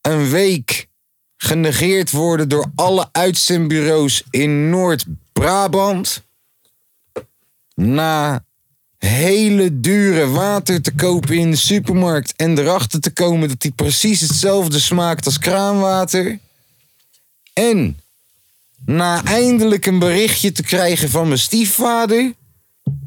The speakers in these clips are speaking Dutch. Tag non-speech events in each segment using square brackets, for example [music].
een week genegeerd worden door alle uitzendbureaus in Noord-Brabant. Na hele dure water te kopen in de supermarkt en erachter te komen dat die precies hetzelfde smaakt als kraanwater. En na eindelijk een berichtje te krijgen van mijn stiefvader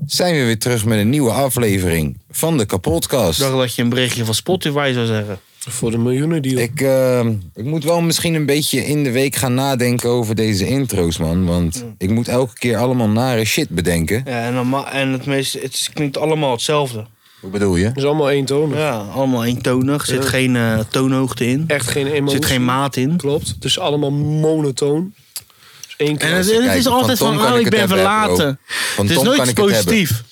zijn we weer terug met een nieuwe aflevering van de kapotkast. Ik dacht dat je een berichtje van Spotify zou zeggen. Voor de miljoenen deal. Ik, eh, ik moet wel misschien een beetje in de week gaan nadenken over deze intro's, man. Want ik moet elke keer allemaal nare shit bedenken. Ja, en, dan ma- en het, meest, het is- klinkt allemaal hetzelfde. Hoe bedoel je? is allemaal eentonig. Ja, allemaal eentonig. Er zit Ja. geen eh, toonhoogte in. Er Echt geen emotie. zit geen maat in. Klopt. Dus allemaal monotoon. Dus één En het, keer. en het kijken, is van altijd Tom van, kan oh, ik ik het ben hebben, bro. verlaten. Van Het is Tom nooit kan iets ik het hebben. positiefs.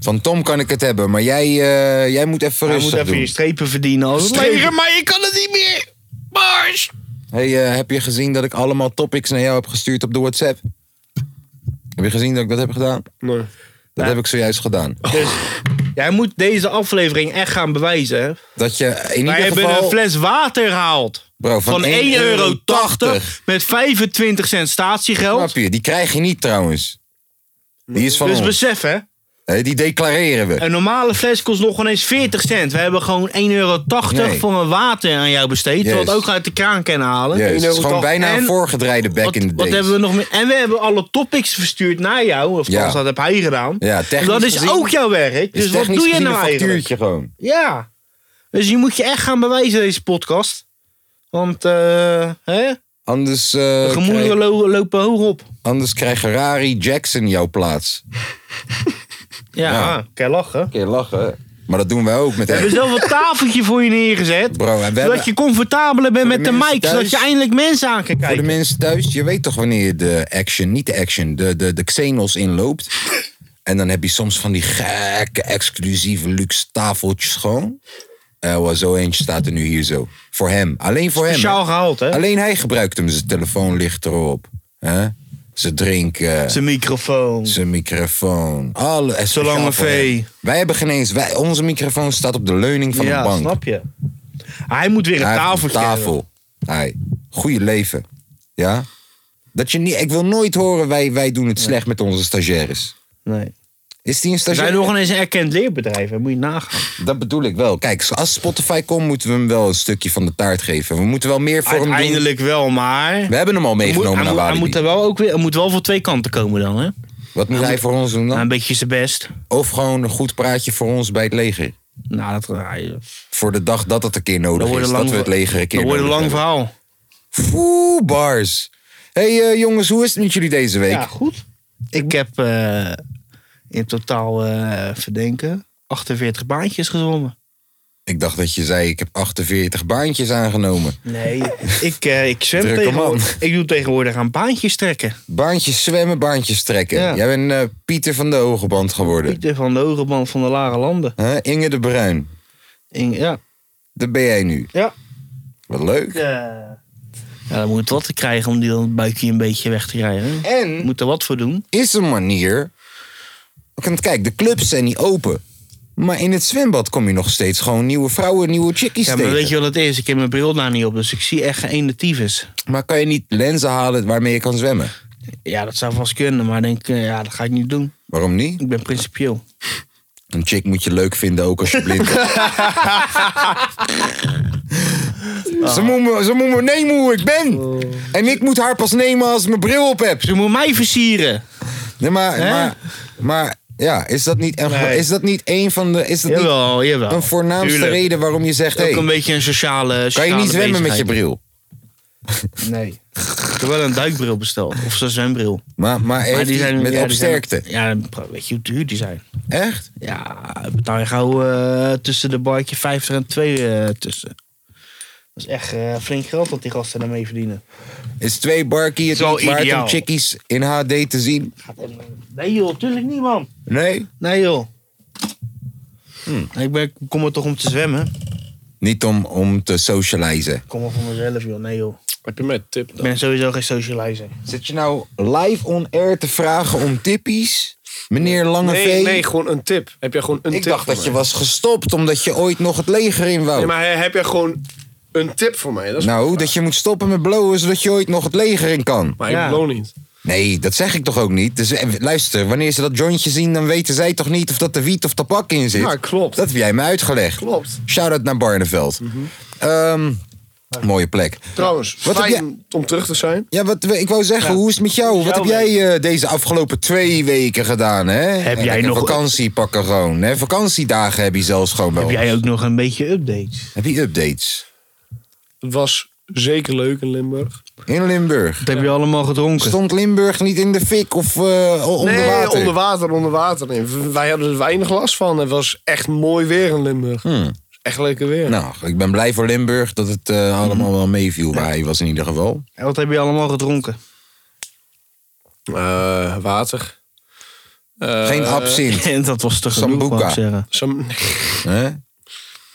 Van Tom kan ik het hebben, maar jij, eh, jij moet even Hij moet rustig even je doen. strepen verdienen. Als Strepen. leger, maar ik kan het niet meer. Mars. Hey, eh, heb je gezien dat ik allemaal topics naar jou heb gestuurd op de WhatsApp? Heb je gezien dat ik dat heb gedaan? Nee. Dat heb ik zojuist gedaan. Dus jij moet deze aflevering echt gaan bewijzen. hè. Dat je in Wij ieder hebben geval... een fles water gehaald. Bro, van Van, 1,80 1,80 euro met 25 cent Snap statiegeld. je? Die krijg je niet trouwens. Die is van Dus ons. besef hè. Hé, die declareren we. Een normale fles kost nog ineens 40 cent. We hebben gewoon 1,80 euro Nee. voor een water aan jou besteed. Wat Yes. ook uit de kraan kan halen. Ja, het is gewoon 1,80. bijna een En- voorgedraaide back Wat, in the wat days. hebben we nog meer? En we hebben alle topics verstuurd naar jou. Of Ja. althans, dat heb hij gedaan. Ja, technisch dat is gezien- ook jouw werk. Is Dus wat technisch doe je gezien nou een eigenlijk? factuurtje gewoon. Ja. Dus je moet je echt gaan bewijzen deze podcast. Want eh hè? Anders, eh, de gemoederen krijg, lo- lopen hoog op. anders krijgt Rari Jackson jouw plaats. Ja, Ja. ah, kan je lachen. Keer lachen. Maar dat doen wij ook met We hem. hebben zelf een tafeltje voor je neergezet. Bro, en we hebben- zodat je comfortabeler bent met de, mensen mic. thuis- Zodat je eindelijk mensen aan kan Voor de kijken. mensen thuis, je weet toch wanneer de action, niet de action, de, de, de Xenos inloopt. En dan heb je soms van die gekke, exclusieve luxe tafeltjes gewoon. Eh, wel, zo eentje staat er nu hier zo. Voor hem. Alleen voor hem. hè. Speciaal gehaald, hè? Alleen hij gebruikt hem. Zijn telefoon ligt erop. hè? Ze drinken. Zijn microfoon. Zijn microfoon. Alle, en speciaal lange voor V. hem. Wij hebben geen eens. Wij, onze microfoon staat op de leuning van ja, de bank. snap je. Hij moet weer een Hij heeft tafeltje hebben. tafel. Hij. Goeie leven. Ja? Dat je niet, ik wil nooit horen, wij, wij doen het slecht met onze stagiaires. Nee. Is die een Er zijn stagiair? nog eens een erkend leerbedrijf, hè? moet je nagaan. Dat bedoel ik wel. Kijk, als Spotify komt, moeten we hem wel een stukje van de taart geven. We moeten wel meer voor hem doen. Uiteindelijk wel, maar... We hebben hem al Hij moet, meegenomen naar hij, moet, hij Walibi. moet er wel ook weer, hij moet wel voor twee kanten komen dan, hè? Wat moet hij voor ons doen Nou, een dan? beetje zijn best. Of gewoon een goed praatje voor ons bij het leger. Nou, dat, hij, Voor de dag dat het een keer dat nodig wordt is. een lang, Dat we het leger een keer dat wordt een nodig lang hebben. verhaal. Foe, bars. hey, eh, jongens, hoe is het met jullie deze week? Ja, goed. Ik heb eh, in totaal, eh, verdenken, 48 baantjes gezwommen. Ik dacht dat je zei, ik heb 48 baantjes aangenomen. Nee, [laughs] ik, eh, ik zwem Drukke tegenwoordig. Ik doe tegenwoordig aan baantjes trekken. Baantjes zwemmen, baantjes trekken. Ja. Jij bent eh, Pieter van de Hoge Band geworden. Pieter eh, van de hoge band van de lage landen. Huh? Inge de Bruin, In, ja. daar ben jij nu. Ja. Wat leuk. eh, ja, dan moet wat te krijgen om die dan het buikje een beetje weg te krijgen. hè? En- Moet er wat voor doen. Is een manier... Want Kijk, de clubs zijn niet open. Maar in het zwembad kom je nog steeds gewoon nieuwe vrouwen, nieuwe chickies Ja, maar tegen. weet je wat het is? Ik heb mijn bril daar niet op, dus ik zie echt geen ene tyfus. Maar kan je niet lenzen halen waarmee je kan zwemmen? Ja, dat zou vast kunnen, maar ik denk eh, ja, dat ga ik niet doen. Waarom niet? Ik ben principieel. Een chick moet je leuk vinden ook als je blind bent. [laughs] Ze, moet me, ze moet me nemen hoe ik ben. Oh. En ik moet haar pas nemen als ik mijn bril op heb. Ze moet [laughs] mij versieren. Nee, maar, Hè? maar, maar ja, is dat niet, een, Nee. is dat niet een van de. Is dat niet Jawel, jawel. een voornaamste Tuurlijk. reden waarom je zegt: hey, Ook een beetje een sociale. kan je niet sociale zwemmen met je bezigheid. bril? Nee. Ik heb wel een duikbril besteld, of zo'n zwembril. Maar, maar, heeft die met ja, die opsterkte. zijn- ja, weet je hoe duur die zijn? Echt? Ja, betaal je gauw eh, tussen de barkje 50 en 2 tussen. eh, Dat is echt eh, flink geld dat die gasten daarmee verdienen. Is twee barkie het Zo niet waard ideaal. om chickies in HD te zien? Nee joh, tuurlijk niet man. Nee? Nee joh. Hmm. Ik ben, kom er toch om te zwemmen? Niet om, om te socializen. Ik kom er voor mezelf joh, nee joh. Heb je met tip Ik dan? ben sowieso geen socializer. Zit je nou live on air te vragen om tippies? Meneer Lange Nee, V? nee, gewoon een tip. Heb jij gewoon een ik tip dacht voor dat je mij? was gestopt omdat je ooit nog het leger in wou. Nee, maar heb jij gewoon een tip voor mij? Dat is Nou, dat je moet stoppen met blowen zodat je ooit nog het leger in kan. Maar Ja. ik bloon niet. Nee, dat zeg ik toch ook niet. Dus eh, luister, wanneer ze dat jointje zien, dan weten zij toch niet of dat er wiet of tabak in zit. Ja, klopt. Dat heb jij me uitgelegd. Klopt. Mhm. Shout-out naar Barneveld. Ehm, mooie plek. Trouwens, Wat heb fijn om terug te zijn. Ja, wat, ik wou zeggen, hoe is het met jou? Wat heb jouw jij eh, deze afgelopen twee weken gedaan, hè? Heb jij nog- vakantie pakken gewoon, hè? Vakantiedagen heb je zelfs gewoon wel. Heb jij ook nog een beetje updates? Heb je updates? Het was zeker leuk in Limburg. In Limburg. Dat heb je allemaal gedronken. Stond Limburg niet in de fik of eh, o- onder nee, water? onder water, onder water. Nee, w- wij hadden er weinig last van. Het was echt mooi weer in Limburg. Echt lekker weer. Nou, ik ben blij voor Limburg dat het eh, allemaal wel meeviel. Maar hij was in ieder geval. En Wat heb je allemaal gedronken? Eh, water. Eh, Geen [laughs] absint, dat was te genoeg, Sambuca. kan ik zeggen. Sam- hè?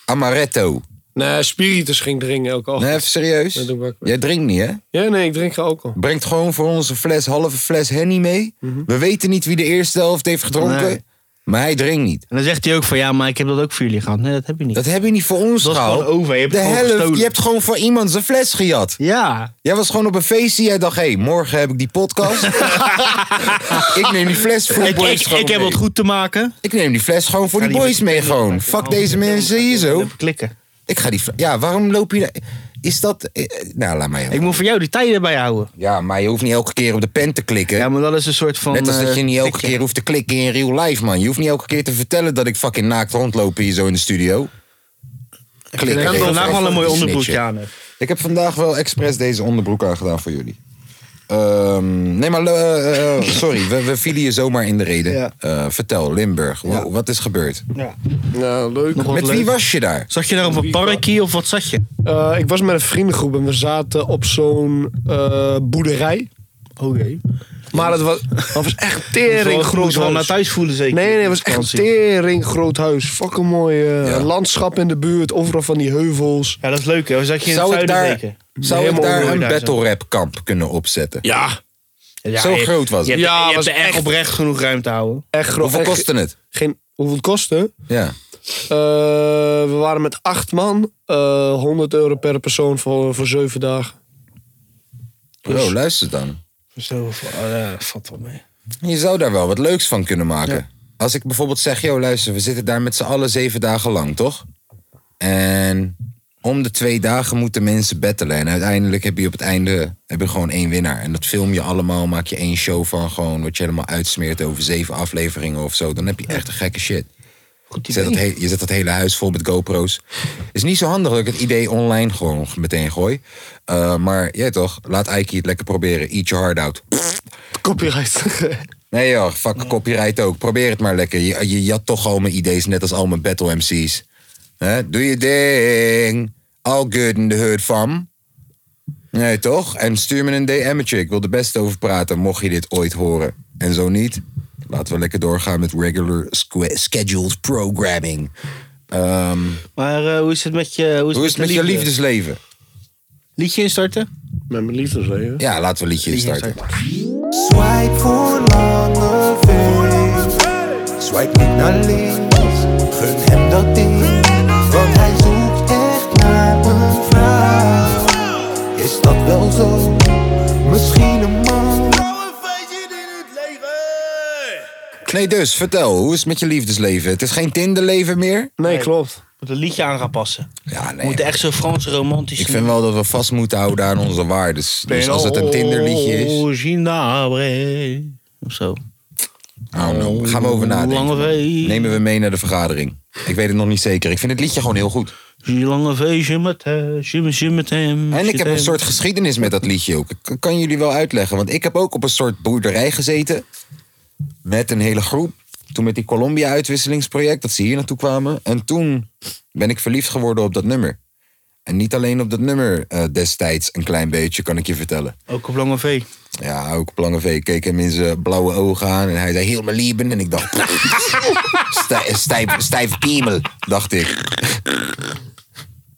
Amaretto. [laughs] nee, spiritus ging drinken elke ochtend. Nee, even serieus? Oh. Dat doe ik ook wel. Jij drinkt niet, hè? Ja, nee, ik drink geen alcohol. Brengt gewoon voor ons een fles, halve fles Henny mee. We weten niet wie de eerste helft heeft gedronken. Mhm. Nee. Maar hij drinkt niet. En dan zegt hij ook van, ja, maar ik heb dat ook voor jullie gehad. Nee, dat heb je niet. Dat heb je niet voor ons Dat is gehaald. gewoon over, je hebt de het gewoon helft, gestolen. je hebt gewoon voor iemand zijn fles gejat. Ja. Jij was gewoon op een feestje. Jij dacht, hé, morgen heb ik die [laughs] podcast. ik neem die fles voor de Ik, boys ik, gewoon ik heb mee. wat goed te maken. Ik neem die fles gewoon voor die die boys mee gewoon. Fuck deze mensen hier zo. Even klikken. Ik ga die fles... Ja, waarom loop je... daar- Is dat... eh, eh, Nou, laat mij... Ik moet voor jou die tijden bijhouden. Ja, maar je hoeft niet elke keer op de pen te klikken. Ja, maar dat is een soort van... Net als dat je eh, niet elke tikje. keer hoeft te klikken in real life, man. Je hoeft niet elke keer te vertellen dat ik fucking naakt rondloop hier zo in de studio. Ik Klikken. heb even vandaag wel even een mooi snitchen. onderbroekje aan. hè. Ik heb vandaag wel expres deze onderbroek aangedaan voor jullie. Ehm, nee, maar eh, eh, sorry, we, we vielen je zomaar in de reden. Ja. Eh, vertel, Limburg, wa- wat is gebeurd? Nou, leuk. Nog wat Met wie leuk. was je daar? Zat je daar op een parkje of wat zat je? Eh, ik was met een vriendengroep en we zaten op zo'n eh, boerderij. Oké. Maar dat was, [laughs] dat was echt tering Tering groot groot wel naar huis. thuis voelen zeker. Nee, nee, het was echt een Vakantie. tering groot huis. Fucking mooi eh, Ja. landschap in de buurt, overal van die heuvels. Ja, dat is leuk hè. Dan zat je in het Zou ik zuiden daar, zeker. zou ik Helemaal daar mooi een daar zo. battle rap kamp kunnen opzetten? Ja, Ja, Zo je- groot was Je het. hebt, Ja, ja, je was hebt er echt echt- oprecht genoeg ruimte houden. echt groot. Hoeveel Echt- kostte het? Geen, hoeveel het kostte? Ja. Eh, we waren met acht man. eh 100 euro per persoon voor, voor zeven dagen. Bro, luister dan. Zo, eh valt wel mee. Je zou daar wel wat leuks van kunnen maken. Als ik bijvoorbeeld zeg, yo luister, we zitten daar met z'n allen zeven dagen lang, toch? En om de twee dagen moeten mensen battelen. En uiteindelijk heb je op het einde heb je gewoon één winnaar. En dat film je allemaal, maak je één show van gewoon... wat je helemaal uitsmeert over zeven afleveringen of zo. Dan heb je echt een gekke shit. Goed Je zet, dat idee. he- je zet dat hele huis vol met GoPro's. Is niet zo handig dat ik het idee online gewoon meteen gooi. Eh, maar jij toch, laat Ike het lekker proberen. Eat your heart out. Copyright. Nee joh, fuck copyright ook. Probeer het maar lekker. Je, je jat toch al mijn idee's, net als al mijn battle MC's. Hè? Doe je ding. All good in the hood, fam. Nee, toch? En stuur me een DM'tje. Ik wil er best over praten, mocht je dit ooit horen. En zo niet, laten we lekker doorgaan met regular squ- scheduled programming. Ehm, Maar eh, hoe is het met je Hoe is, hoe is het met de je liefdesleven? Liedje instarten? [laughs] Met mijn liefdesleven. Ja, laten we liedjes Liedje starten. Swipe voor lange vee. Swipe niet naar links. Gun hem dat ding. Want hij zoekt echt naar een vrouw. Is dat wel zo? Misschien een man. Nee, dus vertel, hoe is het met je liefdesleven? Het is geen Tinderleven meer? Nee, klopt. Moet een liedje aan gaan passen. Ja, We moeten echt zo Frans romantisch Ik vind wel dat we vast moeten houden aan onze waardes. Dus als het een Tinderliedje is, Oh, Ginabre. Of zo. oh no, gaan we over Lange nadenken. vee. Nemen we mee naar de vergadering. Ik weet het nog niet zeker. Ik vind het liedje gewoon heel goed. Die lange vee, je met hem, je met- je met hem. En ik heb je een met- soort geschiedenis met dat liedje ook. Ik kan- kan jullie wel uitleggen. Want ik heb ook op een soort boerderij gezeten. Met een hele groep. Toen met die Colombia-uitwisselingsproject. Dat ze hier naartoe kwamen. En toen ben ik verliefd geworden op dat nummer. En niet alleen op dat nummer eh, destijds, een klein beetje, kan ik je vertellen. Ook op Lange V. Ja, ook op Lange V. Ik keek hem in zijn blauwe ogen aan en hij zei heel mijn lieben. En ik dacht, [laughs] stij, stijf, stijf piemel, dacht ik.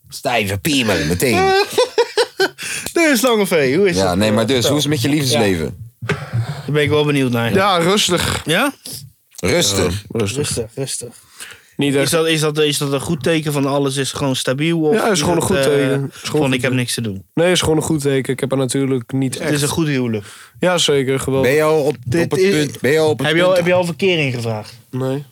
Stijve piemel, meteen. Dit is Lange V, hoe is Ja, dat? nee, maar dus, hoe is het met je liefdesleven? Daar ben ik wel benieuwd naar. Ja, rustig. Ja? Rustig. Rustig, rustig. Niet Is echt. dat, is, dat, is dat een goed teken van alles is gewoon stabiel? Of Ja, is gewoon een goed eh, teken. Is gewoon Van goed ik heb niks te doen. Nee, is gewoon een goed teken. Ik heb er natuurlijk niet Het is echt. een goed huwelijk. Ja, zeker. Ben Geweldig. je al op, Dit op het is- punt? Ben je al op het Heb je al, punt- heb je al verkering gevraagd? Nee.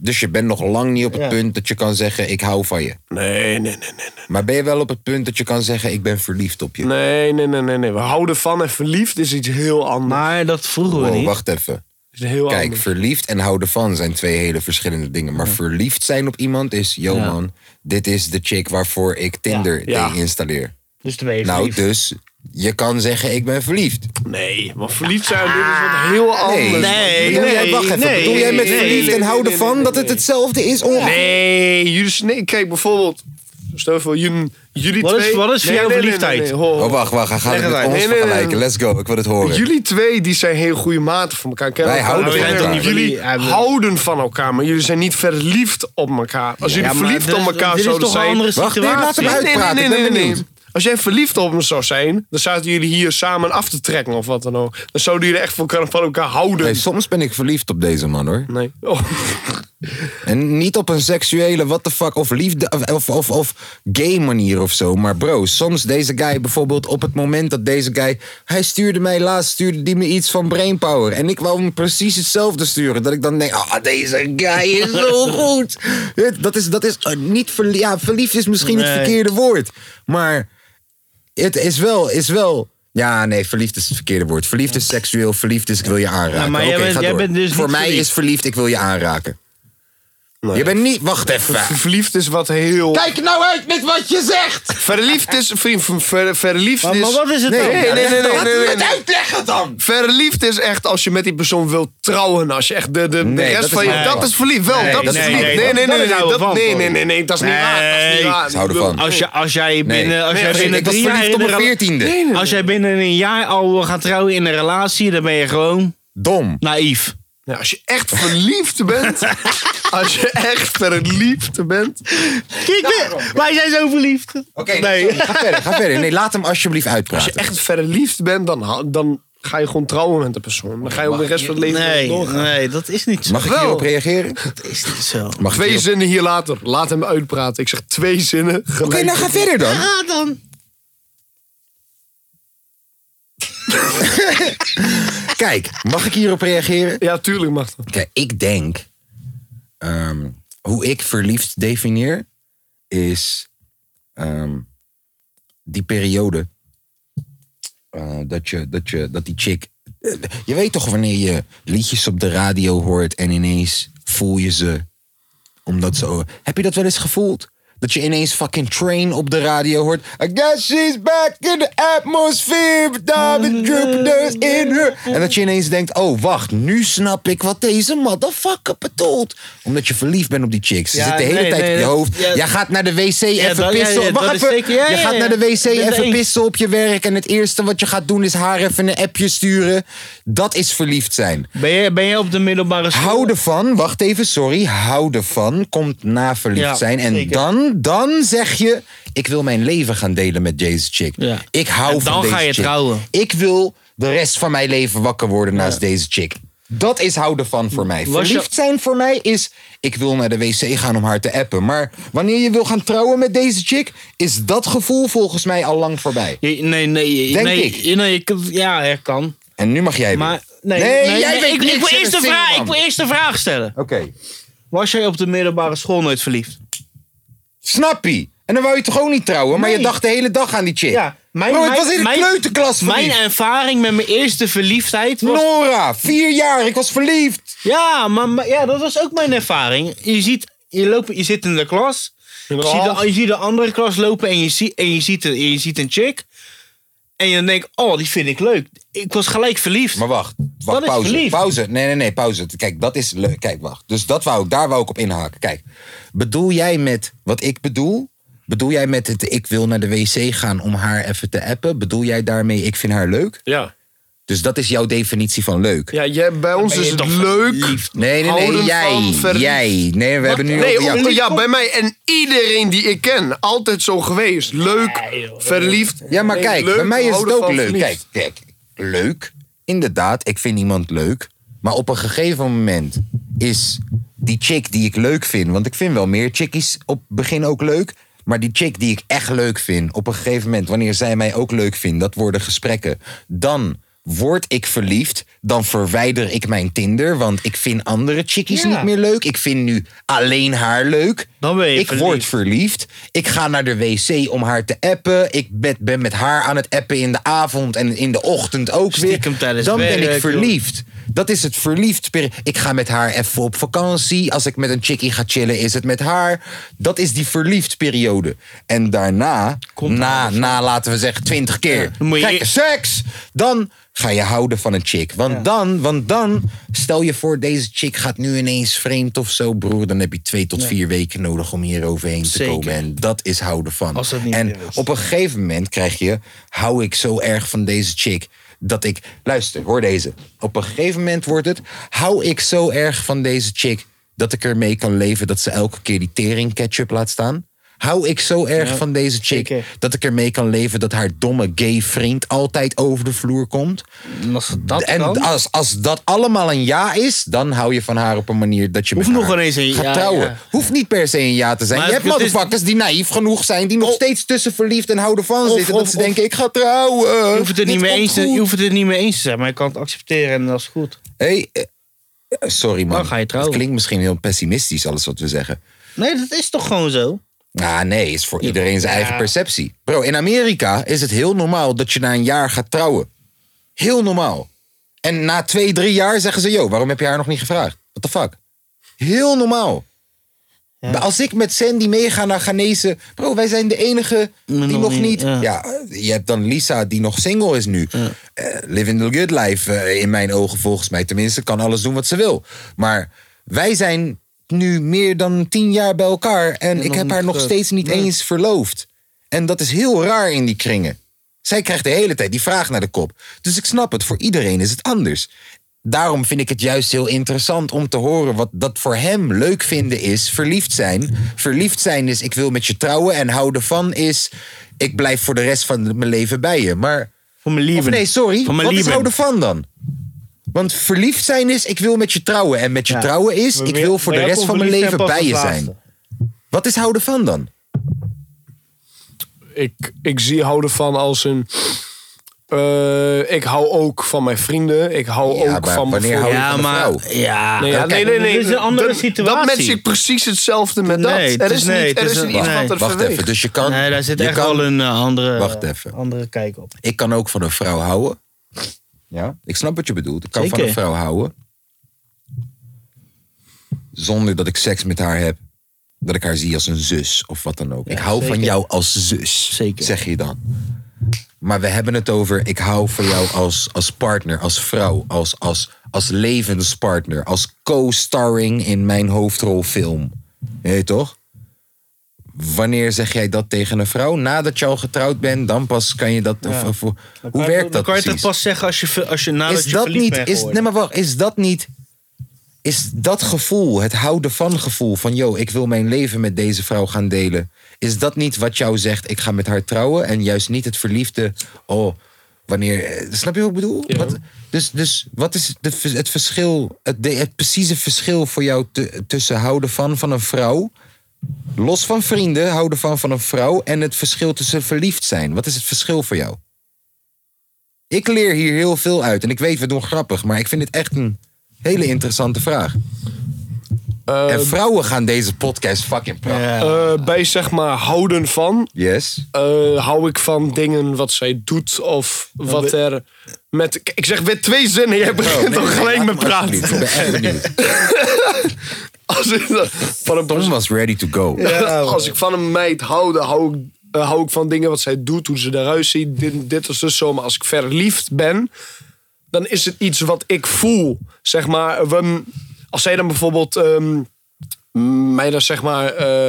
Dus je bent nog lang niet op het Ja. punt dat je kan zeggen, ik hou van je. Nee, nee, nee, nee. Maar ben je wel op het punt dat je kan zeggen, ik ben verliefd op je? Nee, nee, nee, nee. nee. We houden van en verliefd is iets heel anders. Maar dat vroegen we Wow, niet. wacht even. is heel Kijk, anders. verliefd en houden van zijn twee hele verschillende dingen. Maar verliefd zijn op iemand is, yo Ja. man, dit is de chick waarvoor ik Tinder Ja. deinstalleer. Dus dan ben je Nou, verliefd. dus je kan zeggen, ik ben verliefd. Nee, want verliefd zijn, dit is wat heel Nee, anders. nee, bedoel jij, nee, wacht even, nee, bedoel jij met nee, verliefd Oh, nee, en nee, houden nee, van nee, dat nee. het hetzelfde is? Ongeveer. Nee, jullie... s- Nee, kijk, bijvoorbeeld... Stel je voor, jullie, jullie Wat is- twee... wat is voor Nee, jou nee, nee, verliefdheid? nee, nee, ho, ho. Oh, wacht, wacht, hij gaat het Leg het met uit. ons Nee, nee, nee, vergelijken. nee. Let's go, ik wil het horen. Jullie twee die zijn heel goede maten van elkaar. Kennen Wij elkaar. houden van Jullie- elkaar. Jullie Ja, we- houden van elkaar, maar jullie zijn niet verliefd op elkaar. Als jullie Ja, maar verliefd dit is- op elkaar dit is zouden toch een zijn... andere Wacht, nee, situatie? laat hem uit. uitpraten, ik ben benieuwd. Als jij verliefd op me zou zijn, dan zaten jullie hier samen af te trekken of wat dan ook. Dan zouden jullie echt van elkaar, van elkaar houden. Nee, soms ben ik verliefd op deze man hoor. Nee. Oh. En niet op een seksuele what the fuck of liefde of, of, of, of gay manier of zo. Maar bro, soms deze guy bijvoorbeeld op het moment dat deze guy... Hij stuurde mij laatst, stuurde die me iets van Brainpower. En ik wou hem precies hetzelfde sturen. Dat ik dan denk, ah deze guy is zo [laughs] goed. Het- Dat is, dat is eh, niet verlie- ja, verliefd is misschien het Nee. verkeerde woord. Maar het is wel, is wel... Ja, nee, verliefd is het verkeerde woord. Verliefd is seksueel, verliefd is ik wil je aanraken. Ja, maar jij Oké, bent- ga jij door. bent dus Voor niet mij verliefd. is verliefd, ik wil je aanraken. Je bent niet. Wacht even. Verliefd is wat heel... Kijk nou uit met wat je zegt! Verliefd is... Vriend, ver- ver- verliefd Maar, is... maar wat is het Nee, dan? Nee, nee, nee, nee, nee, nee, nee. uitleggen dan! Verliefd is echt als je met die persoon wilt trouwen. Als je echt de, de, de Nee, rest dat is van je. niet dat waar. is verliefd. Wel, Nee, dat is nee, verliefd. Nee, nee, nee, nee, dat- dat is oude nee, nee, dat- van, nee, hoor. nee, nee, nee, dat is niet waar. Dat is niet Nee. waar. Ze houden Ik bedoel- van. Als, je, als jij Nee. binnen, als Nee, jij als binnen Ik was drie jaar verliefd in op een mijn rela- veertiende. Nee, nee, Als jij binnen een jaar al gaat trouwen in een relatie, dan ben je gewoon Dom. [laughs] naïef. nee, als je echt verliefd [laughs] bent. als je echt verliefd bent. Kijk, wij zijn zo verliefd. Oké, nee. ga verder, ga verder. Nee, laat hem alsjeblieft Als je uitpraten. echt verliefd bent, dan, ha- dan ga je gewoon trouwen met de persoon. Dan ga je ook de rest van het leven Nee, doorgaan. nee, dat is niet zo. Mag ik Wel. hierop reageren? Dat is niet zo. Mag ik Twee hierop- zinnen hier later. Laat hem uitpraten. Ik zeg twee zinnen. Gelijk. Oké, nou ga verder dan. Ah, dan. Kijk, mag ik hierop reageren? Ja, tuurlijk mag dat. Kijk, ik denk. ehm, hoe ik verliefd definieer. Is. ehm, die periode. eh, dat, je, dat, je, dat die chick. eh, Je weet toch wanneer je liedjes op de radio hoort en ineens voel je ze. Omdat ze. Heb je dat wel eens gevoeld? Dat je ineens fucking train op de radio hoort. I guess she's back in the atmosphere. But I've been Jupiter's dus in her. En dat je ineens denkt: oh wacht, nu snap ik wat deze motherfucker bedoelt. Omdat je verliefd bent op die chicks. Ze Ja, zitten de hele nee, tijd nee, in je dat- hoofd. ja, Jij gaat naar de wc even dat- ja, pissen. ja, wacht dat is even. zeker- ja, je ja, gaat ja. naar de wc Ben het even eens. pissen op je werk. En het eerste wat je gaat doen is haar even een appje sturen. Dat is verliefd zijn. Ben jij, ben jij op de middelbare school? Houden van, wacht even, sorry. Houden van komt na verliefd Ja, zijn. En zeker. dan, dan zeg je, ik wil mijn leven gaan delen met deze chick. Ja. Ik hou En van dan deze ga je chick. trouwen. Ik wil de rest van mijn leven wakker worden naast deze chick. Dat is houden van voor mij. Was je- Verliefd zijn voor mij is, ik wil naar de wc gaan om haar te appen. Maar wanneer je wil gaan trouwen met deze chick, is dat gevoel volgens mij al lang voorbij. Je- Nee, nee, Denk nee, ik. nee, nee, ik- Ja, er kan. En nu mag jij weer. Maar nee, nee, nee, jij nee, weet ik, niks, ik, wil jij eerst de bent vraag, single ik wil man. eerst de vraag stellen. Oké. Was jij op de middelbare school nooit verliefd? Snappie. En dan wou je toch ook niet trouwen, maar je Nee. dacht de hele dag aan die chick. Ja, mijn- Bro, het mijn- was in de mijn- kleuterklas Mijn verliefd. ervaring met mijn eerste verliefdheid was... Nora, vier jaar, ik was verliefd. Ja, maar, maar- ja, dat was ook mijn ervaring. Je, ziet, je, loopt, je zit in de klas. Je ziet de, je ziet de andere klas lopen en je, ziet en je, ziet een, je ziet een chick. En je denkt, oh, die vind ik leuk. Ik was gelijk verliefd. Maar wacht, wacht Dat is pauze. verliefd. Pauze. Nee, nee, nee, pauze. Kijk, dat is leuk. Kijk, wacht. Dus dat wou ik, daar wou ik op inhaken. Kijk, bedoel jij met wat ik bedoel? Bedoel jij met het ik wil naar de wc gaan om haar even te appen? Bedoel jij daarmee ik vind haar leuk? Ja. Dus dat is jouw definitie van leuk. Ja, jij, bij ons ben is je het toch leuk. Nee, nee, nee, Houden jij. van verliefd. Jij. Nee, we hebben nu Nee, over jou. op- ja, bij mij en iedereen die ik ken. Altijd zo geweest. Leuk, verliefd. Ja, maar Nee, kijk, leuk, bij mij is het houden ook van leuk. Kijk, verliefd. kijk, leuk. Inderdaad, ik vind iemand leuk. Maar op een gegeven moment is die chick die ik leuk vind... want ik vind wel meer chickies op het begin ook leuk... maar die chick die ik echt leuk vind... op een gegeven moment, wanneer zij mij ook leuk vindt... dat worden gesprekken. Dan word ik verliefd. Dan verwijder ik mijn Tinder... want ik vind andere chickies Ja. niet meer leuk. Ik vind nu alleen haar leuk. Dan ben je ik word verliefd. verliefd. Ik ga naar de wc om haar te appen. Ik ben, ben met haar aan het appen in de avond en in de ochtend ook Stiekem weer. tijdens Dan ben werk, ik joh. verliefd. Dat is het verliefd. peri- Ik ga met haar even op vakantie. Als ik met een chickie ga chillen, is het met haar. Dat is die verliefd periode. En daarna, na, na laten we zeggen 20 keer, Dan moet je gekke e- seks. Dan ga je houden van een chick. Want, dan, want dan, stel je voor, deze chick gaat nu ineens vreemd of zo, broer. Dan heb je twee tot vier weken nodig om hier overheen te Zeker. komen. En dat is houden van. Als dat niet en meer is. op een gegeven moment krijg je, hou ik zo erg van deze chick. Dat ik, luister, hoor deze. Op een gegeven moment wordt het, hou ik zo erg van deze chick. Dat ik ermee kan leven dat ze elke keer die tering ketchup laat staan. Hou ik zo erg van deze chick zeker. dat ik ermee kan leven dat haar domme gay vriend altijd over de vloer komt. En als het dat en kan... als, als dat allemaal een ja is, dan hou je van haar op een manier dat je Hoeft met nog haar wel eens een gaat ja, trouwen. ja. Hoeft niet per se een ja te zijn. Maar je het- hebt het is- motherfuckers die naïef genoeg zijn, die nog steeds tussen verliefd en houden van zitten. of- dat ze of- denken, ik ga trouwen. Je hoeft, het er niet Dit mee komt eens te, goed. je hoeft het er niet mee eens te zijn, maar je kan het accepteren en dat is goed. Hey, eh, sorry man. Dan ga je trouwen. Het klinkt misschien heel pessimistisch, alles wat we zeggen. Nee, dat is toch gewoon zo? Ah, nee, is voor iedereen zijn eigen perceptie. Bro, in Amerika is het heel normaal dat je na een jaar gaat trouwen. Heel normaal. En na twee, drie jaar zeggen ze: Yo, waarom heb je haar nog niet gevraagd? What the fuck? Heel normaal. Maar Als ik met Sandy meega naar Ghanese. Bro, wij zijn de enige die nog nog niet, niet. ja. Ja. je hebt dan Lisa die nog single is nu. Eh, living the good life eh, in mijn ogen volgens mij. Tenminste, kan alles doen wat ze wil. Maar wij zijn nu meer dan tien jaar bij elkaar. En ik nog heb niet haar nog gevraagd. steeds niet eens verloofd. En dat is heel raar in die kringen. Zij krijgt de hele tijd die vraag naar de kop. Dus ik snap het, voor iedereen is het anders. Daarom vind ik het juist heel interessant om te horen wat dat voor hem leuk vinden is. Verliefd zijn. Verliefd zijn is ik wil met je trouwen en houden van is ik blijf voor de rest van mijn leven bij je. Maar Voor mijn lieve. of nee, sorry. Van Wat mijn is lieben. houden van dan? Want verliefd zijn is ik wil met je trouwen en met je trouwen is ik wil voor de rest van mijn leven bij je zijn. Wat is houden van dan? ik, ik zie houden van als een. eh, ik hou ook van mijn vrienden. Ik hou Ja, ook maar van wanneer bijvoorbeeld- hou je Ja, van maar... vrouw? Ja. Nee, ja, Ah, Oké. nee, nee, nee. Dit is een andere Dat- Dat situatie. match ik precies hetzelfde met Nee, dat. het Er is- is, nee, niet, het er is is een- niet iets nee. wat er Wacht even, verweegt. dus je kan. Nee, daar zit je echt kan- wel een eh, andere, Wacht even. andere kijk op. Ik kan ook van een vrouw houden. Ja? Ik snap wat je bedoelt. Ik kan van Zeker. een vrouw houden. Zonder dat ik seks met haar heb. Dat ik haar zie als een zus of wat dan ook. ik hou van zeker. jou als zus. Zeker. Zeg je dan. Maar we hebben het over, ik hou van jou als, als partner, als vrouw, als, als, als levenspartner, als co-starring in mijn hoofdrolfilm. Weet je toch? Wanneer zeg jij dat tegen een vrouw? Nadat je al getrouwd bent, dan pas kan je dat. of- of- hoe werkt dat? Dan kan je het precies? pas zeggen als je, ver- als je nadat Is je dat verliefd niet. bent Is, geworden. nee, maar wacht, is dat niet. Is dat gevoel, het houden van gevoel van, yo, ik wil mijn leven met deze vrouw gaan delen. Is dat niet wat jou zegt, ik ga met haar trouwen? En juist niet het verliefde, oh, wanneer. eh, Snap je wat ik bedoel? Wat, dus, dus wat is de, het verschil, het, de- het precieze verschil voor jou te- tussen houden van van een vrouw, los van vrienden, houden van van een vrouw, en het verschil tussen verliefd zijn? Wat is het verschil voor jou? Ik leer hier heel veel uit. En ik weet, we doen grappig. Maar ik vind dit echt een hele interessante vraag. Eh, en vrouwen gaan deze podcast fucking praten. Ja. eh, bij zeg maar houden van, Yes. eh, hou ik van dingen wat zij doet of wat er met... Ik zeg weer twee zinnen, jij begint al gelijk met praten. Ik ben echt benieuwd. Als ik, van een Tom was ready to go. [laughs] Als ik van een meid hou, dan hou ik, eh, hou ik van dingen wat zij doet, hoe ze eruit ziet. Dit, dit is dus zo. Maar als ik verliefd ben, dan is het iets wat ik voel. Zeg maar, we- als zij dan bijvoorbeeld ehm, mij dan zeg maar eh,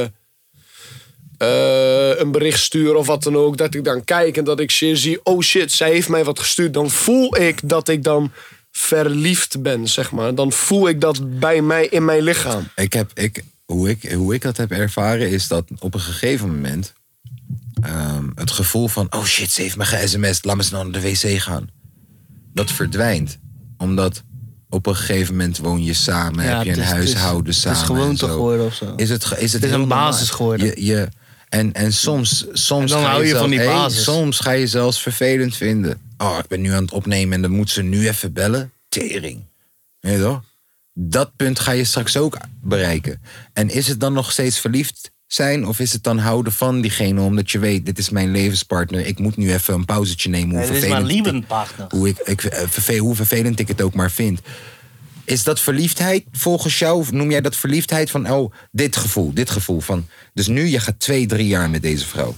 eh, een bericht sturen of wat dan ook. Dat ik dan kijk en dat ik shit zie, oh shit, zij heeft mij wat gestuurd. Dan voel ik dat ik dan verliefd ben, zeg maar. Dan voel ik dat bij mij in mijn lichaam. ik heb, ik, hoe, ik, hoe ik dat heb ervaren is dat op een gegeven moment ehm, het gevoel van, oh shit, ze heeft me ge-sms'd, laat me snel naar de wc gaan. Dat verdwijnt. Omdat op een gegeven moment woon je samen, Ja, heb je een het is- het is- huishouden het is samen. gewoonte en zo. geworden of zo. Is het, ge- is het, Het is heel een normaal. basis geworden. Je, je, en, en soms, soms En dan ga hou je zelf- van die hey, basis. soms ga je zelfs vervelend vinden. Oh, ik ben nu aan het opnemen en dan moet ze nu even bellen. Tering. Weet je toch? Dat punt ga je straks ook bereiken. En is het dan nog steeds verliefd zijn? Of is het dan houden van diegene omdat je weet... dit is mijn levenspartner, ik moet nu even een pauzetje nemen. Hoe Nee, dit is vervelend mijn ik- Liebenpartner. Hoe, ik, ik, eh, verve- hoe vervelend ik het ook maar vind. Is dat verliefdheid volgens jou? Of noem jij dat verliefdheid van, oh, dit gevoel, dit gevoel van. Dus nu, je gaat twee, drie jaar met deze vrouw.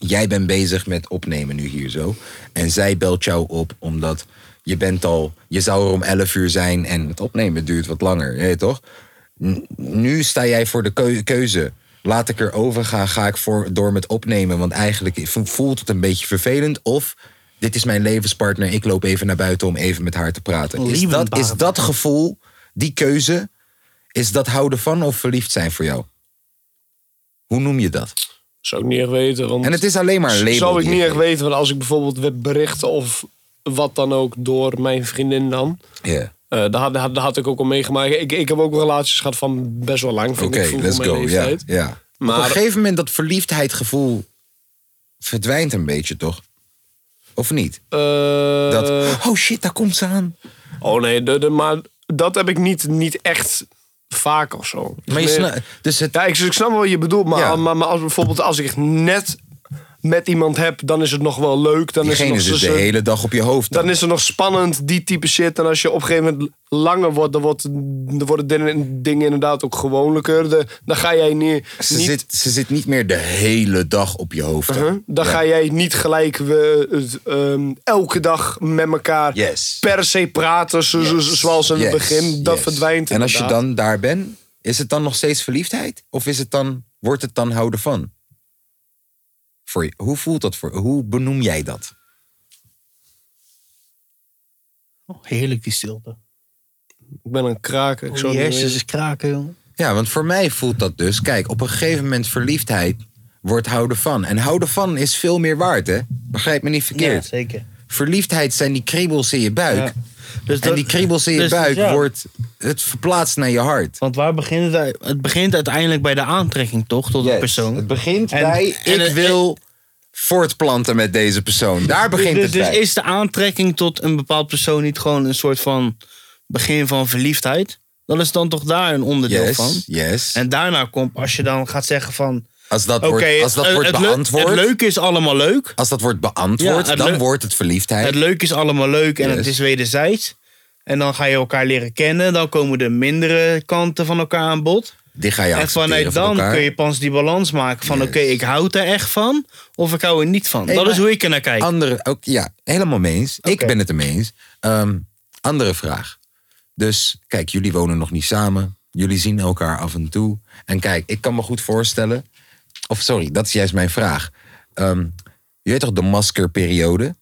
Jij bent bezig met opnemen nu hier zo. En zij belt jou op omdat je bent al, je zou er om 11 uur zijn en het opnemen duurt wat langer, je weet toch? N- Nu sta jij voor de keu- keuze. Laat ik erover gaan, ga ik voor, door met opnemen, want eigenlijk vo- voelt het een beetje vervelend. Of dit is mijn levenspartner, ik loop even naar buiten om even met haar te praten. Is dat, is dat gevoel, die keuze, is dat houden van of verliefd zijn voor jou? Hoe noem je dat? Zou ik niet echt weten. Want En het is alleen maar een label. Zou ik die niet je echt geeft. weten, want als ik bijvoorbeeld werd bericht of wat dan ook door mijn vriendin dan. Ja. eh daar, had, daar, had- daar had ik ook al meegemaakt. Ik, ik heb ook relaties gehad van best wel lang. Oké, vind ik, vroeg let's op mijn go. Ja, leeftijd. ja. Maar- Op een gegeven moment dat verliefdheidgevoel verdwijnt een beetje, toch? Of niet? Eh, Dat, oh shit, daar komt ze aan. Oh nee, de, de- maar dat heb ik niet, niet echt vaak of zo. Maar je Nee. sna- dus het, Ja, ik, ik snap wel wat je bedoelt, maar, Ja. maar, maar als, bijvoorbeeld als ik echt net met iemand heb, dan is het nog wel leuk. Dan is het diegene nog zit de zo- zo- hele dag op je hoofd. dan is het nog spannend, die type shit. En als je op een gegeven moment langer wordt, dan, wordt, dan worden dingen, dingen inderdaad ook gewoonlijker. De- dan ga jij niet, ze, niet, Uh-huh. zit, ze zit niet meer de hele dag op je hoofd. huh? dan Ja. ga jij niet gelijk we, het, ehm, elke dag met elkaar Yes. per se praten, zo, zo- zoals Dus in Yes, het begin. Dat yes. verdwijnt En als je inderdaad. dan daar bent, is het dan nog steeds verliefdheid? Of is het dan, wordt het dan houden van? Voor je, hoe voelt dat voor Hoe benoem jij dat? Oh, heerlijk die stilte. Ik ben een kraker. Oh, Ik zou Die het niet hersens is kraken, jongen. Ja, want voor mij voelt dat dus. Kijk, op een gegeven moment verliefdheid wordt houden van. En houden van is veel meer waard, hè? Begrijp me niet Ja, verkeerd. zeker. Verliefdheid zijn die kriebels in je buik. Ja. Dus En die kriebels in je dus- buik ja. wordt het verplaatst naar je hart. Want waar begint het? Het begint uiteindelijk bij de aantrekking, toch? Tot de Yes. persoon. Het begint En- bij en ik het- wil voortplanten met deze persoon. Daar begint dus, het dus bij. is de aantrekking tot een bepaald persoon niet gewoon een soort van begin van verliefdheid? Dat is dan toch daar een onderdeel yes, van? yes. En daarna komt, als je dan gaat zeggen van... als dat Oké, wordt, als dat het, wordt het leuk- beantwoord, het leuke is allemaal leuk. als dat wordt beantwoord, Ja, het dan leuk- wordt het verliefdheid. Het leuke is allemaal leuk en Yes. het is wederzijds. En dan ga je elkaar leren kennen. Dan komen de mindere kanten van elkaar aan bod. Die ga je en accepteren vanuit van dan elkaar. kun je pas die balans maken van... Oké, ik hou er echt van of ik hou er niet van. dat maar- is hoe ik er naar kijk. Andere, ook, ja, helemaal mee eens. Ik ben het ermee eens. Ehm, andere vraag. Dus kijk, jullie wonen nog niet samen. Jullie zien elkaar af en toe. En kijk, ik kan me goed voorstellen. Of sorry, dat is juist mijn vraag. Ehm, je weet toch de maskerperiode?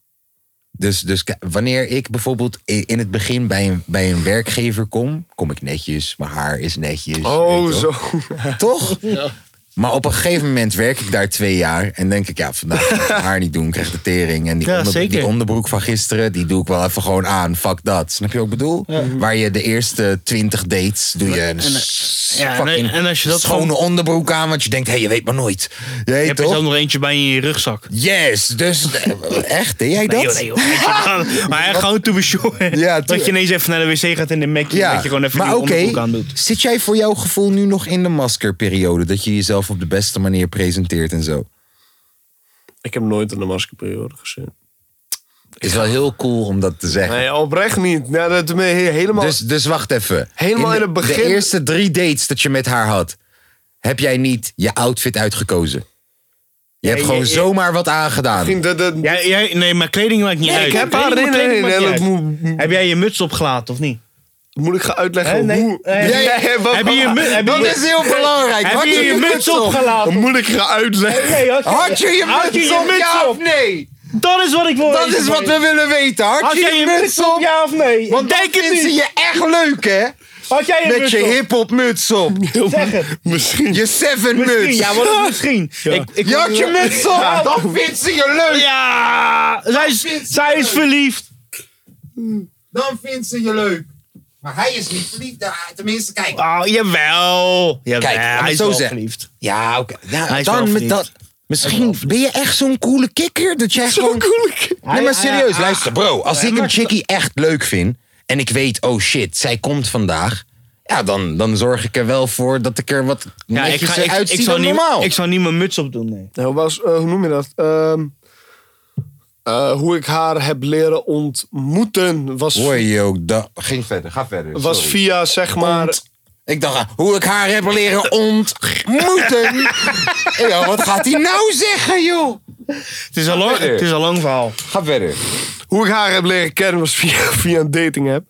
Dus, dus k- wanneer ik bijvoorbeeld i- in het begin bij een, bij een werkgever kom, kom ik netjes, mijn haar is netjes. Oh, weet je wel. zo. Toch? Maar op een gegeven moment werk ik daar twee jaar. En denk ik, ja, vandaag [laughs] ga ik mijn haar niet doen. Ik krijg de tering. En die, Ja, onder- zeker. die onderbroek van gisteren, die doe ik wel even gewoon aan. Fuck dat. Snap je wat ik bedoel? Waar je de eerste twintig dates doe je een s- ja, en- fucking en als je dat schone gewoon- onderbroek aan. Want je denkt, hé, hey, je weet maar nooit. Je Je weet hebt er toch? zelf nog eentje bij in je [laughs] rugzak. Yes, dus [laughs] echt, deed jij dat? Nee, joh, nee, joh. Weet je, maar hij gewoon te besjoen. Ja, dat je ineens even naar de wc gaat in de Mackie. Ja, Dat je gewoon even maar die oké, onderbroek aan doet. zit jij voor jouw gevoel nu nog in de maskerperiode? Dat je jezelf op de beste manier presenteert en zo? Ik heb nooit in de maskerperiode gezien. Is wel heel cool om dat te zeggen. Nee, oprecht niet. Nou, dat me he- helemaal. Dus, dus wacht even. Helemaal in de- het begin- De eerste drie dates dat je met haar had, heb jij niet je outfit uitgekozen. Je hebt je- gewoon je- zomaar wat aangedaan. Ging dat- dat- Jij, jij, nee, maar kleding maakt niet Nee, uit. ik heb Kleding haar in. maakt- kleding Nee, maakt nee, niet dat uit. moet- Heb jij je muts opgelaten of niet? Moet ik gaan uitleggen Hè, nee. hoe... Eh, [laughs] Ja, wat- Heb je je mu- heb je Dat je- is heel belangrijk. Heb Had je je muts op? Dan opgelaten? moet ik gaan uitleggen. Nee, had Had je je had muts op? Ja of nee? Dat is wat ik wil Dat weten is van wat je. we willen weten. Had Had je je muts op? Ja of nee? Want Ik dan vinden ze je echt leuk, hè? Had jij je Met muts je op? hip-hop muts [laughs] op. Zeg het. Misschien. Je seven Misschien, muts. ja, wat is misschien? Ik, ik, Je had je muts op. Dan vindt ze je leuk. Ja, zij is, zij is verliefd. Dan vindt ze je leuk. Maar hij is niet verliefd. Ah, Tenminste, kijk. Oh, jawel. jawel. Kijk, laat me hij is zo wel zeggen. verliefd. Ja, oké. Nou, Hij is wel dan met verliefd. dat. Misschien ben je echt zo'n coole kikker dat jij [laughs] gewoon... Nee, maar serieus, luister bro. Als ik een chickie echt leuk vind en ik weet, oh shit, zij komt vandaag. Ja, dan, dan zorg ik er wel voor dat ik er wat Ja, netjes ik, ga, ik, ik, uitzie zou dan niet, normaal. ik zou niet mijn muts op doen, nee. Nou, was, eh, hoe noem je dat? Ehm, eh, hoe ik haar heb leren ontmoeten was, Hoor je ook, da- ging verder, ga verder. was sorry. via zeg maar. Ik dacht, ah, hoe ik haar heb leren [laughs] ontmoeten. ja, wat gaat hij nou zeggen, joh? Het is, al lang, het is al lang verhaal. Ga verder. Hoe ik haar heb leren kennen was via, [laughs] via een dating app.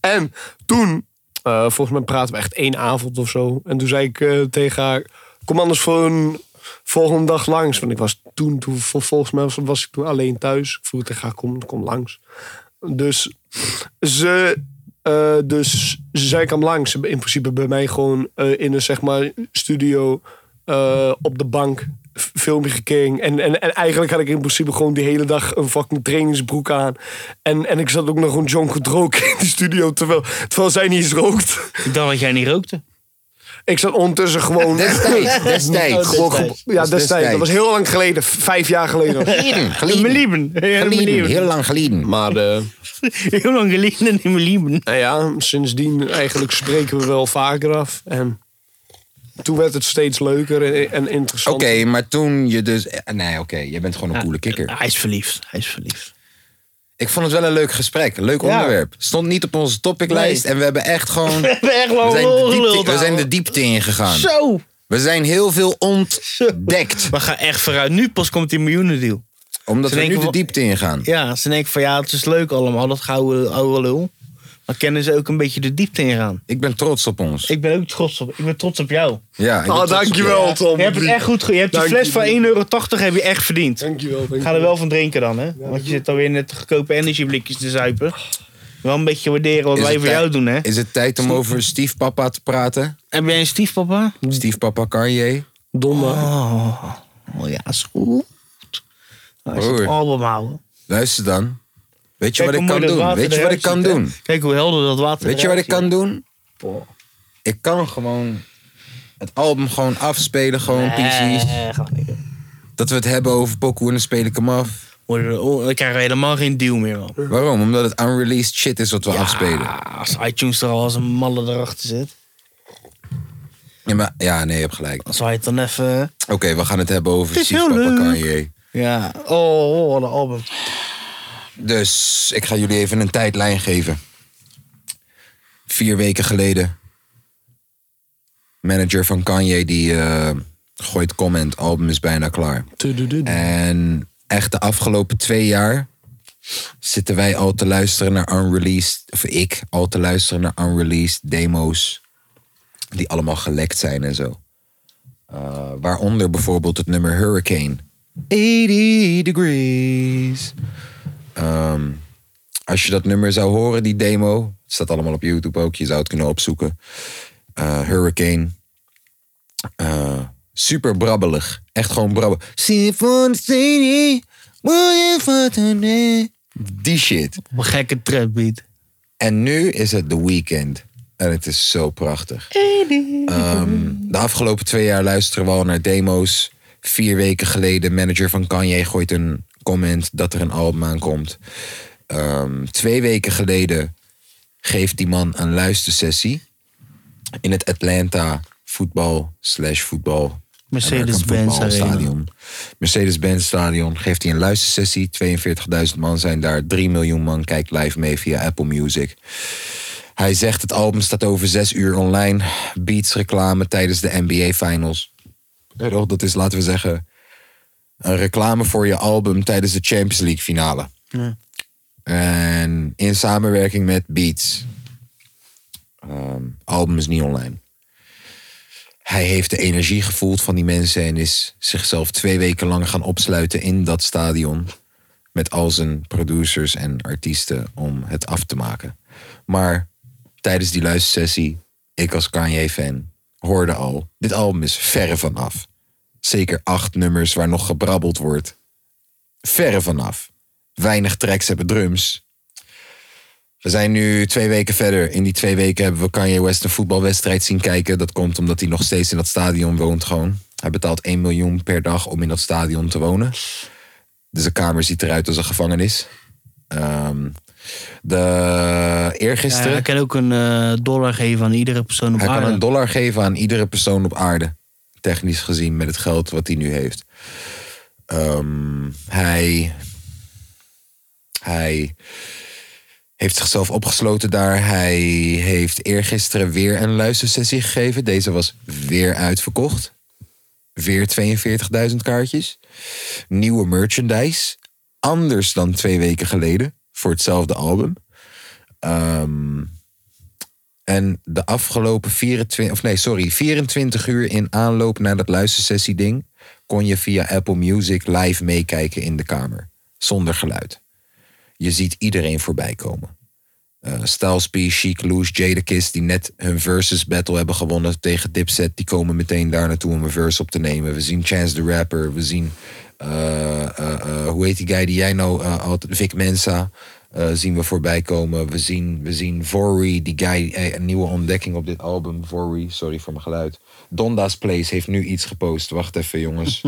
en toen, eh, volgens mij praten we echt één avond of zo. En toen zei ik eh, tegen haar: Kom anders voor een volgende dag langs. Want ik was toen, toen vol- volgens mij was, was ik toen alleen thuis. Ik vroeg tegen haar: Kom, kom langs. Dus ze. eh, dus zij kwam langs. In principe bij mij gewoon eh, in een zeg maar studio eh, op de bank. f- Filmpje gekeken. En, en, en eigenlijk had ik in principe gewoon die hele dag een fucking trainingsbroek aan. En, en ik zat ook nog gewoon John goed roken in de studio. Terwijl, terwijl zij niet eens rookt. Ik dacht dat jij niet rookte. Ik zat ondertussen gewoon. Destijds, destijds. gewoon ge- ja, Dat is destijds. Dat destijds. was heel lang geleden. v- Vijf jaar geleden. [laughs] Geleden, In mijn geleden, lieben. geleden, heel lang geleden. Maar eh, [laughs] Heel lang geleden in mijn lieben. Nou ja, sindsdien eigenlijk spreken we wel vaker af. En toen werd het steeds leuker en, en Oké, interessanter. maar toen je dus... eh, Nee, oké, je bent gewoon een coole kikker. Hij is verliefd. Hij is [laughs] verliefd. Ik vond het wel een leuk gesprek, een leuk onderwerp. Stond niet op onze topiclijst en we hebben echt [laughs] gewoon... We hebben echt lang zijn de doorgeluld, diepte, we zijn ouwe. de diepte ingegaan. Zo. We zijn heel veel ontdekt. We gaan echt vooruit. Nu pas komt die miljoenendeal. Omdat Ze we nu denken de van- diepte ingaan. Ja, ze denken van ja, het is leuk allemaal, dat gouden oude lul. Maar kennen ze ook een beetje de diepte ingaan. Ik ben trots op ons. Ik ben ook trots op, ik ben trots op jou. Ja, ik ben Ah, trots op dankjewel je. Tom. Je hebt het echt goed ge- Je hebt die Dank fles je. van 1,80 euro heb je echt verdiend. Dankjewel. Ik dankjewel. ga er wel van drinken dan, hè? Want je zit alweer net goedkope energieblikjes te zuipen. Wel een beetje waarderen wat Is wij het voor tij- jou doen, hè? Is het tijd om over stiefpapa te praten? Heb jij een stiefpapa? Stiefpapa Kanye? Donder. Oh ja, is goed. Hij is Broer. het album houden. Luister dan. Weet je Kijk wat hoe ik kan mooi dat doen? water Weet je wat ik kan eruit ziet, hè? doen? Kijk hoe helder dat water Weet je wat ik eruit kan ziet. doen? Ik kan gewoon het album gewoon afspelen, gewoon precies. Eh, ga ik niet doen. Dat we het hebben over Poku en dan speel ik hem af. Worden- oh, Dan krijgen we helemaal geen deal meer, man. Waarom? Omdat het unreleased shit is wat we afspelen. Ah, als iTunes er al als een malle erachter zit. Ja, maar, ja, nee, je hebt gelijk. Dan zou je het dan even... eh, Oké, we gaan het hebben over Het is heel stiefpapa leuk. Kanye. Ja. Oh, oh, wat een album. Dus ik ga jullie even een tijdlijn geven. Vier weken geleden. Manager van Kanye die eh, gooit comment, album is bijna klaar. En echt de afgelopen twee jaar zitten wij al te luisteren naar unreleased, of ik al te luisteren naar unreleased demo's die allemaal gelekt zijn en zo. Uh, waaronder bijvoorbeeld het nummer Hurricane. 80 degrees. Ehm, als je dat nummer zou horen, die demo, het staat allemaal op YouTube ook, je zou het kunnen opzoeken. Eh, Hurricane. Eh, super brabbelig. Echt gewoon brabbelig. Sing for the city, will you for the Die shit. Op een gekke trapbeat. En nu is het The Weeknd. En het is zo prachtig. Ehm, de afgelopen twee jaar luisteren we al naar demo's. Vier weken geleden, manager van Kanye gooit een comment dat er een album aankomt. Ehm, twee weken geleden geeft die man een luistersessie. In het Atlanta voetbal slash voetbal. Mercedes-Benz American Football Arena. Stadion. Mercedes-Benz Stadion geeft hij een luistersessie. 42.000 man zijn daar. 3 miljoen man kijkt live mee via Apple Music. Hij zegt het album staat over 6 uur online. Beats reclame tijdens de NBA Finals. Ja, toch? Dat is, laten we zeggen, een reclame voor je album tijdens de Champions League finale. En in samenwerking met Beats. Ehm, album is niet online. Hij heeft de energie gevoeld van die mensen en is zichzelf twee weken lang gaan opsluiten in dat stadion. Met al zijn producers en artiesten om het af te maken. Maar tijdens die luistersessie, ik als Kanye-fan, hoorde al: dit album is verre vanaf. Zeker acht nummers waar nog gebrabbeld wordt. Verre vanaf. Weinig tracks hebben drums. We zijn nu twee weken verder. In die twee weken hebben we Kanye West een voetbalwedstrijd zien kijken. Dat komt omdat hij nog steeds in dat stadion woont gewoon. Hij betaalt 1 miljoen per dag om in dat stadion te wonen. Dus de kamer ziet eruit als een gevangenis. Ehm, de Ja, eergisteren... ik kan ook een eh, dollar geven aan iedere persoon op Hij aarde. kan een dollar geven aan iedere persoon op aarde. Technisch gezien, met het geld wat hij nu heeft. Ehm, hij. Hij. Heeft zichzelf opgesloten daar. Hij heeft eergisteren weer een luistersessie gegeven. Deze was weer uitverkocht. Weer 42.000 kaartjes. Nieuwe merchandise. Anders dan twee weken geleden. Voor hetzelfde album. Ehm, en de afgelopen 24, of nee, sorry, 24 uur in aanloop naar dat luistersessie ding... kon je via Apple Music live meekijken in de kamer. Zonder geluid. Je ziet iedereen voorbij komen. Eh Styles P, Chic, Loose, Jadakiss... die net hun versus battle hebben gewonnen tegen Dipset... die komen meteen daar naartoe om een verse op te nemen. We zien Chance the Rapper, we zien... eh, eh, eh, hoe heet die guy die jij nou eh, altijd... Vic Mensa eh, zien we voorbij komen. We zien, we zien Vory, die guy, eh, een nieuwe ontdekking op dit album. Vory, sorry voor mijn geluid. Donda's Place heeft nu iets gepost. Wacht even jongens.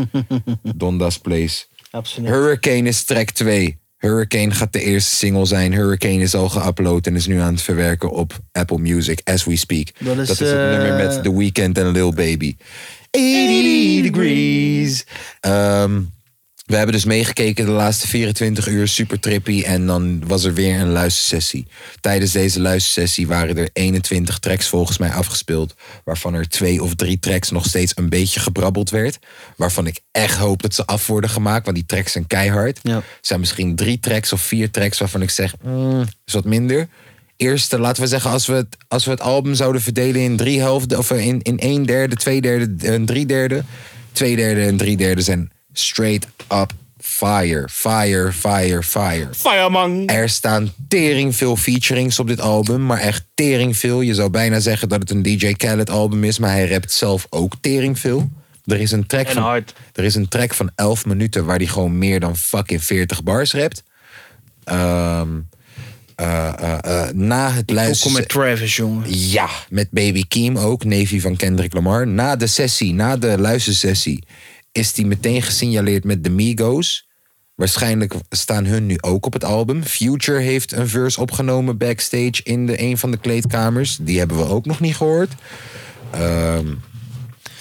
Donda's Place. Absoluut. Hurricane is track 2. Hurricane gaat de eerste single zijn. Hurricane is al geüpload en is nu aan het verwerken op Apple Music as we speak. Dat is, het eh, nummer met The Weeknd en Lil Baby. 80 degrees. Ehm, we hebben dus meegekeken de laatste 24 uur, super trippy. En dan was er weer een luistersessie. Tijdens deze luistersessie waren er 21 tracks volgens mij afgespeeld. Waarvan er twee of drie tracks nog steeds een beetje gebrabbeld werd. Waarvan ik echt hoop dat ze af worden gemaakt, want die tracks zijn keihard. Ja. Er zijn misschien drie tracks of vier tracks waarvan ik zeg, mm, is wat minder. Eerste, laten we zeggen, als we, het, als we het album zouden verdelen in drie helften, of eh, in, in één derde, twee derde en drie derde. Twee derde en drie derde zijn straight up fire, fire, fire, fire. Fireman. Er staan tering veel featurings op dit album, maar echt tering veel. Je zou bijna zeggen dat het een DJ Khaled album is, maar hij rapt zelf ook tering veel. Er is een track, En van, hard. er is een track van 11 minuten waar hij gewoon meer dan fucking 40 bars rapt. Ehm, eh, eh, eh, na het Ook luisteren. met Travis, jongen. Ja, met Baby Keem ook, neefje van Kendrick Lamar. Na de sessie, na de luistersessie, is die meteen gesignaleerd met de Migos. Waarschijnlijk staan hun nu ook op het album. Future heeft een verse opgenomen backstage in de, een van de kleedkamers. Die hebben we ook nog niet gehoord. Ehm,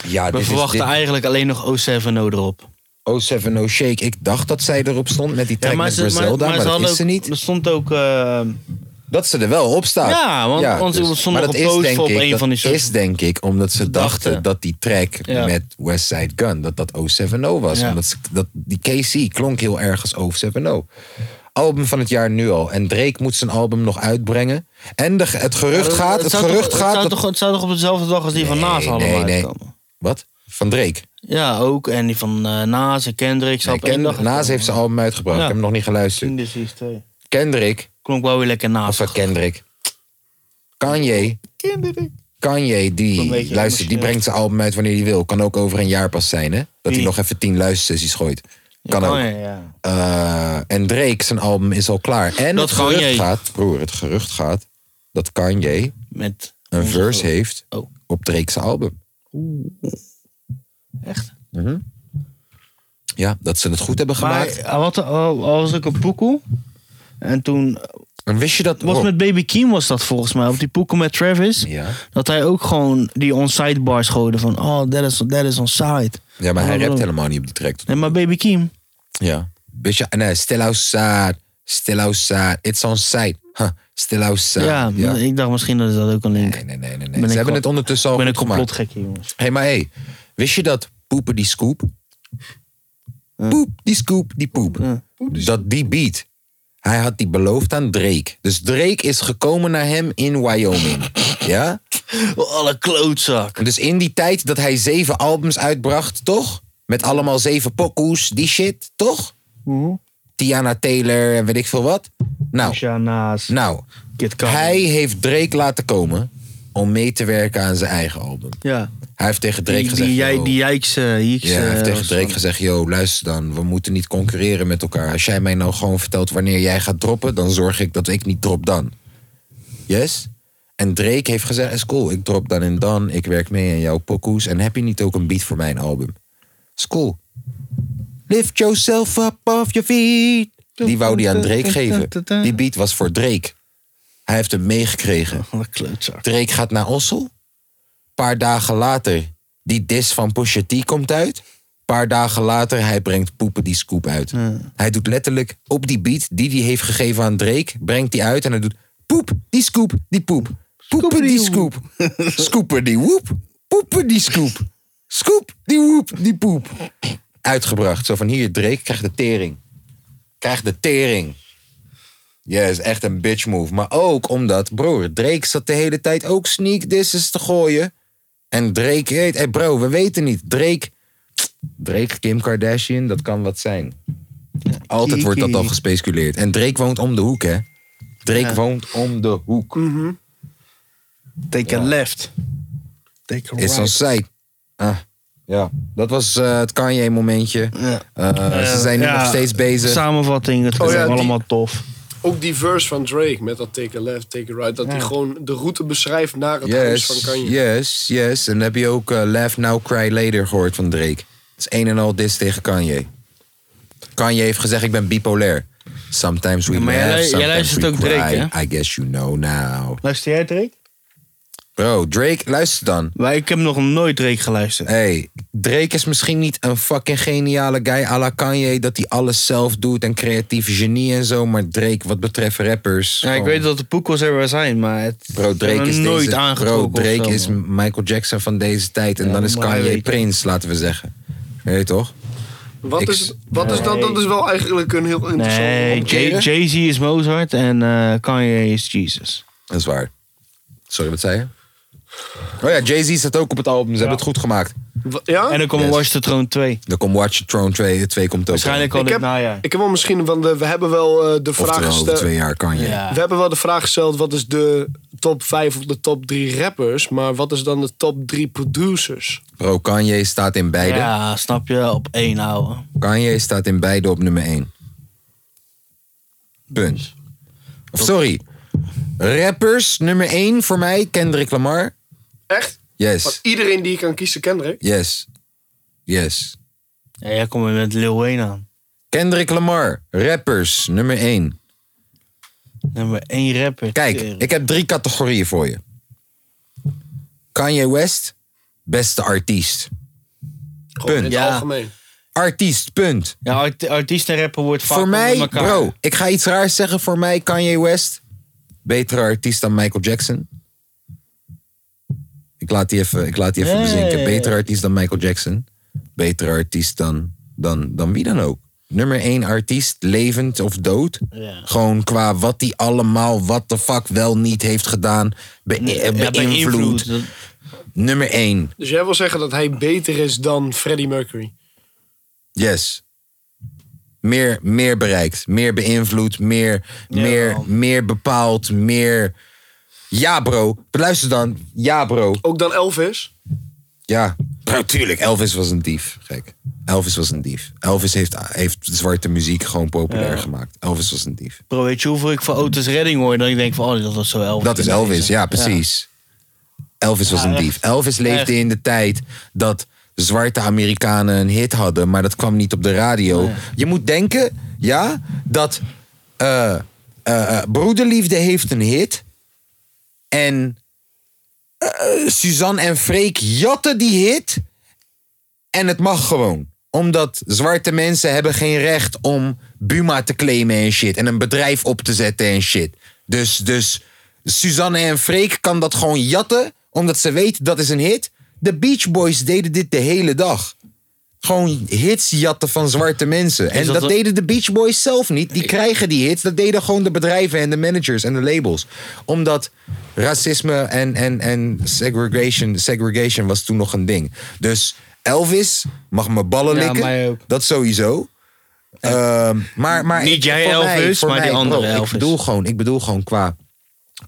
ja, We dit verwachten is dit- eigenlijk alleen nog O7O erop. 070 Shake. Ik dacht dat zij erop stond met die track met Griselda, maar, dat hadden is ze ook- niet. Er stond ook... eh, Dat ze er wel op staat. dus- Ja, want ons- er stond maar nog dat een is post denk op ik- een dat van die is socials. denk ik omdat ze dachten, dachten. dat die track Ja. met Westside Gun, dat dat 070 was. Ja. Omdat ze- dat, die KC klonk heel erg als 070. Album van het jaar nu al. En Drake moet zijn album nog uitbrengen. En de, het gerucht gaat, het, zou gerucht toch, gaat... Het zou, dat- toch, het zou toch op dezelfde dag als die van Naas Nee, allemaal nee, nee. uitkomen? Wat? Van Drake? Ja, ook. En die van eh Naas en Kendrick. zou Nee, op één dag Ken, Naas heeft zijn album uitgebracht. Ja. Ik heb hem nog niet geluisterd. precies twee. Kendrick Klonk wel weer lekker Of Naas. van Kendrick. Kanye. Kanye, Een die, beetje luister, die emotioneel. brengt zijn album uit wanneer hij wil. Kan ook over een jaar pas zijn, hè? Dat hij Wie? nog even tien luistersessies gooit. Kan ook. Ja, ja. Eh, en Drake, zijn album is al klaar. En Dat het gerucht Kanye. gaat, broer, het gerucht gaat dat Kanye Met een verse heeft Oh. op Drake's album. Echt? Mhm. Ja, dat ze het goed hebben Maar gemaakt. hij had al was ook een poekoe. En toen en wist je dat... was oh, met Baby Keem was dat volgens mij. Op die poekoe met Travis. Ja. Dat hij ook gewoon die onside bars gooide. Van oh, that is, that is onside. ja, maar hij Oh, rapt oh. helemaal niet op die track. Nee, maar Baby Keem. Ja. Beetje, nee, still outside. Still outside. It's on site. Huh. Still outside. Ja, Ja. ik dacht misschien dat is dat ook een link. Nee, nee, nee, nee. ik nee. Ze hebben wel- het ondertussen al ik ben een goed gemaakt. complotgekje, jongens. Hé, hey, maar hé. Hey, wist je dat poepen die scoop? Poep, die scoop, die poep. Ja. Dat die beat Hij had die beloofd aan Drake. Dus Drake is gekomen naar hem in [laughs] Wyoming. Ja? Oh, Alle klootzak. Dus in die tijd dat hij zeven albums uitbracht, toch? Met allemaal zeven pokoes, die shit, toch? Mhm. Tiana Taylor en weet ik veel wat. Nou, Shana's. nou Kid Cudi. hij heeft Drake laten komen om mee te werken aan zijn eigen album. Ja. Hij heeft tegen Drake Die, gezegd... die, jij, yo, die jijks, eh, jijks, ja, hij heeft eh, tegen Drake gezegd, yo, luister dan, we moeten niet concurreren met elkaar. Als jij mij nou gewoon vertelt wanneer jij gaat droppen, dan zorg ik dat ik niet drop dan. Yes? En Drake heeft gezegd, is cool, ik drop dan en dan, ik werk mee aan jouw pokoes en heb je niet ook een beat voor mijn album? Is cool. Lift yourself up off your feet. Die wou die aan Drake geven. Die beat was voor Drake. Hij heeft hem meegekregen. Alle klootzak. Drake gaat naar Ossel. Paar dagen later, die dis van Pusha T komt uit. Paar dagen later, hij brengt Poepen die scoop uit. Hij doet letterlijk op die beat die hij heeft gegeven aan Drake, brengt die uit en hij doet poep, die scoop, die poep. Poepen die scoop. [laughs] Scooper die woep. Poepen die scoop. Scoop die woep, die poep. Uitgebracht. Zo van hier, Drake krijgt de tering. Krijgt de tering. Ja, is echt een bitch move. Maar ook omdat, broer, Drake zat de hele tijd ook sneak disses te gooien. En Drake, hey, hey bro, we weten niet. Drake, Drake, Kim Kardashian, dat kan wat zijn. Altijd wordt dat al gespeculeerd. En Drake woont om de hoek, hè? Drake woont om de hoek. Take a left. Take a Is zo'n site. Ah, ja, dat was eh, het Kanye-momentje. Eh, ze zijn nu ja. nog steeds bezig. Samenvatting, het Oh is ja, die- allemaal tof. Ook die verse van Drake met dat take a left, take a right. Dat hij gewoon de route beschrijft naar het huis van Yes, Kanye. yes, yes. En dan heb je ook eh, Laugh Now Cry Later gehoord van Drake. Het is een en al dis tegen Kanye. Kanye heeft gezegd, ik ben bipolair. Sometimes we maar jij laugh, lu- jij sometimes luistert we ook cry. Drake, I guess you know now. Luister jij Drake? Bro, Drake, luister dan. Maar ik heb nog nooit Drake geluisterd. Hey, Drake is misschien niet een fucking geniale guy à la Kanye... dat hij alles zelf doet en creatief genie en zo... maar Drake, wat betreft rappers... oh Ja, ik gewoon- weet dat de poekels er wel zijn, maar het Bro, Drake is nooit deze, Bro, aangetrokken. of Drake zo, is man. Michael Jackson van deze tijd. En dan is maar hij Kanye weet het. Prins, laten we zeggen. Weet je toch? Wat, Ik- is, wat is dat? Dat is wel eigenlijk een heel interessant Nee, Jay- omkeren. Jay-Z is Mozart en eh, Kanye is Jesus. Dat is waar. Sorry, wat zei je? Oh ja, Jay-Z staat ook op het album. Ze hebben het goed gemaakt. Wa- Ja? En dan komt Yes. Watch the Throne 2. Dan komt Watch the Throne 2, 2 komt ook. Waarschijnlijk al Ik nou dit heb, najaar. ik heb wel misschien, want eh, we hebben wel eh, de al. vraag Oftewel, over gesteld. twee jaar Kanye. Ja. We hebben wel de vraag gesteld: wat is de top 5 of de top 3 rappers? Maar wat is dan de top 3 producers? Bro, Kanye staat in beide. Ja, snap je? Op één houden. Kanye staat in beide op nummer 1. Punt. Of sorry. Rappers, nummer 1 voor mij, Kendrick Lamar. Echt? Want Yes, iedereen die je kan kiezen, Kendrick. yes, yes. Ja, jij komt weer met Lil Wayne aan. Kendrick Lamar, rappers, nummer 1. Nummer één rapper. Kijk, Tering. ik heb drie categorieën voor je. Kanye West, beste artiest. Gewoon in het Ja. algemeen. Artiest, punt. Ja, art- artiest en rapper wordt vaak voor mij, onder elkaar. bro, ik ga iets raars zeggen. Voor mij, Kanye West, betere artiest dan Michael Jackson. Ik laat die even, ik laat die even Ja, ja, ja, bezinken. ja. Betere artiest dan Michael Jackson. Betere artiest dan, dan, dan wie dan ook. Nummer één artiest, levend of dood. Ja. Gewoon qua wat hij allemaal, wat de fuck wel niet heeft gedaan. Be eh, Ja, beïnvloed. beïnvloed. Nummer één, Dus jij wil zeggen dat hij beter is dan Freddie Mercury? yes. Meer, meer bereikt, meer beïnvloed, meer, meer, meer bepaald, meer... Ja bro, luister dan. Ja bro. Ook dan Elvis? Ja. Bro, tuurlijk. Elvis was een dief. Gek. Elvis was een dief. Elvis heeft, heeft zwarte muziek gewoon populair gemaakt. Elvis was een dief. Bro, weet je hoeveel ik van Otis Redding hoor? Dat ik denk van, oh, dat was zo Elvis. Dat is Elvis, ja, precies. Elvis was een dief. Elvis leefde Echt. in de tijd dat zwarte Amerikanen een hit hadden, maar dat kwam niet op de radio. Je moet denken, ja, dat eh, eh, eh, Broederliefde heeft een hit. En eh, Suzanne en Freek jatten die hit. En het mag gewoon. Omdat zwarte mensen hebben geen recht om Buma te claimen en shit. En een bedrijf op te zetten en shit. Dus, dus Suzanne en Freek kan dat gewoon jatten. Omdat ze weten dat is een hit. De Beach Boys deden dit de hele dag. gewoon hits jatten van zwarte mensen. En dat dat een- deden de Beach Boys zelf niet. Die krijgen die hits. Dat deden gewoon de bedrijven en de managers en de labels. Omdat racisme en, en, en segregation, segregation was toen nog een ding. Dus Elvis mag mijn ballen Ja, likken. mij ook. Dat sowieso. Ehm, maar, maar Niet jij voor Elvis, voor maar die andere bro, Elvis. Ik bedoel gewoon, ik bedoel gewoon qua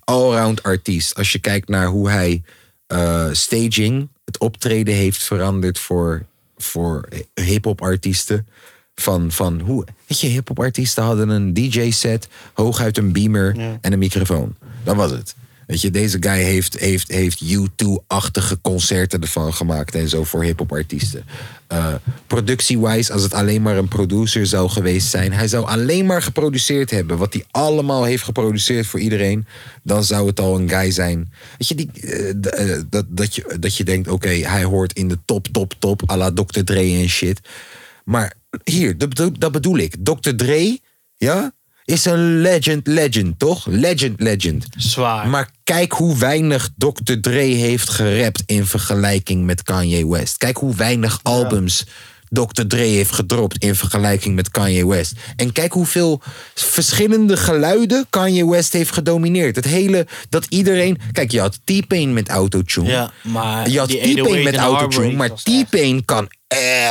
allround artiest. Als je kijkt naar hoe hij eh, staging, het optreden heeft veranderd voor, voor hip-hop artiesten. Van, van hoe, weet je, hip-hop artiesten hadden een DJ-set, hooguit een beamer en een microfoon. Dat was het. Weet je, deze guy heeft, heeft, heeft U2-achtige concerten ervan gemaakt en zo voor hip-hop artiesten. Eh, Productie-wise, als het alleen maar een producer zou geweest zijn, hij zou alleen maar geproduceerd hebben wat hij allemaal heeft geproduceerd voor iedereen, dan zou het al een guy zijn. Weet je, die, eh, d- eh, dat, dat, je, dat je denkt, oké, hij hoort in de top, top, top, à la Dr. Dre en shit. Maar hier, dat bedoel, dat bedoel ik. Dr. Dre, ja, is een legend, legend, toch? Legend, legend. Zwaar. Maar kijk hoe weinig Dr. Dre heeft gerapt in vergelijking met Kanye West. Kijk hoe weinig albums Dr. Dre heeft gedropt in vergelijking met Kanye West. En kijk hoeveel verschillende geluiden Kanye West heeft gedomineerd. Het hele, dat iedereen... Kijk, je had T-Pain met autotune. Ja, maar Je had die T-Pain 808 met en autotune, Heartbreak maar was echt- T-Pain kan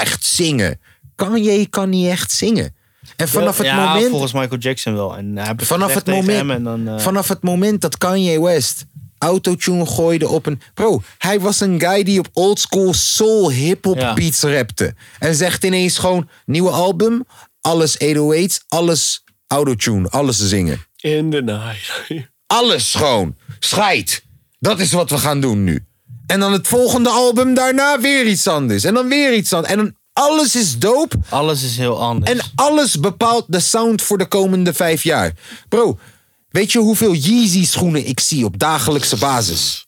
echt zingen. Kanye kan niet echt zingen. En vanaf het ja, moment... volgens Michael Jackson wel. En hij heeft Vanaf gezegd het, tegen hem moment, en dan, eh, vanaf het moment dat Kanye West autotune gooide op een... Bro, hij was een guy die op oldschool soul hiphop Ja. beats rapte. En zegt ineens gewoon, nieuwe album, alles 808's, alles autotune, alles zingen. In de night. [laughs] Alles gewoon. Scheid. Dat is wat we gaan doen nu. En dan het volgende album daarna weer iets anders. En dan weer iets anders. En dan alles is dope. alles is heel anders. En alles bepaalt de sound voor de komende vijf jaar. Bro, weet je hoeveel Yeezy schoenen ik zie op dagelijkse basis?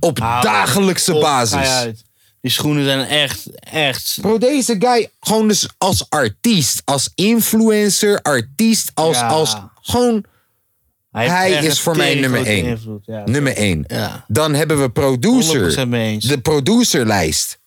Op Hou dagelijkse op, ga je basis. uit. Die schoenen zijn echt, echt. Bro, deze guy gewoon dus als artiest, als influencer, artiest, als, Ja. als gewoon heeft Hij echt is een voor mij tering nummer grote één. invloed, ja. nummer één. Ja. Dan hebben we producer. 100% mee eens. De producerlijst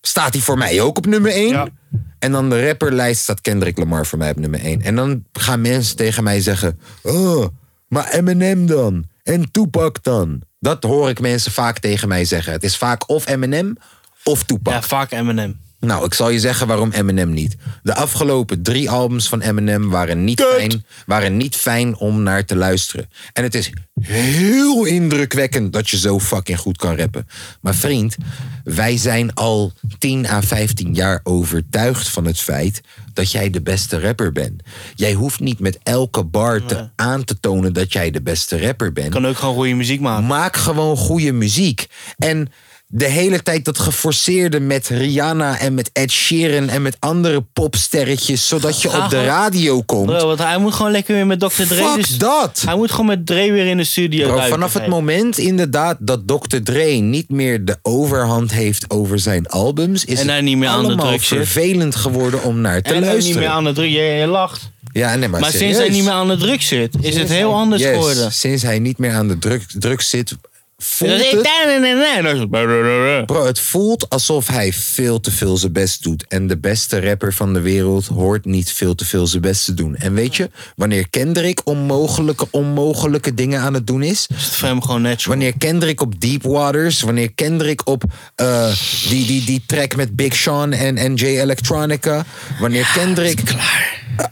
staat hij voor mij ook op nummer één. En dan de rapperlijst staat Kendrick Lamar voor mij op nummer één. En dan gaan mensen tegen mij zeggen: Oh, maar Eminem dan? En Tupac dan? Dat hoor ik mensen vaak tegen mij zeggen. Het is vaak of Eminem of Tupac. Ja, vaak Eminem. Nou, ik zal je zeggen waarom Eminem niet. De afgelopen drie albums van Eminem waren niet, fijn, waren niet fijn om naar te luisteren. En het is heel indrukwekkend dat je zo fucking goed kan rappen. Maar vriend, wij zijn al 10 à 15 jaar overtuigd van het feit dat jij de beste rapper bent. Jij hoeft niet met elke bar te, aan te tonen dat jij de beste rapper bent. Kan ook gewoon goede muziek maken. Maak gewoon goede muziek. En de hele tijd dat geforceerde met Rihanna en met Ed Sheeran en met andere popsterretjes, zodat je op de radio komt. Bro, want hij moet gewoon lekker weer met Dr. Dre. dus Fuck dat! Hij moet gewoon met Dre weer in de studio. Bro, duiken. vanaf het Hij- moment inderdaad dat Dr. Dre niet meer de overhand heeft over zijn albums, is En hij het niet meer aan de allemaal druk zit. vervelend geworden om naar te En hij niet luisteren. meer aan de druk. Je, je lacht. Ja, nee, maar, Maar sinds serieus. hij niet meer aan de druk zit, is het heel anders Yes, geworden. Sinds hij niet meer aan de druk, druk zit, voelt Dat is- het... Nee, nee, nee, nee. Dat is- Bro, het voelt alsof hij veel te veel zijn best doet. En de beste rapper van de wereld hoort niet veel te veel zijn best te doen. En weet je, wanneer Kendrick onmogelijke, onmogelijke dingen aan het doen is. is voor hem gewoon net Wanneer Kendrick op Deep Waters, wanneer Kendrick op eh, die, die, die track met Big Sean en, en J Electronica. Wanneer Kendrick eh,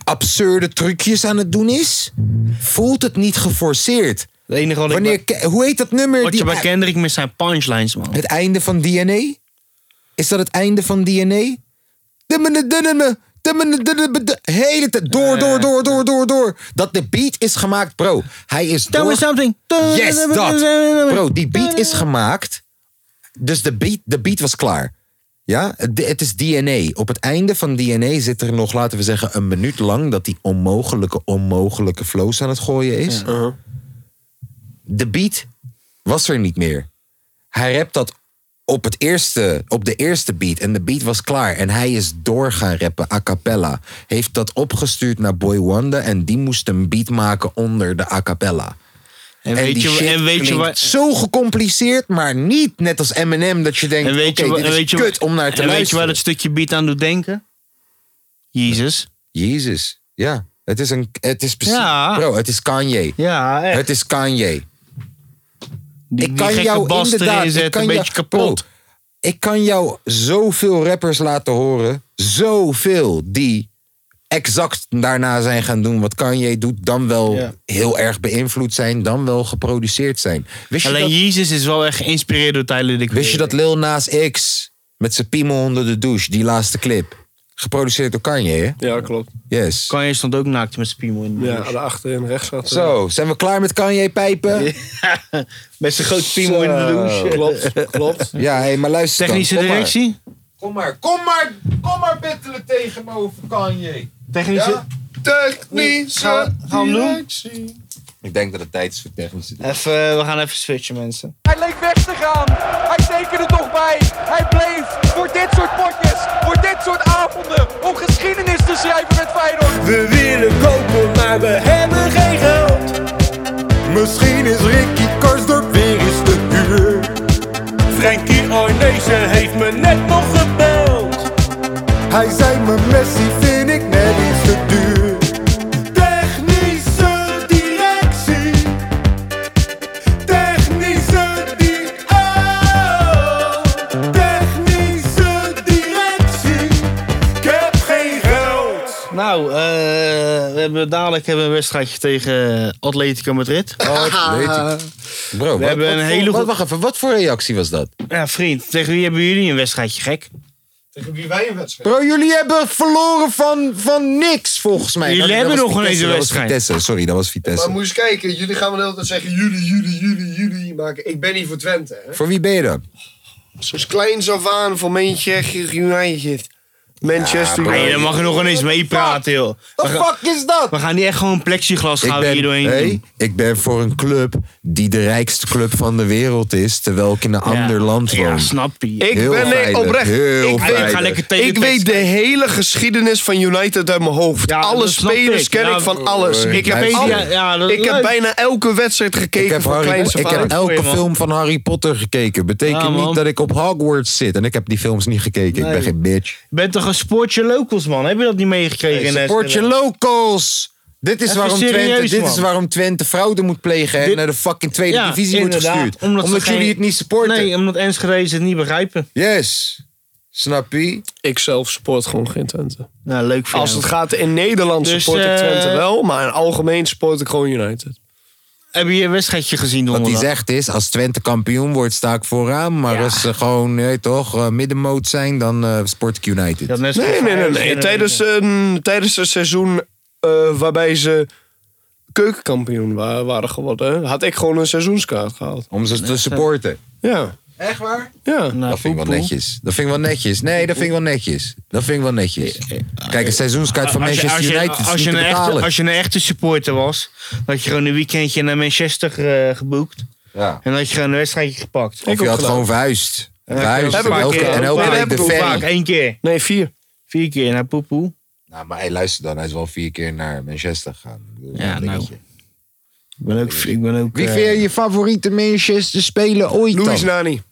absurde trucjes aan het doen is, voelt het niet geforceerd. Het enige wat, ik Wanneer, bij- Ke- hoe heet dat nummer? wat je die- bij Kendrick met zijn punchlines, man. het einde van DNA? Is dat het einde van DNA? Dummene-dunneme, dummene-dunnebe-du- Hele tijd door, door, door, door, door, door. Dat de beat is gemaakt, bro. Hij is Tell me door- something. Yes, dat. Bro, die beat is gemaakt. Dus de beat, de beat was klaar. Ja, het, het is DNA. Op het einde van DNA zit er nog, laten we zeggen, een minuut lang dat die onmogelijke, onmogelijke flows aan het gooien is. De beat was er niet meer. Hij rapt dat op, het eerste, op de eerste beat en de beat was klaar. En hij is door gaan rappen, a cappella. Heeft dat opgestuurd naar Boy Wonder en die moest een beat maken onder de a cappella. En En weet die je, shit en weet je klinkt wat. zo gecompliceerd, maar niet net als Eminem dat je denkt, En weet oké, je, wa- dit en is weet je, kut om naar te en weet je luisteren. waar dat stukje beat aan doet denken? Jezus. Jezus, ja. Het is, een, het is precies, Ja. bro, het is Kanye. Ja, echt. Het is Kanye. die, ik die kan gekke jou bas inderdaad, erin ik zetten, kan een jou- beetje kapot. Bro, ik kan jou zoveel rappers laten horen, zoveel die exact daarna zijn gaan doen wat Kanye doet, dan wel Ja. heel erg beïnvloed zijn, dan wel geproduceerd zijn. Wist je Alleen dat Jezus is wel echt geïnspireerd door Tyler Dick. Wist je dat Lil Nas X met zijn piemel onder de douche, die laatste clip, geproduceerd door Kanye, hè? Ja, klopt. Yes. Kanye stond ook naakt met zijn piemel in. de Ja, douche. daar achterin rechts zat. Zo, zijn we klaar met Kanye pijpen? Met zijn grote piemel in de douche. Klopt, klopt. Ja, hé, maar luister dan. Technische Kom maar. directie? Kom maar, kom maar, kom maar bettelen tegenover Kanye. Technische? Ja? Technische Gaan we doen? directie. Ik denk dat het tijd is voor [laughs] technische directie. Even, eh, we gaan even switchen, mensen. Hij leek weg te gaan. Hij tekende toch bij. Hij bleef voor dit soort potjes, voor dit soort avonden, om geschiedenis te schrijven met Feyenoord. We willen kopen, maar we hebben geen geld. Misschien is Ricky Karsdorp weer eens te duur. Frankie Arnezen heeft me net nog gebeld. Hij zei me Messi vind ik net iets te duur. Technische directie. Technische di- oh. Technische directie. Ik heb geen geld. Nou, eh, we hebben, dadelijk hebben we een wedstrijdje tegen eh, Atletico Madrid. Oh, weet ik. Bro, we hebben een hele Wat, goe- wacht even, wat voor reactie was dat? Ja, vriend, tegen wie hebben jullie een wedstrijdje, gek? [laughs] Tegen wie wij een wedstrijd Bro, jullie hebben verloren van, van niks, volgens mij. Nou, Jullie Dat- dat hebben was nog geen Vitesse, eens een dat was wedstrijd. Vitesse, sorry, dat was Maar Vitesse. moet je eens kijken, jullie gaan wel de hele tijd zeggen jullie, jullie, jullie, jullie maken. Ik ben niet voor Twente, hè? Voor wie ben je dan? Zoals kleins af aan voor Manchester United. Manchester Nee, dan mag je nog ineens meepraten, joh. We, gaan- fuck is dat? we gaan niet echt gewoon plexiglas Ik gaan we hier ben, doorheen hey, doen. ik ben voor een club die de rijkste club van de wereld is, terwijl ik in een ander land woon. Ja, snap je. Ik Heel ben veilig, oprecht. heel ik veilig. weet, Ga lekker tegen ik Pep weet de Schikker. hele geschiedenis van United uit mijn hoofd. Ja, alle dat snap spelers ik. ken Ja, ik van alles. eh, Ik heb, blijf alles. zitten. Ja, dat is ik heb leuk. bijna elke wedstrijd gekeken Ik heb, van Harry- kleins af ik aan. heb voor je, elke man. film van Harry Potter gekeken. Betekent Ja, man. niet dat ik op Hogwarts zit. En ik heb die films niet gekeken. Ik ben Nee. geen bitch. Je bent toch een sportje locals, man? Heb je dat niet meegekregen? in Support je locals! Dit is, Even waarom serieus, Twente, dit man. is waarom Twente fraude moet plegen en Dit- naar de fucking tweede divisie wordt gestuurd. Omdat, jullie het niet supporten. Nee, omdat Enschede het niet begrijpen. Yes. Snap je? Ik zelf support gewoon geen Twente. Nou, leuk voor Als het gaat in Nederland Dus, support ik eh, Twente wel, maar in algemeen support ik gewoon United. Heb je een wedstrijdje gezien Wat hij donderdag? zegt is, als Twente kampioen wordt, sta ik vooraan. Maar als ze gewoon, nee, toch, eh, middenmoot zijn, dan eh, sport ik United. Dat net zo Nee, goed nee, nee. voor nee. Enschede. Tijdens, een, tijdens het seizoen eh, waarbij ze keukenkampioen wa- waren geworden, had ik gewoon een seizoenskaart gehaald. Om ze te supporten. Ja. Echt waar? Ja. Nou, Dat vind ik wel poepoe. netjes. Dat vind ik wel netjes. Nee, dat vind ik wel netjes. Dat vind ik wel netjes. Eh, Kijk, een seizoenskaart van Als je- eh, Manchester als je- United als is je niet te een echte- betalen. Als je een echte supporter was, had je gewoon een weekendje naar Manchester eh, geboekt. Ja. En had je gewoon een wedstrijdje gepakt. Of je had gewoon verhuisd. Verhuisd. Heb ik ook Elke- gedaan. En Ja, elke dat week heb de ik ook Vaak ferry. één keer. Nee, vier. Vier keer naar Poepoe. Nou, maar hey, luister dan. Hij is wel vier keer naar Manchester gegaan. Ik bedoel, Ja, een nou. dingetje. Ik ben ook... Ik ben ook Wie eh, vind je je favoriete Manchester speler ooit Luis dan? Nani.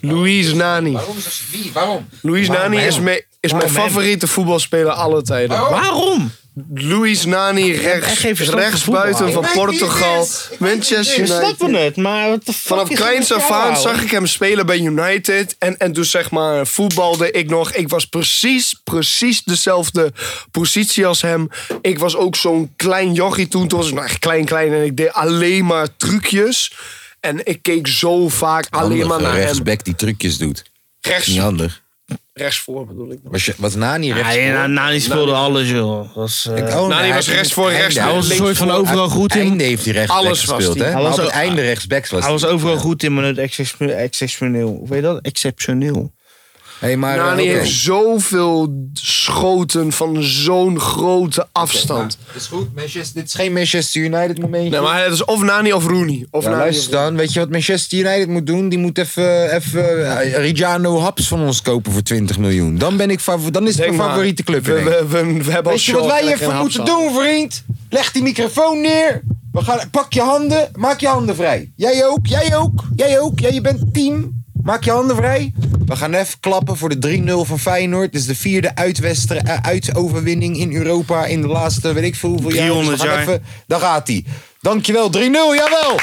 Luis Nani. Waarom is wie? Waarom? Luis Waarom Nani hem? is, me- is mijn Waarom hem? favoriete voetbalspeler alle tijden. Waarom? Luis Nani echt rechts, geen verstand van rechtsbuiten voetbal. van Portugal. Manchester We United. snappen het, maar wat de fuck Vanaf is kleins er met af jou, nou? aan ouwe? zag ik hem spelen bij United. En, en toen zeg maar voetbalde ik nog. Ik was precies, precies dezelfde positie als hem. Ik was ook zo'n klein jochie toen. Toen was ik nog echt klein, klein. En ik deed alleen maar trucjes. En ik keek zo vaak alleen maar naar hem. rechtsback die trucjes doet. Rechts, Niet handig. rechts voor bedoel ik. nog. Was, je, was Nani rechts? Oh, Ja, ja, Nani speelde alles, joh. Was, eh, Oh, Nani was rechts voor, rechts hij was een soort van overal goed Einde in. heeft hij rechtsback Alles was gespeeld, die. hè? Hij Maar was op het ook- einde rechtsback was Hij was die. overal goed in, maar nooit exceptioneel- exceptioneel. Hoe weet je dat? Exceptioneel. Hey, maar, eh, Nani oké. heeft Nou, zoveel schoten van zo'n grote afstand. Maar, Is goed, Manchester, dit is geen Manchester United momentje. Nee, maar het is of Nani of Rooney. Of Ja, Nani of luister dan, weet je wat Manchester United moet doen? Die moet even, even eh, Rijano Haps van ons kopen voor 20 miljoen. Dan, ben ik favo- dan is het Denk mijn maar, favoriete club. We, in één. we, we, we hebben al Weet je wat Shaw wij en geen even moeten Hapsal. doen, vriend? Leg die microfoon neer. We gaan, pak je handen, maak je handen vrij. Jij ook, jij ook, jij ook. Ja, je bent team. Maak je handen vrij. We gaan even klappen voor de 3-0 van Feyenoord. Dit is de vierde uitwester- eh, uitoverwinning in Europa in de laatste, weet ik veel hoeveel jaar. 300 Dus we gaan jaar. Even, daar gaat hij. Dankjewel, 3-0, jawel.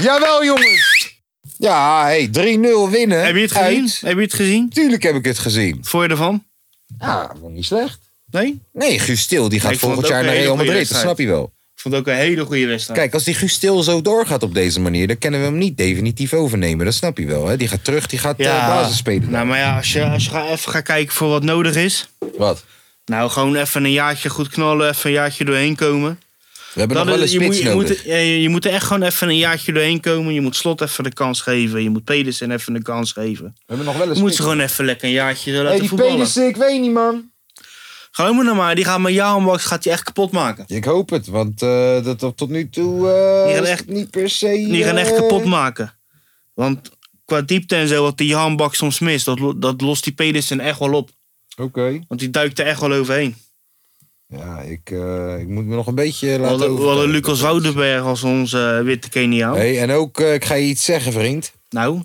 Jawel, jongens. Ja, hey, 3-0 winnen. Heb je het gezien? Uit. Heb je het gezien? Tuurlijk heb ik het gezien. Wat vond je ervan? Ja, vond ik Ah, niet slecht. Nee? Nee, Guus Til, die gaat Ik vond volgend het ook jaar naar een hele Real goede Madrid, dat wedstrijd. snap je wel. Ik vond het ook een hele goede wedstrijd. Kijk, als die Guus Til zo doorgaat op deze manier, dan kunnen we hem niet definitief overnemen. Dat snap je wel, hè? Die gaat terug, die gaat eh, basis spelen. Nou, maar ja, als je, als je gaat even gaat kijken voor wat nodig is. Wat? Nou, gewoon even een jaartje goed knallen, even een jaartje doorheen komen. We hebben nog wel een is- je, spits moet, je, nodig. moet, ja, je, je moet er echt gewoon even een jaartje doorheen komen. Je moet Slot even de kans geven. Je moet Pedersen even de kans geven. We hebben nog wel een Je moet ze gewoon even lekker een jaartje laten hey, die voetballen. Pedersen, ik weet niet, man. Geloof me nou maar, die gaat met jou box gaat die echt kapot maken. Ik hoop het, want eh, dat tot tot nu toe eh, Die gaan is echt- het niet per se... Die gaan echt eh, kapot maken. Want qua diepte en zo, wat die handbak soms mist, dat, lo- dat lost die Pedersen echt wel op. Oké. Want die duikt er echt wel overheen. Ja, ik, eh, ik moet me nog een beetje We laten hadden, we hadden overtuigen. Lucas Woudenberg als onze eh, witte Keniaan. Hey, en ook, eh, ik ga je iets zeggen, vriend. Nou,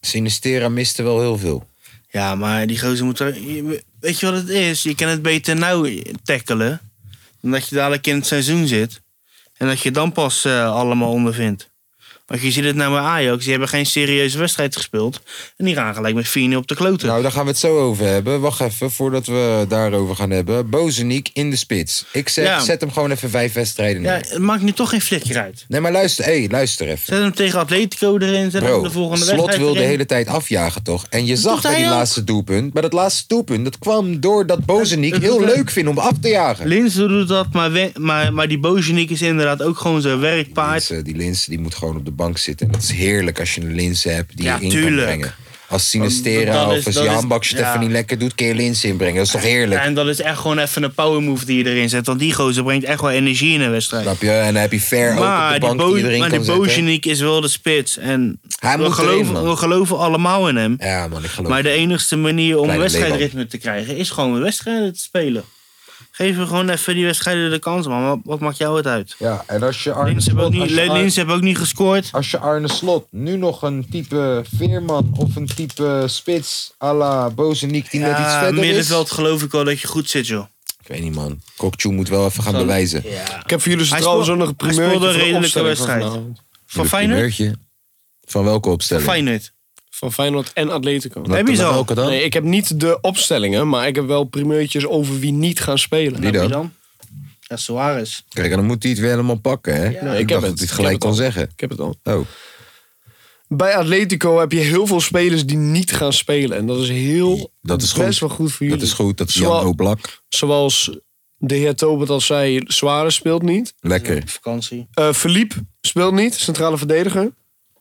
Sinistera miste wel heel veel. ja, maar die gozer moet er... je- Weet je wat het is? Je kan het beter nou tackelen. Dan dat je dadelijk in het seizoen zit. En dat je dan pas eh, allemaal ondervindt. Want je ziet het nou bij Ajax. Die hebben geen serieuze wedstrijd gespeeld. En die gaan gelijk met 4-0 op de kloten. Nou, daar gaan we het zo over hebben. Wacht even, voordat we daarover gaan hebben. Bozeniek in de spits. Ik zeg, Ja. zet hem gewoon even vijf wedstrijden ja, neer. het maakt nu toch geen flikje uit. Nee, maar luister, hey, luister even. Zet hem tegen Atletico erin. Zet hem Bro, de volgende Slot wedstrijd wil de erin. hele tijd afjagen, toch? En je zag doet bij hij die ook. laatste doelpunt... maar dat laatste doelpunt, dat kwam doordat Bozeniek dat heel doet hij. leuk vindt om af te jagen. Linz doet dat, maar, we- maar, maar die Bozenik is inderdaad ook gewoon zijn werkpaard. Linse, die Linse die moet gewoon op de bank zitten. En dat is heerlijk als je een Linse hebt die Ja, je in tuurlijk. kan brengen. Als Want dat- Sinistera dat of is- als dat is- Jan Baks ja. het even niet lekker doet... kun je Linse inbrengen. Dat is toch heerlijk? En dat is echt gewoon even een power move die je erin zet. Want die gozer brengt echt wel energie in een wedstrijd. Snap je? En dan heb je Ver ook op Maar de die, bank Bo die iedereen maar kan die zetten. Bozenik is wel de spits. En Hij we, moet erin, geloven, man. we geloven allemaal in hem. Ja, man, ik geloof Maar de enigste manier om Kleine wedstrijdritme te krijgen is gewoon wedstrijden te spelen. Geef hem gewoon even die wedstrijden de kans, man. Wat, wat maakt jou het uit? Ja, en als je Arne Linz heeft ook Slot, als niet, je Arne, Linz heeft ook niet gescoord. als je Arne Slot nu nog een type Veerman of een type spits à la Bozeniek die net iets Ja, verder Eh, middenveld geloof ik wel dat je goed zit, joh. is. Ik weet niet, man. Kokchu moet wel even gaan bewijzen. Ik heb voor jullie zo Hij trouwens ook speelde- nog een hij primeurtje speelde een voor de redelijke opstelling van wedstrijd. vanavond. Van Een Feyenoord? primeurtje. Van welke opstelling? Feyenoord. Van Feyenoord en Atletico. Wat- Heb je ze wat al? Welke Nou, dan? Nee, ik heb niet de opstellingen, maar ik heb wel primeurtjes over wie niet gaan spelen. Wie Nou, Wie dan? dan? Ja, Suarez. Kijk, en dan moet hij het weer helemaal pakken, hè? Nee, ik, ik heb dacht het. dat hij Ik het gelijk heb kon het al. zeggen. Ik heb het al. Oh, Bij Atletico heb je heel veel spelers die niet gaan spelen. En dat is heel Dat is best goed. wel goed voor jullie. dat is goed. Dat is Zwa- Jan Oblak. Zoals de heer Tobert al zei, Suarez speelt niet. Lekker. Op vakantie. Eh Philippe speelt niet, centrale verdediger.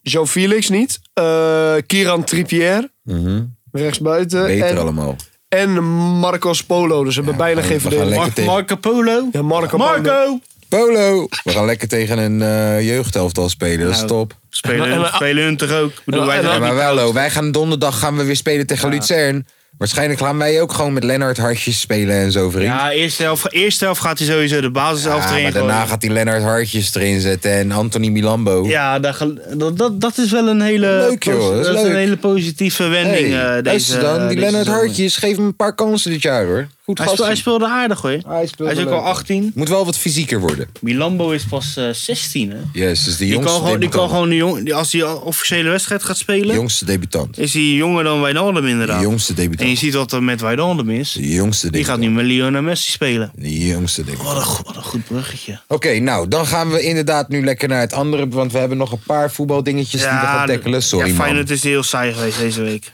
Jean Felix niet. Eh, Kieran Trippier, Mhm. rechtsbuiten. Beter en, allemaal. en Marcos Polo, dus ze hebben bijna we geen gaan verdediger. lekker Mar- Mar- tegen- Marco Polo. ja, Marco, Polo. Marco! Polo! We gaan lekker tegen een eh jeugdelftal spelen. Dat is Nou, top. Spelen, En- en- spelen hun toch ook? Ik bedoel, en- wij en- Ja, maar wel, hoor. wij gaan donderdag gaan we weer spelen tegen Luzern. Waarschijnlijk gaan wij ook gewoon met Lennart Hartjes spelen en zo, vriend. ja, eerste helft, eerste helft gaat hij sowieso de basis Ja, erin erin maar daarna gooien. gaat hij Lennart Hartjes erin zetten en Anthony Milambo. Ja, daar gel- dat, dat, dat is wel een hele, Leuk, joh, posi- dat is dat is leuk. een hele positieve hey, wending. eh, deze, luister dan, die deze Lennart zomer. Hartjes, geef hem een paar kansen dit jaar hoor. Goed Hij, speel- hij gast. speelde aardig hoor. Hij speelde is ook leuk. al 18. Moet wel wat fysieker worden. Milambo is pas eh, 16 hè. Yes, dus de Die kan jongste gewoon, die debutant. kan gewoon de jong, die, als hij een officiële wedstrijd gaat De spelen, jongste debutant. is hij jonger dan Wijnaldum De inderdaad. jongste En je debutant. ziet wat er met Wijnaldum is. De jongste Die gaat nu debutant. met Lionel Messi spelen. De jongste debutant. Wat een, go- wat een goed bruggetje. Oké, nou, dan gaan we inderdaad nu lekker naar het andere. Want we hebben nog een paar voetbaldingetjes die we gaan tackelen. Sorry, ja, man. Feyenoord is heel saai geweest deze week.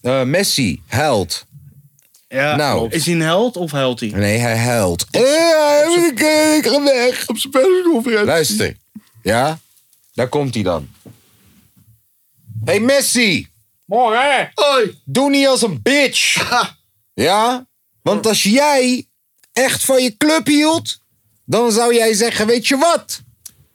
Eh, Messi huilt. Ja, Nou. Is hij een held of huilt hij? Nee, hij huilt. Eh, ik, eh, ik ga weg. Op zijn persconferentie. Luister. Ja? Daar komt hij dan. Hey Messi, Hoi. doe niet als een bitch. Ja? Want als jij echt van je club hield, dan zou jij zeggen, weet je wat?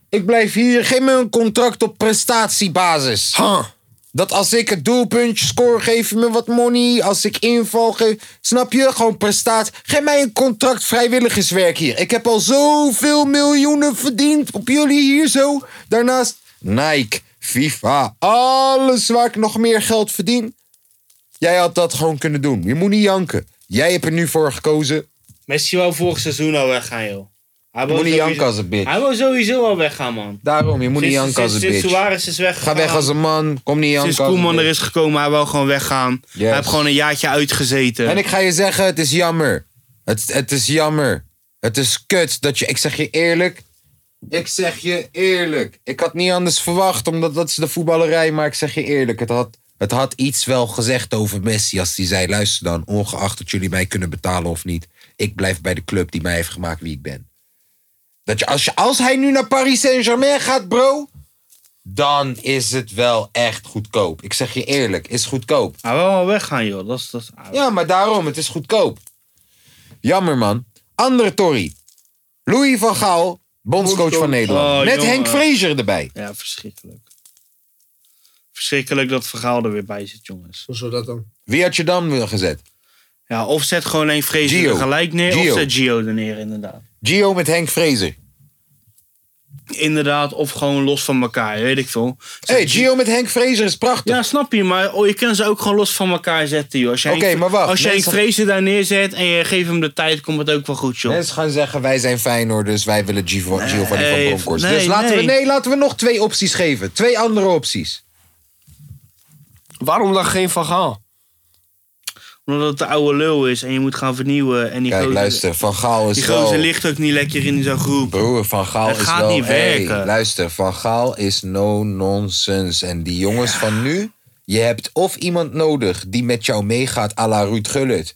Ik blijf hier, geef me een contract op prestatiebasis. Ha. Dat als ik het doelpuntje score, geef je me wat money. Als ik inval, ge- snap je? Gewoon prestaat. Geef mij een contract vrijwilligerswerk hier. Ik heb al zoveel miljoenen verdiend op jullie hier zo. Daarnaast Nike, FIFA, alles waar ik nog meer geld verdien. Jij had dat gewoon kunnen doen. Je moet niet janken. Jij hebt er nu voor gekozen. Messi wou vorig seizoen al weggaan, joh. Hij Je wil moet niet janken als een bitch. Hij wil sowieso al weggaan, man. Daarom, je moet niet Sinds- janken als een sinds- Sinds bitch. Suarez is weggegaan. Ga weg als een man. Kom niet janken Sinds als een Koeman er bitch. is gekomen, hij wil gewoon weggaan. Yes. Hij heeft gewoon een jaartje uitgezeten. En ik ga je zeggen, het is jammer. Het, het is jammer. Het is kut dat je... Ik zeg je eerlijk. Ik zeg je eerlijk. Ik had niet anders verwacht, omdat dat is de voetballerij. Maar ik zeg je eerlijk, het had, het had iets wel gezegd over Messi... als die zei, luister dan, ongeacht dat jullie mij kunnen betalen of niet... ik blijf bij de club die mij heeft gemaakt wie ik ben. Dat je, als, je, als hij nu naar Paris Saint-Germain gaat, bro... dan is het wel echt goedkoop. Ik zeg je eerlijk, is goedkoop. Hij wil wel weggaan, joh. Dat is, dat is- Ja, maar daarom, het is goedkoop. Jammer, man. Andere Tory. Louis van Gaal, bondscoach van Nederland. Oh, Met jongen. Henk Fraser erbij. ja, verschrikkelijk. Verschrikkelijk dat verhaal er weer bij zit, jongens. Hoezo dat dan? Wie had je dan weer gezet? Ja, of zet gewoon één vrees Gio. er gelijk neer, Gio. of zet Gio er neer, inderdaad. Gio met Henk Fraser. Inderdaad, of gewoon los van elkaar, weet ik veel. Zet hey, Gio met Henk Fraser is prachtig. Ja, snap je, maar oh, je kan ze ook gewoon los van elkaar zetten, joh. Als jij Oké, maar wacht, Als jij mensen- een vrezen daar neerzet en je geeft hem de tijd, komt het ook wel goed, joh. Mensen gaan zeggen, wij zijn Feyenoord, dus wij willen Gio Gio van Nee, Bronckhorst. nee, dus laten, nee. We, nee, laten we nog twee opties geven. Twee andere opties. Waarom dan geen Van Gaal? Omdat het de oude lul is en je moet gaan vernieuwen. En die Kijk, gozer- luister, Van Gaal Die is gozer wel... ligt ook niet lekker in zo'n groep. Broer, Van Gaal Het is gaat wel... niet hey, werken. luister, Van Gaal is no nonsense. En die jongens van nu... Je hebt of iemand nodig die met jou meegaat à la Ruud Gullit.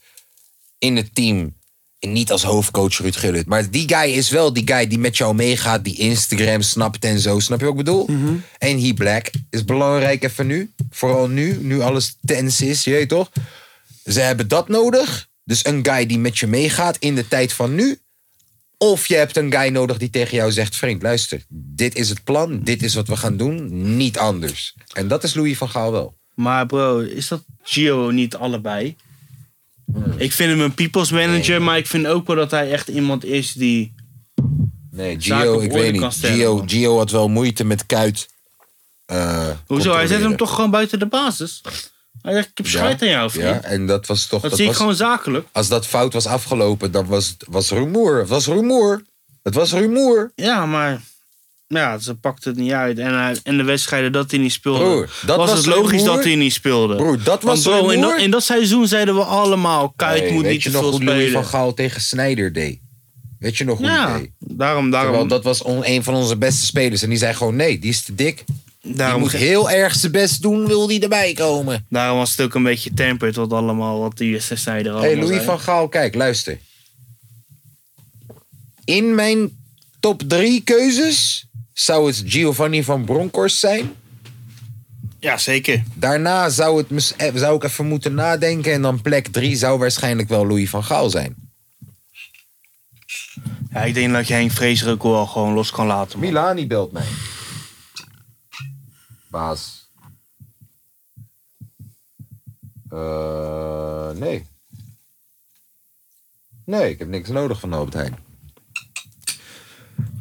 In het team. En niet als hoofdcoach Ruud Gullit. Maar die guy is wel die guy die met jou meegaat. Die Instagram snapt en zo. Snap je wat ik bedoel? Mhm. En He Black is belangrijk even nu. Vooral nu. Nu alles tens is. Je weet toch? Ze hebben dat nodig. Dus een guy die met je meegaat in de tijd van nu. Of je hebt een guy nodig die tegen jou zegt: Vriend, luister, dit is het plan, dit is wat we gaan doen, niet anders. En dat is Louis van Gaal wel. Maar bro, is dat Gio niet allebei? Hmm. Ik vind hem een people's manager, maar ik vind ook wel dat hij echt iemand is die... Nee, Zaken Gio, op ik orde weet kan niet. stellen, Gio, man. Gio had wel moeite met Kuit. eh, Hoezo, hij zet controleren. hem toch gewoon buiten de basis? Hij zegt, ik heb scheid aan jou, vriend. Ja, en dat was toch. Dat, Dat zie was, ik gewoon zakelijk. Als dat fout was afgelopen, dan was het was rumoer. Het was rumoer. Het was rumoer. Ja, maar... Ja, ze pakt het niet uit. En, hij- en de wedstrijden dat hij niet speelde. Broer, dat was, was het logisch rumoer. dat hij niet speelde. Broer, dat Want was bro, in, rumoer. dat, in dat seizoen zeiden we allemaal... Kuit Hey, moet weet niet je te nog veel hoe Louis van spelen. Gaal tegen Snyder deed? Weet je nog hoe die Ja, deed? daarom, Terwijl daarom, dat was on- een van onze beste spelers. En die zei gewoon: nee, die is te dik. Hij daarom, moet heel erg zijn best doen, wil die erbij komen. daarom was het ook een beetje tempered wat allemaal... wat die Sneijder allemaal Hé, hey, Louis zei. van Gaal, kijk, luister. In mijn top drie keuzes zou het Giovanni van Bronckhorst zijn. Ja, zeker. Daarna zou, het, mis- eh, zou ik even moeten nadenken. En dan plek drie zou waarschijnlijk wel Louis van Gaal zijn. Ja, ik denk dat je Henk Vrezer ook wel gewoon los kan laten. man. Milani belt mij. Baas. Eh, nee. Nee, ik heb niks nodig van Albert Heijn.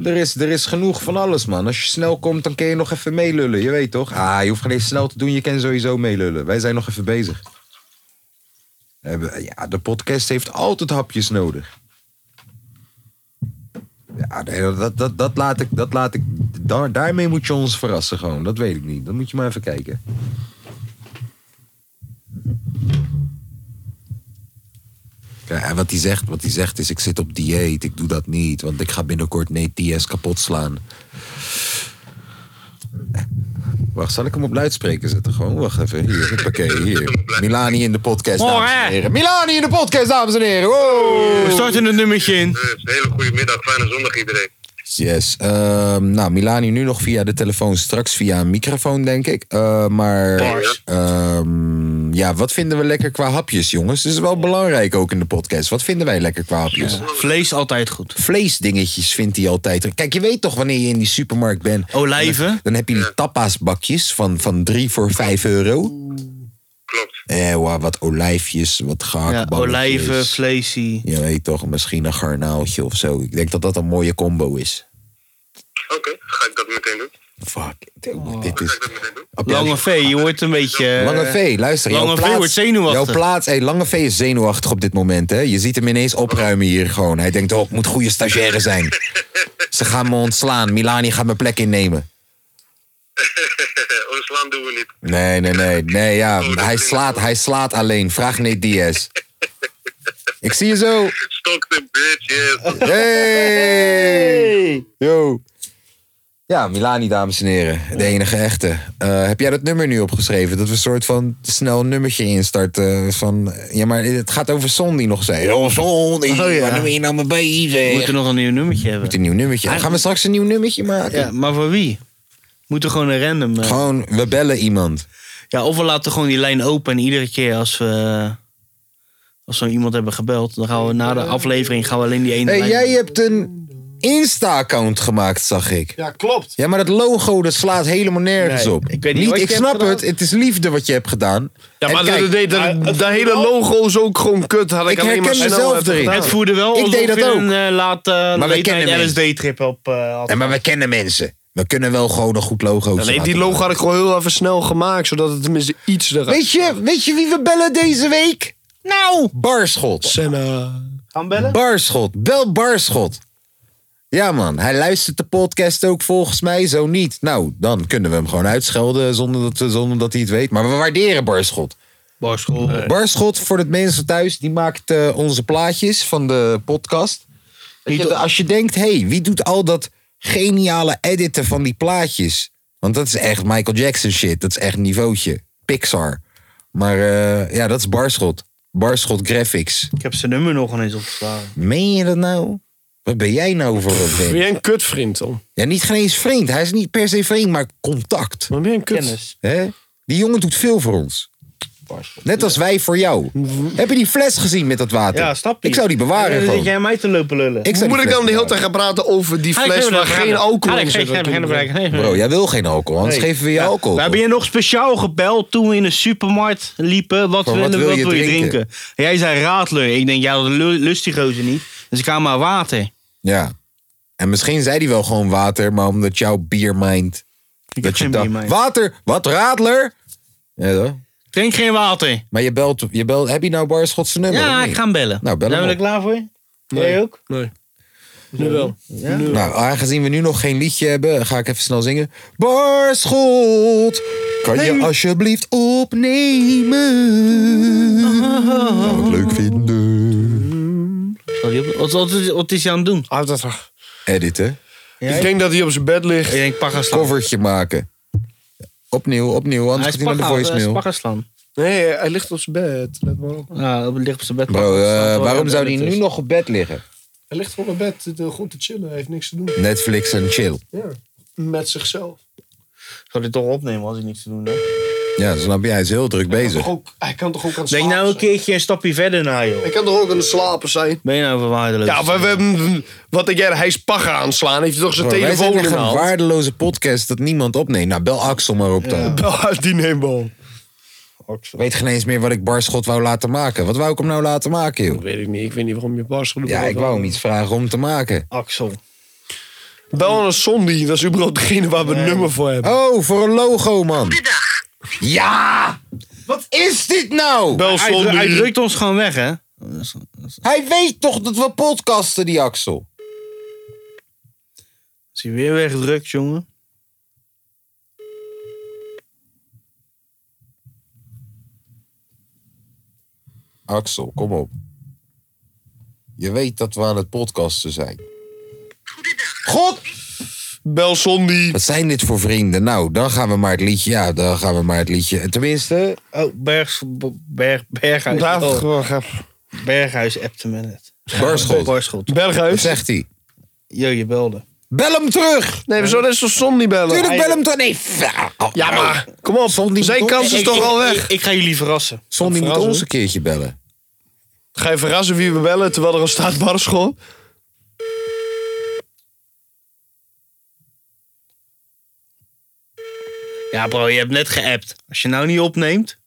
Er is, er is genoeg van alles, man. Als je snel komt, dan kun je nog even meelullen. Je weet toch? Ah, je hoeft geen eens snel te doen. Je kan sowieso meelullen. Wij zijn nog even bezig. We hebben- Ja, de podcast heeft altijd hapjes nodig. Ja, nee, dat, dat, dat laat ik. Dat laat ik daar, daarmee moet je ons verrassen, gewoon. Dat weet ik niet. Dan moet je maar even kijken. Ja, en wat hij zegt, wat hij zegt is: ik zit op dieet, ik doe dat niet, want ik ga binnenkort Nate Diaz kapot slaan. Wacht, zal ik hem op luidspreker zetten? Gewoon, wacht even. Hier, huppakee, hier. Milani in de podcast, dames en heren. Milani in de podcast, dames en heren. Wow. We starten het nummertje in. Dus hele goede middag, fijne zondag iedereen. Yes. Ehm, nou, Milani nu nog via de telefoon, straks via een microfoon, denk ik. Eh, maar ehm, ja, wat vinden we lekker qua hapjes, jongens? Dat is wel belangrijk ook in de podcast. Wat vinden wij lekker qua hapjes? Vlees altijd goed. Vleesdingetjes vindt hij altijd. Kijk, je weet toch wanneer je in die supermarkt bent. Oh, Olijven. Dan heb je die tapasbakjes van, van 3 voor 5 euro. Klopt. Ewa, wat olijfjes, wat Ja, gehaktballetjes. olijven, vleesie. Je weet toch, misschien een garnaaltje of zo. Ik denk dat dat een mooie combo is. Oké, ga ik dat meteen doen. Fuck, dude, dit Ga ik is... dat meteen doen. Applaus. Oh. Lange V, je wordt een beetje... eh, [laughs] Lange V, luister. Lange jouw V plaats, wordt zenuwachtig. Jouw plaats, hey, Lange V is zenuwachtig op dit moment. Hè? Je ziet hem ineens opruimen hier gewoon. Hij denkt, oh, ik moet goede stagiaire [laughs] zijn. Ze gaan me ontslaan. Milani gaat mijn plek innemen. [laughs] Ontslaan doen we niet. Oh, Nee, nee, nee. Nee, ja. dat Hij klinkt slaat, wel. hij slaat alleen. Vraag nee Diaz. Ik zie je zo. Stockton, bitch, yes. Hey! Yo. Ja, Milani, dames en heren. De enige echte. Eh, heb jij dat nummer nu opgeschreven? Dat we een soort van snel een nummertje instarten. Van, ja, maar het gaat over Sondi nog zei. Oh, Sondi, Oh, ja. waar ben je nou mee We bezig? eh, moeten nog een nieuw nummertje hebben. een nieuw nummertje. Gaan we straks een nieuw nummertje maken? Ja, maar voor wie? Moeten we gewoon een random... eh, Gewoon, we bellen iemand. Ja, of we laten gewoon die lijn open en iedere keer als we... eh, Als we iemand hebben gebeld, dan gaan we na de aflevering gaan we alleen die ene Hey, lijn... jij eh, hebt een Insta-account gemaakt, zag ik. Ja, klopt. Ja, maar dat logo dat slaat helemaal nergens Nee, op. ik weet niet wat ik je snap hebt het. Het is liefde wat je hebt gedaan. Ja, En maar kijk, dat, dat, dat, dat hele logo is ook gewoon kut. Had ik, Ik alleen maar herken snel mezelf even erin. gedaan. Het voerde wel Ik alsof deed dat je ook. een eh, late wij late kennen night mensen. LSD-trip op eh, had. Ja, maar we kennen mensen. We kunnen wel gewoon een goed logo Ja, nee, laten die logo maken. had ik gewoon heel even snel gemaakt, zodat het tenminste iets eruit... Weet je, weet je wie we bellen deze week? Nou! Barschot. Senna. Gaan bellen? Barschot. Bel Barschot. Ja man, hij luistert de podcast ook volgens mij, zo niet. Nou, dan kunnen we hem gewoon uitschelden zonder dat, we- zonder dat hij het weet. Maar we waarderen Barschot. Barschot, voor het mensen thuis, die maakt eh, onze plaatjes van de podcast. Weet je, als je denkt, hé, hey, wie doet al dat geniale editen van die plaatjes? Want dat is echt Michael Jackson shit. Dat is echt niveautje. Pixar. Maar eh, ja, dat is Barschot. Barschot Graphics. Ik heb zijn nummer nog ineens opgeslagen. Meen je dat nou? Wat ben jij nou voor een Ben ding? jij een kutvriend, Tom? Ja, niet geen eens vriend. Hij is niet per se vriend, maar contact. Maar ben jij een kut... Kennis. Hè? Die jongen doet veel voor ons. Net als wij voor jou. Heb je die fles gezien met dat water? Ja, snap je. Ik zou die bewaren Dan gewoon. zit jij mij te lopen lullen. Ik zou Moet die ik fles dan de hele tijd bewaren. gaan praten over die fles waar geen alcohol in zit? Bro, jij wil geen alcohol, anders geven we je alcohol. We hebben je nog speciaal gebeld toen we in de supermarkt liepen. Wat, Van, willen, wat wil je drinken? En Jij zei raadler. Ik denk, ja, dat lu- lust die gozer niet. Dus ik ga maar water. Ja. En misschien zei hij wel gewoon water, maar omdat jouw biermind... Ik heb Dat je geen bier dacht, mee. water, wat radler? Ja, hoor. Drink geen water. maar je belt, je belt, heb je nou Barschot zijn nummer? of Ja, niet? ik ga hem bellen. Nou, bel hem Zijn we er op. klaar voor? Jij ook? Nee. Nu wel. Nou, aangezien we nu nog geen liedje hebben, ga ik even snel zingen. Barschot, kan je alsjeblieft opnemen? Zou ik leuk vinden. Sorry, Wat, wat, wat, wat is hij aan het doen? Ah, dat... ah. Editen, Ik denk dat hij op zijn bed ligt. Ik denk, pak gaan slaan. covertje maken. Opnieuw, opnieuw, Hij anders is gaat hij naar de pakka- hij is voicemail. pakka slaan. Nee, hij ligt op zijn bed. Let maar op. Ja, dat ligt op zijn bed. Bro, eh, waarom Ja, zou hij dat nu is- nog op bed liggen? Hij ligt gewoon op bed, gewoon te chillen. Hij heeft niks te doen. Netflix en chill. Ja. Met zichzelf. Ik zou dit toch opnemen als ik niks te doen heb. Ja, snap je, hij is heel druk bezig. ook, hij kan toch ook aan het Denk nou een keertje een stapje verder naar, joh. Hij kan toch ook aan het slapen zijn? Ben je nou verwaardeloos? Ja, we, we, wat ik jij, hij is pagga aanslaan. Heeft hij toch zijn Bro, wij zijn telefoon echt in de een hand? waardeloze podcast dat niemand opneemt. Nou, bel Axel maar op dan. [laughs] Bel uit Ah, die neembal. Ik weet geen eens meer wat ik Barschot wou laten maken. Wat wou ik hem nou laten maken, joh? Weet ik niet. Ik weet niet waarom je bars genoeg Ja, ik wou hem iets vragen om te maken. Axel. Bel aan een zombie. Dat is überhaupt degene waar we een nummer voor hebben. Oh, voor een logo, man. Ja! Wat is dit nou? Bel Hij, dru- hij zombie. drukt ons gewoon weg, hè? Hij weet toch dat we podcasten, die Axel? Is hij weer weggedrukt, jongen? Axel, kom op. Je weet dat we aan het podcasten zijn. God! Bel zombie. Wat zijn dit voor vrienden? Nou, dan gaan we maar het liedje. Ja, dan gaan we maar het liedje. Tenminste, Oh, Bergs, Bo- berg, Berghuis. Daar- Oh, gewoon gaan. Berghuis appte me net. Barschot. Barschot. Wat Berghuis. zegt hij? Jo, je belde. Bel hem terug. Nee, we zullen zo Son niet bellen. Tuurlijk, bel hem Oh, terug. Nee, fa- Ja, maar kom op. Son Zijn kans is Ik- toch ik- al Ik, weg. ik ga jullie verrassen. Son, die moet verrassen. ons een keertje bellen. Ga je verrassen wie we bellen terwijl er een staat barschot? Ja, bro, je hebt net geappt. Als je nou niet opneemt.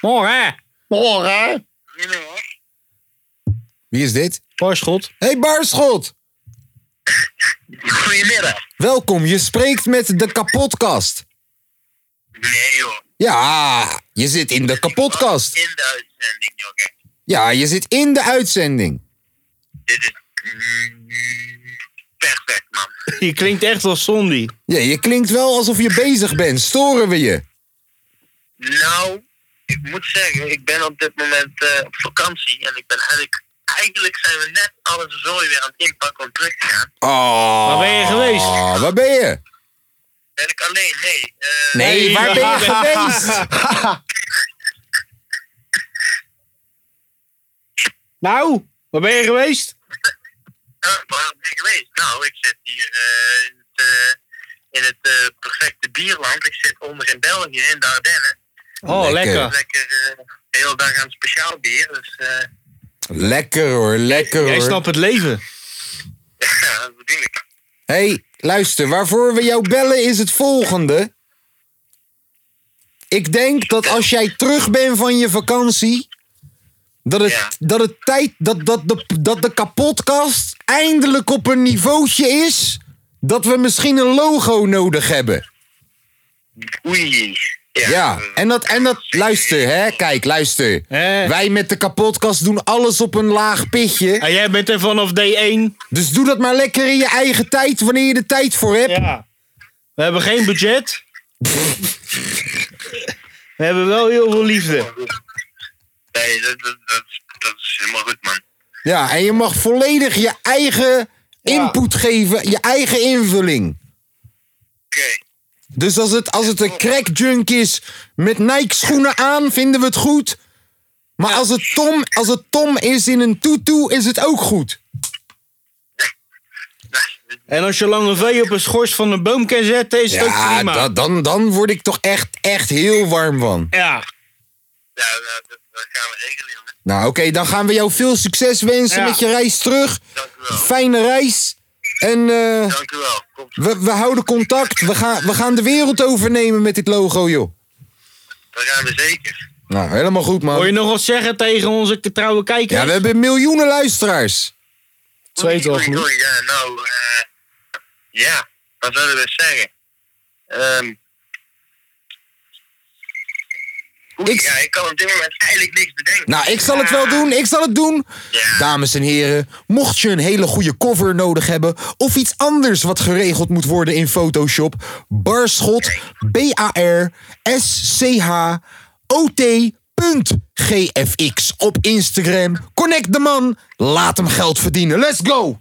Morgen, hè? Morgen. Wie is dit? Barschot. hey, Baarschot. Goedemiddag. Welkom. Je spreekt met de kapotkast. Nee joh, Ja, je zit in de kapotkast. in de uitzending joh, kijk. Ja, je zit in de uitzending. Dit is mm, perfect man. Je klinkt echt als Sondi. Ja, je klinkt wel alsof je bezig bent. Storen we je? Nou, ik moet zeggen, ik ben op dit moment eh, op vakantie en ik ben eigenlijk, eigenlijk zijn we net alle zooi weer aan het inpakken om terug te gaan. Oh, Waar ben je geweest? waar ben je? Ben ik alleen? Nee. eh, Nee, waar [laughs] ben je geweest? Nou, waar ben je geweest? eh, waar ben je geweest? Nou, ik zit hier eh, in het, eh, in het eh, perfecte bierland. Ik zit onder in België, in de Ardennen. Oh, Lekker. lekker. Lekker eh, de hele dag aan speciaal bier. Dus eh, [laughs] Lekker hoor, lekker Jij hoor. snapt het leven. ja, dat bedoel ik. hey, luister, waarvoor we jou bellen is het volgende. Ik denk dat als jij terug bent van je vakantie, dat het, Ja. dat het tijd, dat, dat, de, dat de kapotkast eindelijk op een niveautje is, dat we misschien een logo nodig hebben. Oei. Ja. Ja, en dat, en dat, luister hè, kijk, luister. Hè? Wij met de kapotkast doen alles op een laag pitje. En jij bent er vanaf D1. Dus doe dat maar lekker in je eigen tijd, wanneer je er tijd voor hebt. Ja. We hebben geen budget. [laughs] We hebben wel heel veel liefde. Nee, dat, dat, dat, dat is helemaal goed, man. Ja, en je mag volledig je eigen input geven, je eigen invulling. Oké. Dus als het, als het een crackjunk is met Nike schoenen aan, vinden we het goed. Maar als het Tom, als het Tom is in een tutu, is het ook goed. Nou, En als je lange V op een schors van een boom kan zetten, is het ook Ja, prima. da- dan, dan word ik toch echt, echt heel warm van. Ja. Ja, nou, dat, dat gaan we regelen, jongen. Nou, oké, dan gaan we jou veel succes wensen Ja. met je reis terug. Dank u wel. Fijne reis. En eh, Dank u wel. Komt goed. we, we houden contact. We gaan, we gaan de wereld overnemen met dit logo, joh. Dat gaan we zeker. Nou, helemaal goed, Hoor je man. nog wat zeggen tegen onze k- trouwe kijkers? Ja, we hebben miljoenen luisteraars. Twee Oei, toch oei, niet? oei, Ja, nou, eh, ja, wat zullen we zeggen? Ehm oei, Ik- Ja, ik kan op dit moment eigenlijk niks bedenken. Nou, ik zal het wel doen. Ik zal het doen. Ja. Dames en heren, mocht je een hele goede cover nodig hebben of iets anders wat geregeld moet worden in Photoshop, barschot b a r s c h o t .gfx op Instagram. Connect de man. Laat hem geld verdienen. Let's go.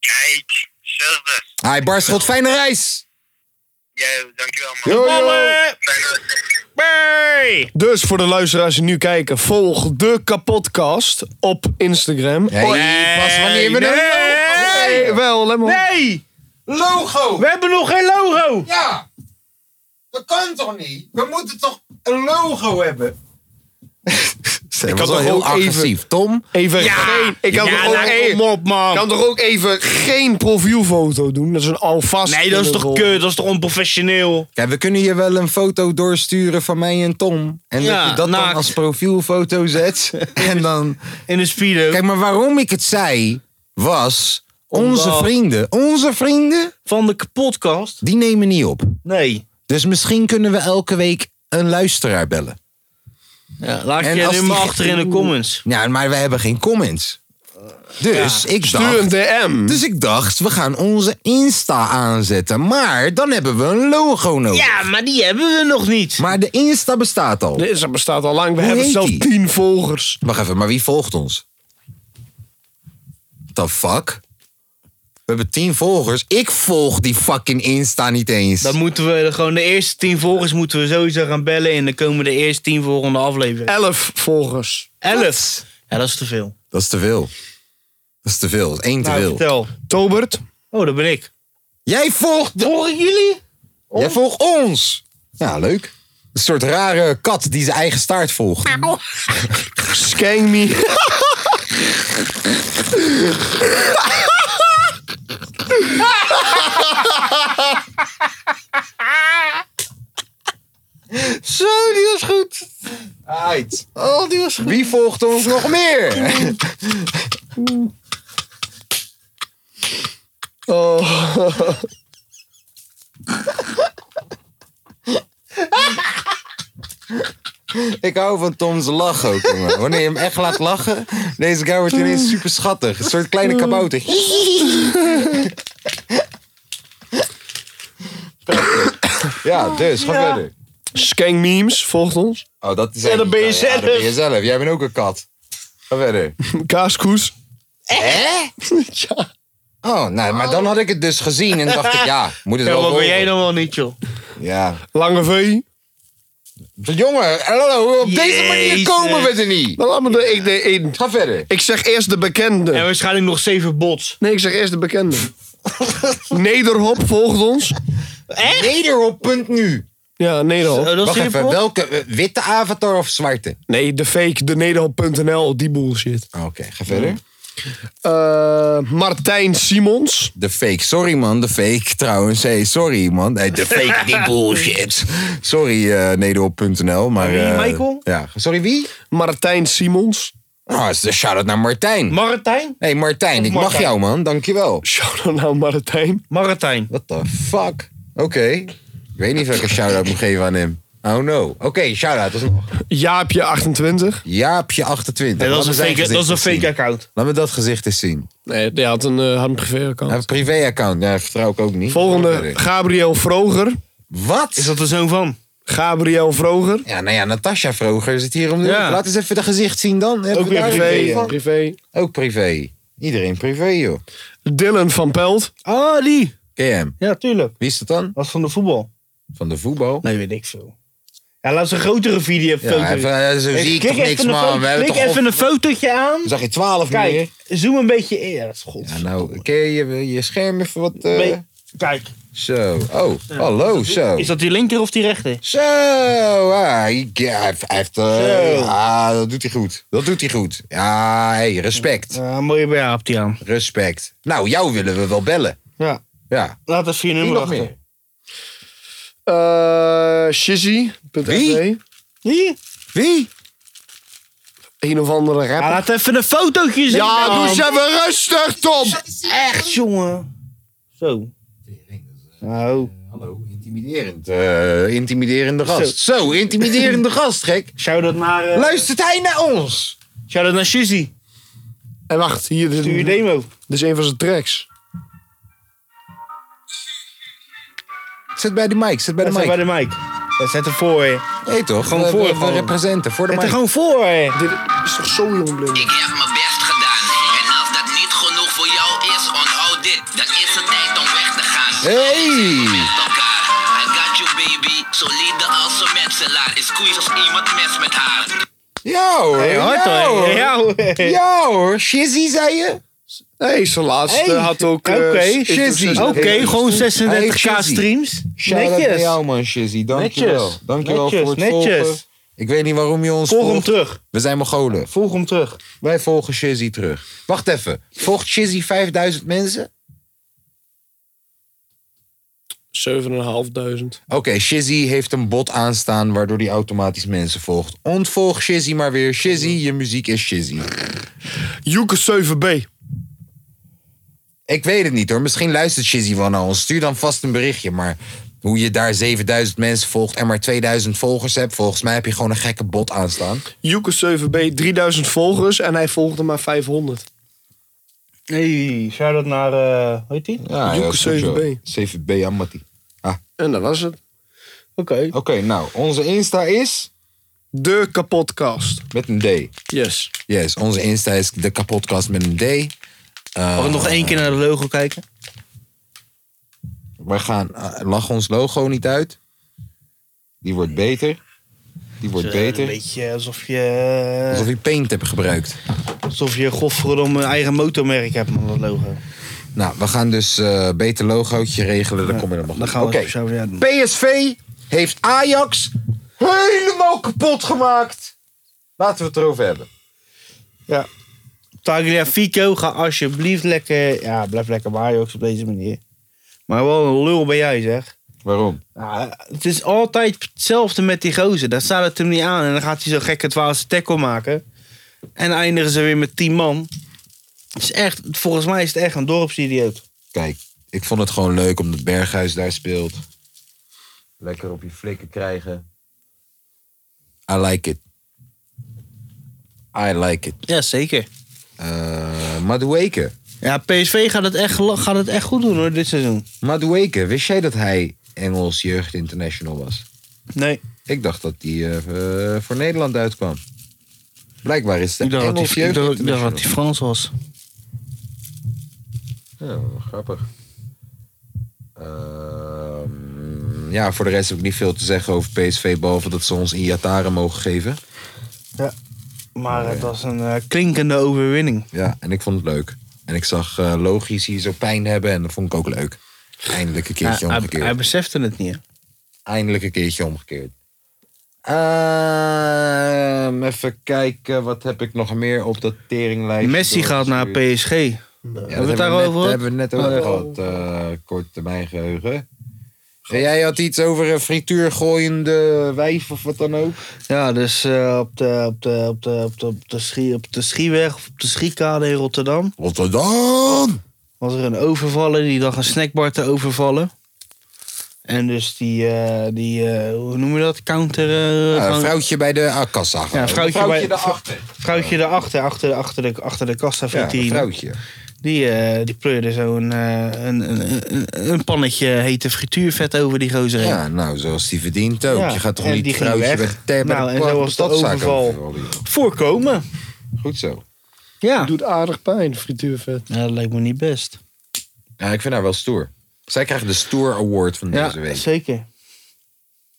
Kijk, service. Hi Barschot, fijne reis. Ja, dankjewel, man. Yo, yo. Ballen! Fijne- Hey! Dus voor de luisteraars die nu kijken, volg de kapotkast op Instagram. Hoi. pas wanneer we nee. een Hey, wel, let maar op. Nee! logo. We hebben nog geen logo! Ja, dat kan toch niet? We moeten toch een logo hebben? ik was had wel toch heel ook even- agressief, Tom. Even geen. Ik kan, Ja, toch ook nou, even- kom op, man. kan toch ook even geen profielfoto doen? Dat is een alvast. Nee, dat is toch kut? Dat is toch onprofessioneel? Kijk, we kunnen je wel een foto doorsturen van mij en Tom. En dat Ja, je dat dan naakt. als profielfoto [laughs] zet. en dan... In een speedo. Kijk, maar waarom ik het zei, was... Onze Omdat- vrienden, onze vrienden, Van de kapotkast? die nemen niet op. Nee. Dus misschien kunnen we elke week een luisteraar bellen. Ja, laat En je als die- nummer achter in de comments. Ja, maar we hebben geen comments. Dus ik Stuur een dacht... DM. Dus ik dacht, we gaan onze Insta aanzetten. Maar dan hebben we een logo nodig. Ja, maar die hebben we nog niet. Maar de Insta bestaat al. Dit is- dat bestaat al lang. We hebben heet zelfs die? 10 volgers. Wacht even, maar wie volgt ons? The fuck? We hebben tien volgers. Ik volg die fucking Insta niet eens. Dan moeten we gewoon de eerste tien volgers moeten we sowieso gaan bellen. En dan komen de eerste tien volgende aflevering. 11 volgers. Elf. Ja, dat is te veel. Dat is te veel. Dat is te veel. Dat is één te Nou, veel. vertel. Tobert. Oh, dat ben ik. Jij volgt, Horen jullie? jij volgt ons. Ja, leuk. Een soort rare kat die zijn eigen staart volgt. Skang me. Zo, die was goed. Uit. Oh, die was goed. Wie volgt ons nog meer? Oh. Ik hou van Tom's lach ook, jongen. Wanneer je hem echt laat lachen, deze guy wordt ineens super schattig. Een soort kleine [laughs] kabouter. Ja, dus, ga verder. Skang memes, volgt ons. Oh, dat is en dan ben je Ja, dat ben je zelf. Jij bent ook een kat. Ga verder. Kaaskoes. [laughs] Oh, nou, maar dan had ik het dus gezien en dacht ik, [laughs] ja, moet het Ja, wel wat ben volgen. jij dan wel niet, joh? Ja. Lange V. Jongen, hallo, op deze manier Jezus. komen we er niet. Dan laat me de, ik, de, ik, Ga verder. ik zeg eerst de bekende. En waarschijnlijk nog zeven bots. Nee, ik zeg eerst de bekende. [laughs] Nederhop volgt ons. Nederop.nu. Ja, Oh, Nederhop. dat is Wacht even, simpel. welke? eh, Witte avatar of zwarte? Ah, Nee, de fake, de Nederhop.nl, die bullshit. Oké, ga verder. Eh, Martijn Simons. De fake. Sorry, man. De fake, [laughs] trouwens. Hey, sorry, man. Hey, de fake, [laughs] die bullshit. Sorry, eh nederop.nl. Maar, Wie, eh, Michael? Ja. Sorry, wie? Martijn Simons. [laughs] Nou, is de shout-out naar Martijn. Martijn? hey, Martijn, ik mag Martijn. jou, man. Dankjewel. Shout-out naar Martijn. Martijn. What the fuck? Oké. Ik weet niet of ik een shout-out moet geven aan hem. Oh no. Oké, shout-out. alsnog. Jaapje28. Jaapje 28. Nee, dat, is Laat een me zijn fake, dat is gezicht een eens fake zien. account. Laat me dat gezicht eens zien. Nee, die had een, eh, had een privéaccount. Hij heeft een privé-account. Ja, vertrouw ik ook niet. Volgende, Gabriel Vroger. Wat? Is dat de zoon van? Gabriel Vroger. Ja, nou ja, Natasja Vroger zit hier om de Ja. hoek. Laat eens even de gezicht zien dan. Hebben Ook we weer daar privé. een ja, van? privé. Ook privé. Iedereen privé, joh. Dylan van Pelt. Ah, die. Ken je hem? Ja, tuurlijk. Wie is dat dan? Dat is van de voetbal. Van de voetbal? Nee, weet ik veel. Ja, laat eens een grotere video. foto. Ja, even, eh, zo Hey, zie ik klik toch niks, even een man. foto- We hebben klik toch even een fotootje aan. Zag je 12 Kijk, meer? zoom een beetje in. Ja, dat is goed. Ja, nou, kun je je scherm even wat... eh, Be- Kijk, Zo. Oh, hallo, zo. is dat die linker of die rechter? Zo, ah, hij, hij heeft- hij heeft... eh, ah, dat doet hij goed. Dat doet hij goed. Ja, hey, respect. Ja, mooie bij Aap die aan. Respect. Nou, jou willen we wel bellen. Ja. Ja. Laat even je Wie nummer nog achter. meer? eh Shizzy. Wie? Hier. Wie? Een of andere Ja, rapper. laat even een fotootje zien. Ja, man. doe eens even rustig, Tom. Echt, jongen. Zo. Nou, Hallo, intimiderend. eh, intimiderende gast. Zo, intimiderende gast, [laughs] gek. shout-out naar... eh, Luistert hij naar ons? Shout-out naar Shizzy. En wacht, hier dit Doe je dit demo. is een van zijn tracks. Zit bij de mic, zit bij de Zet mic. bij de mic. Ja, zet hem voor, hè. Nee toch? Gewoon We- voor, we- We gewoon. representen, voor de Zet er mic. gewoon voor, hè. Dit is toch zo jong, Blim? Ik heb mijn best gedaan. En als dat niet genoeg voor jou is, onthoud dit. Dan is het tijd om weg te gaan. Hey! Met elkaar. Oh I got you baby. Solide als een metselaar. Is koeien als iemand mes met haar. Ja hoor, Hey, hard, ja hoor. hoor. Ja, hoor. [laughs] Ja hoor, Shizzy zei je? Nee, zijn laatste Hey, had ook... eh, oké, s- Shizzy. intercept. Oké, Hey, gewoon Hey, 36k Shizzy. streams. Shout-out naar jou man, Shizzy. Dankjewel. Netjes. Dankjewel Netjes, voor het netjes. volgen. Ik weet niet waarom je ons Volg hem volgt. terug. We zijn Mongolen. Volg hem terug. Wij volgen Shizzy terug. Wacht even, volgt Shizzy 5000 mensen? 7.500. Oké, Shizzy heeft een bot aanstaan waardoor hij automatisch mensen volgt. Ontvolg Shizzy maar weer. Shizzy, je muziek is Shizzy. Joeke 7B. Ik weet het niet hoor. Misschien luistert Shizzy wel naar ons. Stuur dan vast een berichtje. Maar hoe je daar 7000 mensen volgt en maar 2000 volgers hebt, volgens mij heb je gewoon een gekke bot aanstaan. Joeke 7B, 3000 volgers en hij volgde maar 500. Hey, shout-out naar... eh hoe heet die? Ja, Joeke dat is goed, 7B. joh. 7B Amati. En dat was het. Oké. Oké, nou, onze Insta is De kapotkast. met een D. Yes. Yes, onze Insta is de kapotkast met een D. Mag ik nog één keer naar de logo kijken? We gaan, eh, lach ons logo niet uit. Die wordt beter. Die wordt Eh, Een beter. beetje eh, alsof je... Alsof je paint hebt gebruikt. Alsof je godverdomme een eigen motormerk hebt, man, dat logo. Nou, we gaan dus eh beter logootje regelen. Dan kom je er nog Dan gaan we Oké. het zo ja, doen. PSV heeft Ajax helemaal kapot gemaakt. Laten we het erover hebben. Tagliafico, ga alsjeblieft lekker... Ja, blijf lekker bij Ajax op deze manier. Maar wel een lul ben jij, zeg. Waarom? Ja, het is altijd hetzelfde met die gozer. Daar staat het hem niet aan. En dan gaat hij zo gekke dwaze tackle maken. En eindigen ze weer met 10 man. Het is echt, volgens mij is het echt een dorpsidioot. Kijk, ik vond het gewoon leuk omdat Berghuis daar speelt. Lekker op je flikken krijgen. I like it. I like it. Ja, zeker. Eh Madueke. Ja, PSV gaat het echt, gel- gaat het echt goed doen hoor, dit seizoen. Madueke, wist jij dat hij Engels jeugd international was? Nee. Ik dacht dat hij eh, eh, voor Nederland uitkwam. Blijkbaar is het Ik dacht dat Engels die- ik jeugd dacht- ik dacht international. dat hij Frans was. Ja, wel grappig. Ehm, ja, voor de rest heb ik niet veel te zeggen over PSV, behalve dat ze ons in Iataren mogen geven. Maar het was een eh, klinkende overwinning. Ja, en ik vond het leuk. En ik zag eh, logisch hier zo pijn hebben en dat vond ik ook leuk. Eindelijk een Ja, keertje hij, omgekeerd. hij besefte het niet. hè. Eindelijk een keertje omgekeerd. Ehm, even kijken, wat heb ik nog meer op dat teringlijstje? Messi gaat naar doorgestuurd? PSG. Ja, hebben we het daar daarover Daar gehad? hebben we het net over gehad, eh kort termijn geheugen. En jij had iets over een frituurgooiende wijf of wat dan ook? Ja, dus eh, op, de, op, de, op, de, op, de, op, de schie, op de Schieweg of op de Schiekade in Rotterdam Rotterdam! was er een overvaller die dacht een snackbar te overvallen. En dus die, eh, die eh, hoe noem je dat? Counter. eh, Ja, gewoon- een vrouwtje bij de ah, kassa. gewoon. Ja, vrouwtje Een bij- daarachter. vrouwtje daarachter, achter, achter, de, achter de kassa. Ja, vliegt een die- vrouwtje. Die, eh die pleurde zo'n eh, een, een, een, een pannetje hete frituurvet over die gozer heen. Ja, nou, zoals die verdient ook. Ja, Je gaat toch en niet die ging vrouwtje weg. bij de ter- bij Nou, de en pla- zo was de stadzaak overval. overvallen, joh. Voorkomen. Goed zo. Ja. Ah. Doet aardig pijn, frituurvet. ja. Dat lijkt me niet best. Ja, ik vind haar wel stoer. Zij krijgt de Stoer Award van Ja, deze week. zeker.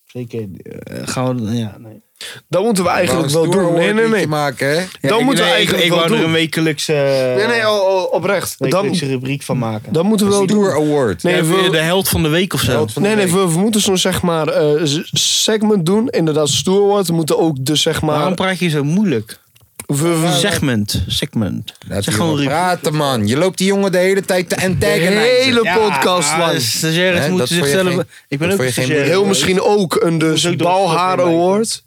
Zeker. eh, gaan we, ja, nee. Dat moeten we eigenlijk Wou wel een Stoer doen. Nee, Award nee, liedje nee. maken, hè? Dan ik, moeten nee, we ik- eigenlijk ik, wel wou er doen. een wekelijkse, Nee, nee, al- al- oprecht. Dan, wekelijkse rubriek van maken. dan moeten we wel doen. Stoer Award. Nee, Even we, de held van de week of zo. de nee, nee, week. we, we moeten zo'n zeg maar eh, s- segment doen. Inderdaad, stoer wordt. We moeten ook de zeg maar. Waarom praat je zo moeilijk? we- we- Segment. Segment. Laat die Zeg gewoon jongen rubriek. praten, man. Je loopt die jongen de hele tijd te de antagonizen. hele podcast ja, lang. Ah, dus de stagiaires Hè, dat moeten vond je zichzelf... geen- ik ben dat vond ook een je geen stagiair. Heel misschien ook een is dus ook door balharen stoppen, award.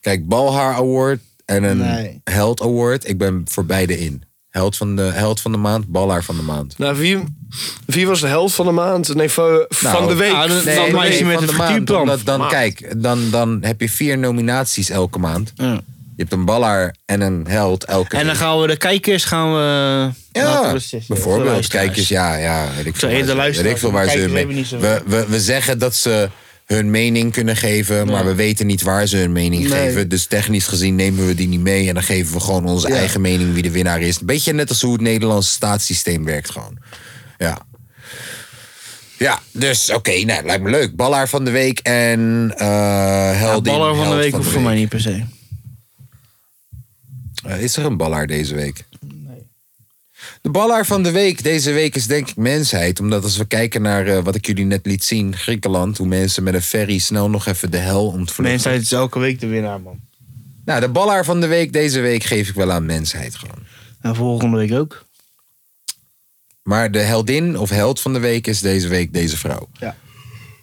Kijk, Balhaar Award en een Nee. Held Award. Ik ben voor beide in. Held van de, held van de maand, Balhaar van de maand. Nou, wie, wie was de helft van de maand? Nee, van, van de week. ah, dat- Van dat de meisje week. van met een Nou, de maand. frituurpan. Omdat dan, kijk, dan, dan heb je vier nominaties elke maand. Ja. Je hebt een Balhaar en een Held elke En dan week. gaan we de kijkers gaan we... laten Ja, we beslissen. De bijvoorbeeld. Nou, luisteraars. Kijkers, ja, ja. Weet ik veel Zo, waar de ze- luisteraars, weet ik veel de waar ze hun kijkers hebben mee. niet We, zoveel. we, we zeggen dat ze hun mening kunnen geven, maar we weten niet waar ze hun mening geven. Dus technisch gezien nemen we die niet mee en dan geven we gewoon onze eigen mening wie de winnaar is. Een beetje net als hoe het Nederlandse staatssysteem werkt gewoon. Ja. Ja, dus oké, nou, lijkt me leuk. Ballaar van de week en eh Ja, Heldin. baller van held de week hoeft voor mij niet per se. eh, is er een ballaar deze week? Nee. De ballaar van de week deze week is denk ik mensheid. Omdat als we kijken naar eh, wat ik jullie net liet zien, Griekenland, hoe mensen met een ferry snel nog even de hel ontvluchten. Mensheid is elke week de winnaar, man. Nou, de ballaar van de week deze week geef ik wel aan mensheid gewoon. En volgende week ook. Maar de heldin of held van de week is deze week deze vrouw.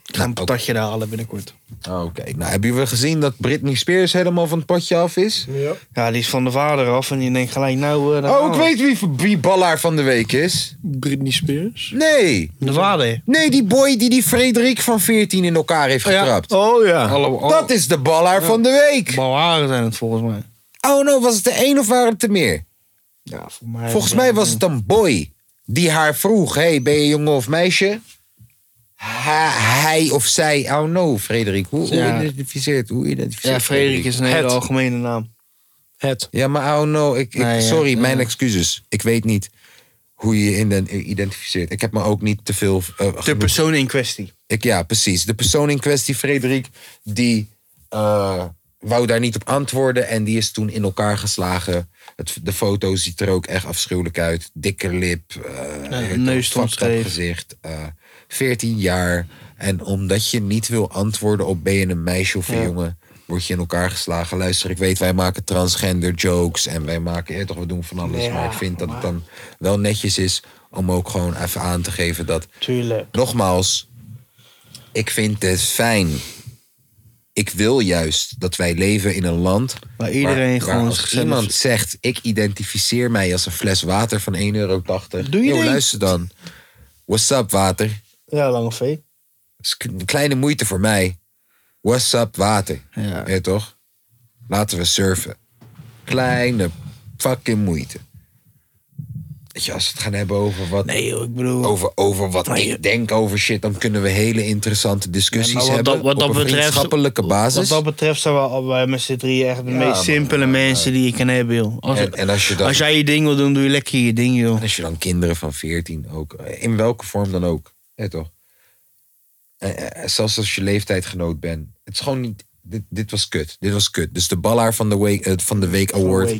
Ik ga een patatje daar halen binnenkort. Oké, nou hebben jullie gezien dat Britney Spears helemaal van het potje af is? Ja, die is van de vader af en je denkt gelijk, nou... eh, daar gaan Oh, ik we. weet wie, wie ballaar van de week is. Britney Spears. Nee, De vader. nee, die boy die die Frederik van 14 in elkaar heeft getrapt. Oh ja. Allemaal Dat is de ballaar van de week. Balharen zijn het volgens mij. Oh no, was het er één of waren het er meer? Ja, voor mij. Volgens mij was het een boy die haar vroeg: hey, ben je jongen of meisje? Ha- hij of zij, oh no, Frederik. Hoe, hoe Ja. identificeert? Hoe identificeert? Ja, Frederik is een hele Het. algemene naam. Het. Ja, maar oh no, ik, ik- Nee, ja, sorry, ja. mijn excuses. Ik weet niet hoe je je iden- identificeert. Ik heb me ook niet te veel. eh, De genoeg- persoon in kwestie. ik, ja, precies. De persoon in kwestie, Frederik, die eh, wou daar niet op antwoorden en die is toen in elkaar geslagen. Het, de foto ziet er ook echt afschuwelijk uit. Dikke lip, eh, Ja, weet neus je, stond fucked up scheef. gezicht. eh 14 jaar. En omdat je niet wil antwoorden op ben je een meisje of een jongen, word je in elkaar geslagen. Luister, ik weet, wij maken transgender jokes en wij maken, ja, toch, we doen van alles. maar ik vind dat het dan wel netjes is om ook gewoon even aan te geven dat Tuurlijk. nogmaals, ik vind het fijn. Ik wil juist dat wij leven in een land Waar iedereen waar gewoon als zichzelf- iemand zegt, ik identificeer mij als een fles water van 1,80 euro. Doe je Yo, ding. luister dan. What's up, water? Ja, lange V. Dat is een kleine moeite voor mij. What's up, water? Ja. Ja, toch? Laten we surfen. Kleine fucking moeite. Weet je, als we het gaan hebben over wat Nee joh, ik bedoel... over, over wat Maar je- ik denk over shit, dan kunnen we hele interessante discussies Ja, maar wat dat- hebben. wat dat op een betreft- vriendschappelijke basis. Wat dat betreft zijn we allebei met z'n drieën echt de Ja, meest man. simpele mensen die je kan hebben, joh. Als, en, en als je dan, Als jij je ding wil doen, doe je lekker je ding joh. als je dan kinderen van 14 ook, eh, in welke vorm dan ook, hè, toch? Eh, eh, zelfs als je leeftijdgenoot bent. Het is gewoon niet. Dit, dit was kut. Dit was kut. Dus de Ballaar van de Week, eh, van de week Award.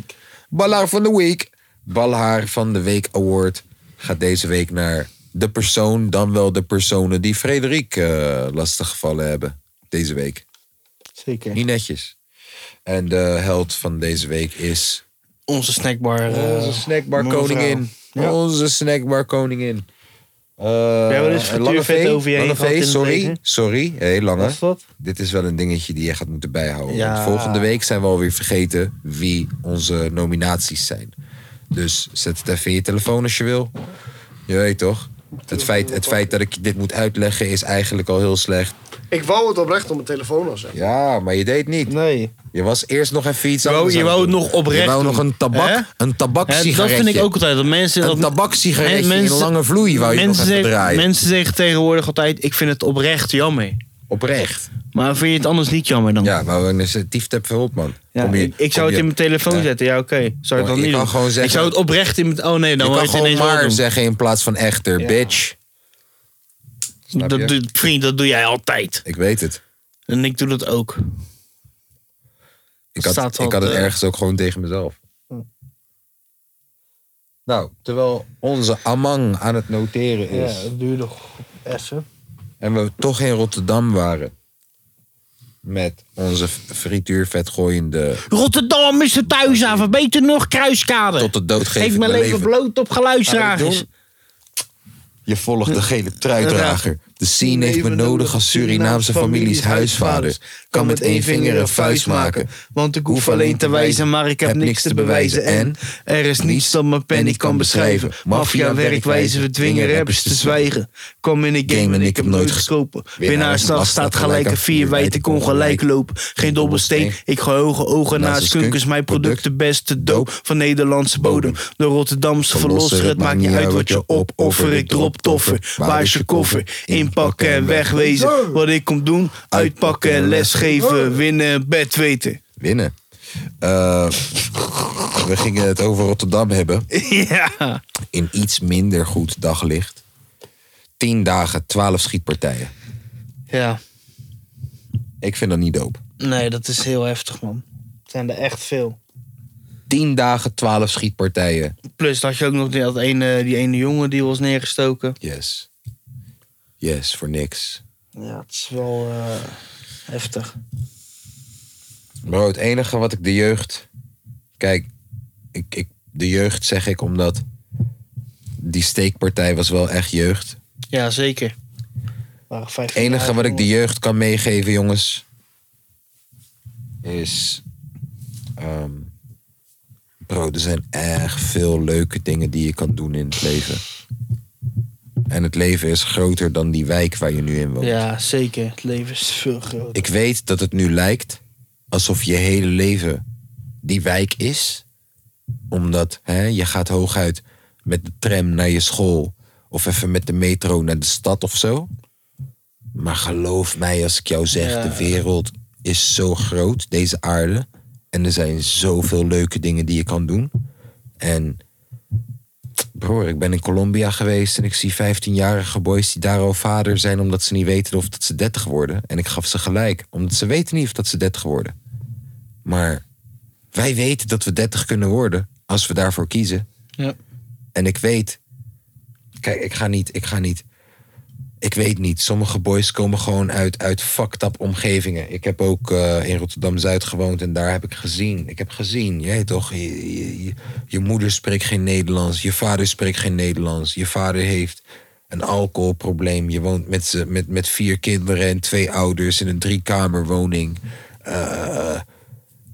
Ballaar van de Week. Ballaar van de Week Award gaat deze week naar de persoon, dan wel de personen die Frederik eh lastiggevallen hebben deze week. Zeker. Niet netjes. En de held van deze week is Onze snackbar. eh, onze snackbar mevrouw. koningin. Ja. Onze snackbar koningin. Eh wel eens Lange frituurvet V, over je heen Lange gehad in V, het sorry. leven? Sorry, hé Wat Lange. is dat? Dit is wel een dingetje die je gaat moeten bijhouden. Ja. Want volgende week zijn we alweer vergeten wie onze nominaties zijn. Dus zet het even in je telefoon als je wil. Je weet toch? Het feit, het feit dat ik dit moet uitleggen is eigenlijk al heel slecht. Ik wou het oprecht op mijn telefoon al zeggen. Ja, maar je deed niet. Nee. Je was eerst nog even iets Je wou- anders je aan wou doen. het nog oprecht Je wou doen. nog een tabak, Hè? een Hè, dat tabaksigaretje. vind ik ook altijd. Dat mensen, dat, Een tabaksigaretje in mensen- lange vloei wou je nog mensen, even zeggen, draaien. mensen zeggen tegenwoordig altijd, ik vind het oprecht jammer. Oprecht. Maar vind je het anders niet jammer dan? Ja, maar we initiatief tap even op, man. Ja, Kom je- ik, ik zou kom het in je- mijn telefoon Ja. zetten. Ja, oké. Zou ik Maar dan je niet kan doen. gewoon ik zeggen- zou het oprecht in mijn... Oh nee, dan Je word kan je het gewoon ineens wel maar doen. zeggen in plaats van echter, bitch. Snap Dat je? doe- vriend, dat doe jij altijd. Ik weet het. En ik doe dat ook. Ik had, Staat eh, al ik had het de- ergens ook gewoon tegen mezelf. Hm. Nou, terwijl onze Amang aan het noteren Ja, is. het duurde essen. En we toch in Rotterdam waren. Met onze frituurvet gooiende Rotterdam is de thuishaven. Beter nog, Kruiskade. tot de dood geven. Geef mijn leven bloot op geluidsdragers. Je volgt de gele truitdrager. De scene heeft me nodig als Surinaamse families huisvader. Kan met één vinger een vuist maken. Want ik hoef alleen te wijzen, maar ik heb niks te bewijzen. En er is niets dat mijn pen niet kan beschrijven. Maffia, werkwijze, verdwingen rappers te zwijgen. Kom in de game en ik heb nooit gescopen. Winnaars dag staat gelijk aan vier, wijd ik ongelijk loop. Geen dobbelsteen, ik gooi hoge ogen Naast naast een skunkers. Mijn skunk, product de beste doop van Nederlandse bodem. De Rotterdamse verlosser, het maakt niet uit wat je opoffer. Ik drop toffer, waar is je koffer? Inpakken en wegwezen. Wat ik kom doen, uitpakken en lesgeven. Winnen, bed [laughs] weten. Winnen. Eh, we gingen het over Rotterdam hebben. Ja. In iets minder goed daglicht. Tien dagen, twaalf schietpartijen. Ja. Ik vind dat niet doop. Nee, dat is heel heftig, man. Het zijn er echt veel. Tien dagen, twaalf schietpartijen. Plus dat je ook nog die, dat ene, die ene jongen die was neergestoken. Yes. Yes, voor niks. Ja, het is wel eh, heftig. Bro, het enige wat ik de jeugd. Kijk, ik, ik, de jeugd zeg ik omdat. Die steekpartij was wel echt jeugd. Ja, zeker. Maar Het enige wat ik de jeugd kan meegeven, jongens. Is. ehm, bro, er zijn echt veel leuke dingen die je kan doen in het leven. En het leven is groter dan die wijk waar je nu in woont. Ja, zeker. Het leven is veel groter. Ik weet dat het nu lijkt alsof je hele leven die wijk is. Omdat hè, je gaat hooguit met de tram naar je school. Of even met de metro naar de stad of zo. Maar geloof mij als ik jou zeg, de wereld is zo groot, deze aarde. En er zijn zoveel leuke dingen die je kan doen. En broer, ik ben in Colombia geweest en ik zie 15-jarige boys die daar al vader zijn omdat ze niet weten of dat ze 30 worden. En ik gaf ze gelijk, omdat ze weten niet of dat ze 30 worden. Maar wij weten dat we 30 kunnen worden als we daarvoor kiezen. Ja. En ik weet. Kijk, ik ga niet. Ik ga niet. Ik weet niet. Sommige boys komen gewoon uit, uit fucked up omgevingen. Ik heb ook eh, in Rotterdam-Zuid gewoond en daar heb ik gezien. Ik heb gezien, je weet toch? Je, je, je- je moeder spreekt geen Nederlands. Je vader spreekt geen Nederlands. Je vader heeft een alcoholprobleem. Je woont met, z'n- met, met vier kinderen en twee ouders in een driekamerwoning. Eh,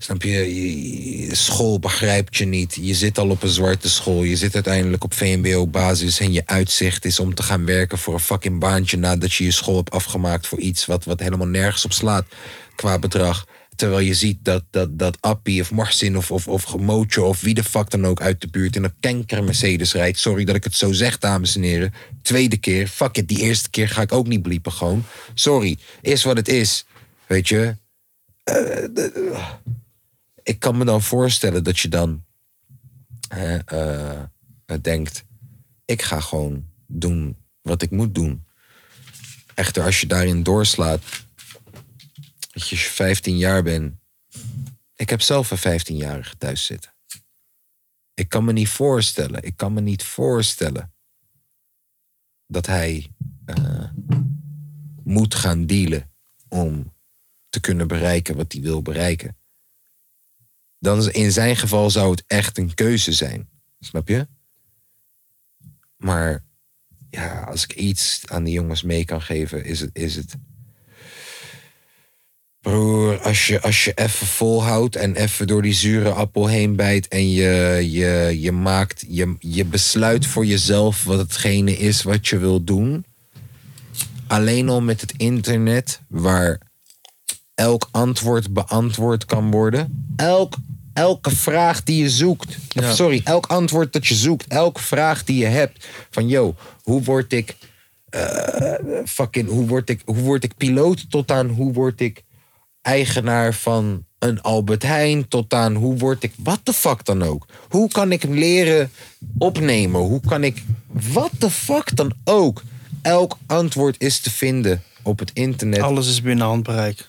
Snap je? Je- je- School begrijpt je niet. Je zit al op een zwarte school. Je zit uiteindelijk op VMBO-basis. En je uitzicht is om te gaan werken voor een fucking baantje. nadat je je school hebt afgemaakt voor iets wat, wat helemaal nergens op slaat qua bedrag. Terwijl je ziet dat, dat, dat Appie of Marcin of, of, of Mojo of wie de fuck dan ook uit de buurt in een kanker Mercedes rijdt. Sorry dat ik het zo zeg, dames en heren. Tweede keer, fuck it. Die eerste keer ga ik ook niet bliepen, gewoon. Sorry, is wat het is. Weet je, ik kan me dan voorstellen dat je dan hè, eh, eh, denkt: ik ga gewoon doen wat ik moet doen. Echter, als je daarin doorslaat, dat je als je 15 jaar bent. Ik heb zelf een 15-jarige thuis zitten. Ik kan me niet voorstellen, ik kan me niet voorstellen dat hij eh, moet gaan dealen om te kunnen bereiken wat hij wil bereiken dan is- in zijn geval zou het echt een keuze zijn. Snap je? Maar ja, als ik iets aan die jongens mee kan geven, is het. Is het Broer, als je, als je even volhoudt en even door die zure appel heen bijt en je, je, je maakt, je, je besluit voor jezelf wat hetgene is wat je wil doen. Alleen al met het internet, waar elk antwoord beantwoord kan worden. Elk, elke vraag die je zoekt. of sorry, elk antwoord dat je zoekt. Elke vraag die je hebt. Van yo, hoe word ik. eh, fucking, hoe word ik, hoe word ik piloot? Tot aan hoe word ik eigenaar van een Albert Heijn? Tot aan hoe word ik. Wat de fuck dan ook? Hoe kan ik leren opnemen? Hoe kan ik. Wat de fuck dan ook? Elk antwoord is te vinden op het internet Alles is binnen handbereik.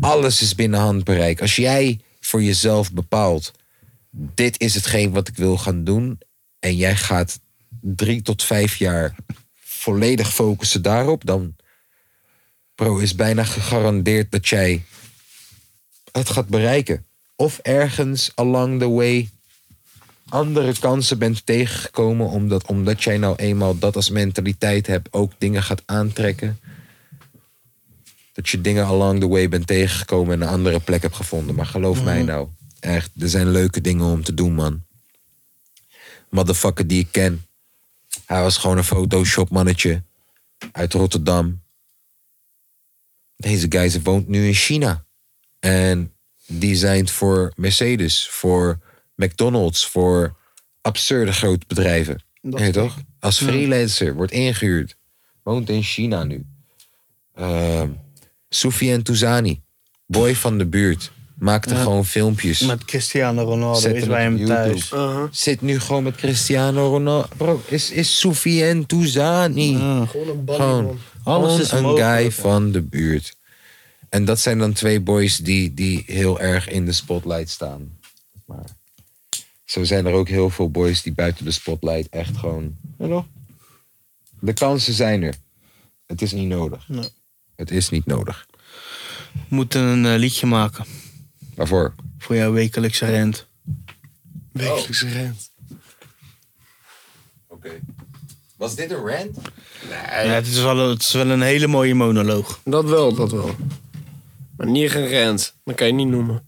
alles is binnen handbereik. Als jij voor jezelf bepaalt, dit is hetgeen wat ik wil gaan doen. En jij gaat drie tot vijf jaar volledig focussen daarop. Dan, bro, is bijna gegarandeerd dat jij het gaat bereiken. Of ergens along the way andere kansen bent tegengekomen. Omdat, omdat jij nou eenmaal dat als mentaliteit hebt. Ook dingen gaat aantrekken dat je dingen along the way bent tegengekomen en een andere plek hebt gevonden. Maar geloof mij nou, echt, er zijn leuke dingen om te doen, man. Motherfucker die ik ken. Hij was gewoon een Photoshop-mannetje uit Rotterdam. Deze guy woont nu in China. En designt voor Mercedes, voor McDonald's, voor absurde grote bedrijven. Weet je toch? Als freelancer wordt ingehuurd. Woont in China nu. Ehm Soufiane Touzani, boy van de buurt, maakte gewoon filmpjes. Met Cristiano Ronaldo Zet is hem bij op hem YouTube. thuis. Uh-huh. Zit nu gewoon met Cristiano Ronaldo. Bro, is, is Soufiane Touzani. Gewoon een Gewoon, Alles is gewoon een mogelijk, guy hè. van de buurt. En dat zijn dan twee boys die, die heel erg in de spotlight staan. Maar zo zijn er ook heel veel boys die buiten de spotlight echt gewoon... Hallo? De kansen zijn er. Het is niet nodig. Het is niet nodig. We moeten een eh, liedje maken Waarvoor? voor jouw wekelijkse rent. Wekelijkse rent. Oké. Was dit een rant? Ja, het, is wel, het is wel een hele mooie monoloog. Dat wel, dat wel. Maar niet geen rent. Dat kan je niet noemen.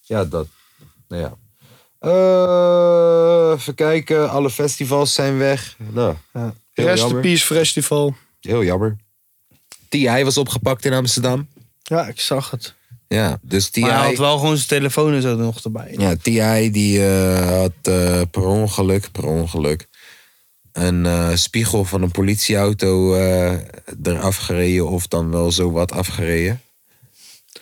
Ja, dat. Nou ja. Eh, even kijken. Alle festivals zijn weg. Nou, heel Rest in jammer. Peace Festival. Heel jammer. T.I. was opgepakt in Amsterdam. Ja, ik zag het. Ja, dus T.I. Maar hij had wel gewoon zijn telefoon en zo er nog erbij. Ja, T.I. die eh, had eh, per ongeluk, per ongeluk, een eh, spiegel van een politieauto eh, eraf gereden of dan wel zowat afgereden.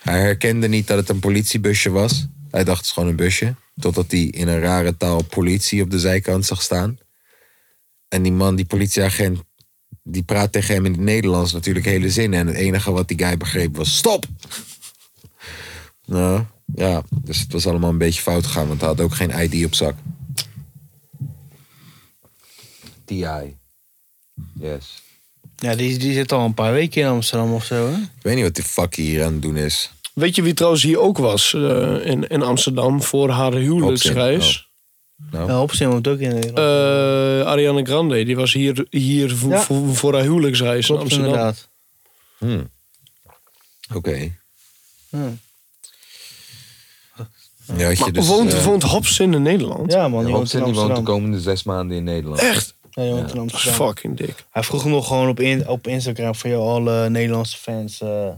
Hij herkende niet dat het een politiebusje was. Hij dacht het is gewoon een busje. Totdat hij in een rare taal politie op de zijkant zag staan. En die man, die politieagent, die praat tegen hem in het Nederlands natuurlijk hele zinnen. En het enige wat die guy begreep was stop! Nou, ja, dus het was allemaal een beetje fout gegaan, want hij had ook geen ID op zak. TI. Yes. Ja, die, die zit al een paar weken in Amsterdam of zo, hè? Ik weet niet wat die fuck hier aan het doen is. Weet je wie trouwens hier ook was eh, in, in Amsterdam voor haar huwelijksreis? Oh. Ja, Hopsin woont ook in Nederland. Eh, Ariana Grande, die was hier, hier voor, Ja. voor, voor haar huwelijksreis Klopt, in Amsterdam. inderdaad. Hmm. Oké. Hm. Ja, had je Maar dus, woont, eh, woont Hobson in Eh, Nederland? Ja, man, ja, die woont Robson in die woont de Amsterdam. komende zes maanden in Nederland. Echt? Ja, die woont in Dat is Amsterdam. fucking dik. Hij vroeg hem nog gewoon op, in, op Instagram van jou, alle Nederlandse fans. eh,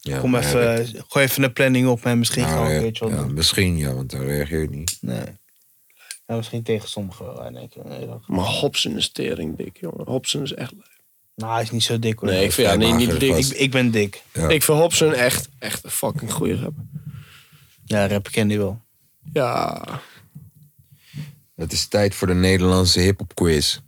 Ja, kom maar even, eh, ja, gooi even een planning op en misschien nou, gaan we een ja, keertje wat ja, doen. misschien ja, want dan reageert niet. Nee. Ja, misschien tegen sommigen wel. hè, denk ik. Nee, dat- Maar Hobson is tering dik, jongen. Hobson is echt leuk. Nou, hij is niet zo dik hoor. Nee, ik ik, vind, ja, vrij nee, niet mager dik. gast. Ik, ik ben dik. Ja. ik vind Hobson echt, echt een fucking goeie rapper. Ja, rapper ken die wel. Ja. Het is tijd voor de Nederlandse hip-hop quiz.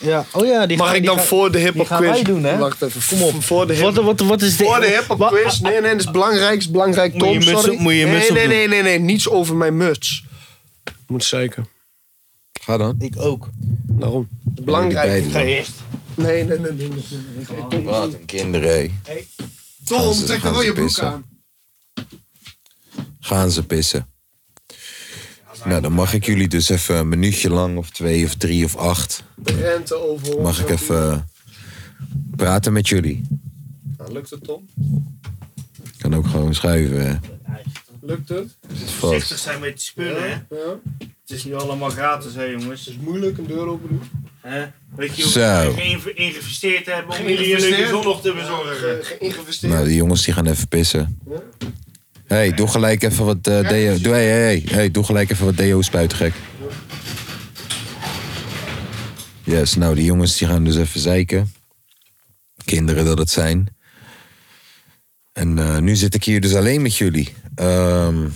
Ja, oh ja, die Mag gaan- ik die dan gaan- voor de die hip-hop gaan quiz? wij doen, hè? Wacht even, kom op. Voor de hip Wat, wat, wat is dit? Voor de hip-hop Wa- quiz. Nee, nee, dat is het belangrijkste, belangrijk. Moet je Tom, muts- sorry. moet je muts nee, nee, opdoen. nee, nee, nee, niets over mijn muts. Moet zeker. Ga dan. Ik ook. Daarom. Belangrijk. Beide Ga doen. eerst. Nee, nee, nee, nee. nee. Wat een kinderen. hé. Gaan Tom, ze- trek gaan er wel ze je broek pissen. aan. Gaan ze pissen. Nou, dan mag ik jullie dus even een minuutje lang, of twee, of drie, of acht. De rente over. ons. Mag ik even eh, praten met jullie? Nou, lukt het, Tom? Kan ook gewoon schuiven. hè. Lukt het? Zit vast. zijn met die spullen, hè? Ja. Het is niet allemaal gratis, hè, jongens. Is moeilijk een deur open doen? Weet je hoe Zo. we ingeïnvesteerd hebben om jullie een leuke zondag te Ge- Geïnvesteerd. Nou, die jongens die gaan even pissen. Hé, hey, doe gelijk even wat eh deo. Doe, hey, hey, hey, doe gelijk even wat deo spuiten, gek. Yes, nou, die jongens die gaan dus even zeiken. Kinderen dat het zijn. En eh, nu zit ik hier dus alleen met jullie. Ehm,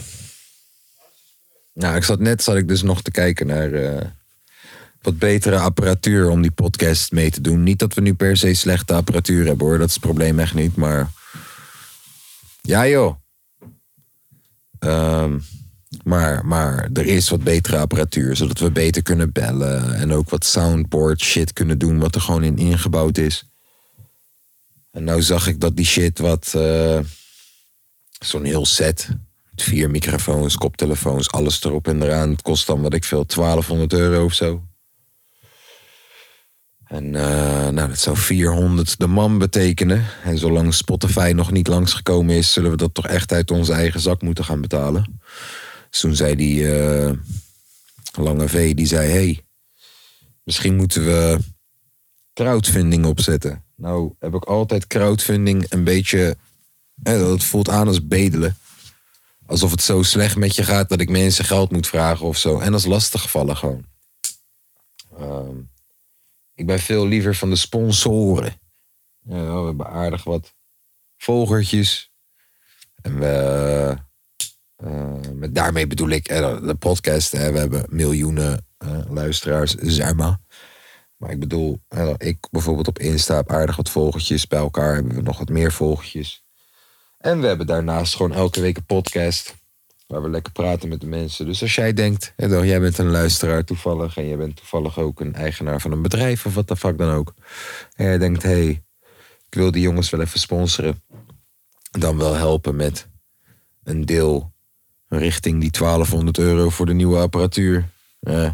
nou, ik zat net zat ik dus nog te kijken naar eh, wat betere apparatuur om die podcast mee te doen. Niet dat we nu per se slechte apparatuur hebben hoor, dat is het probleem echt niet, maar. Ja joh. Ehm, maar, maar er is wat betere apparatuur, zodat we beter kunnen bellen en ook wat soundboard shit kunnen doen, wat er gewoon in ingebouwd is. En nou zag ik dat die shit wat. eh, Zo'n heel set. Met vier microfoons, koptelefoons, alles erop en eraan. Het kost dan, wat ik veel, 1200 euro of zo. En eh, nou, dat zou 400 de man betekenen. En zolang Spotify nog niet langsgekomen is, zullen we dat toch echt uit onze eigen zak moeten gaan betalen. Dus toen zei die eh, lange V, die zei, hey, misschien moeten we crowdfunding opzetten. Nou heb ik altijd crowdfunding een beetje, hè, dat voelt aan als bedelen. Alsof het zo slecht met je gaat dat ik mensen geld moet vragen of zo. En dat is lastig vallen gewoon. Ehm, ik ben veel liever van de sponsoren. Ja, we hebben aardig wat volgertjes. En we, eh, met daarmee bedoel ik eh, de podcast. Hè, we hebben miljoenen eh, luisteraars, zeg maar. Maar ik bedoel, eh, ik bijvoorbeeld op Insta heb aardig wat volgertjes. Bij elkaar hebben we nog wat meer volgertjes. En we hebben daarnaast gewoon elke week een podcast. Waar we lekker praten met de mensen. Dus als jij denkt, hè, dan, jij bent een luisteraar toevallig. En jij bent toevallig ook een eigenaar van een bedrijf of wat de fuck dan ook. En jij denkt, hé, hey, ik wil die jongens wel even sponsoren. Dan wel helpen met een deel richting die 1200 euro voor de nieuwe apparatuur. Eh,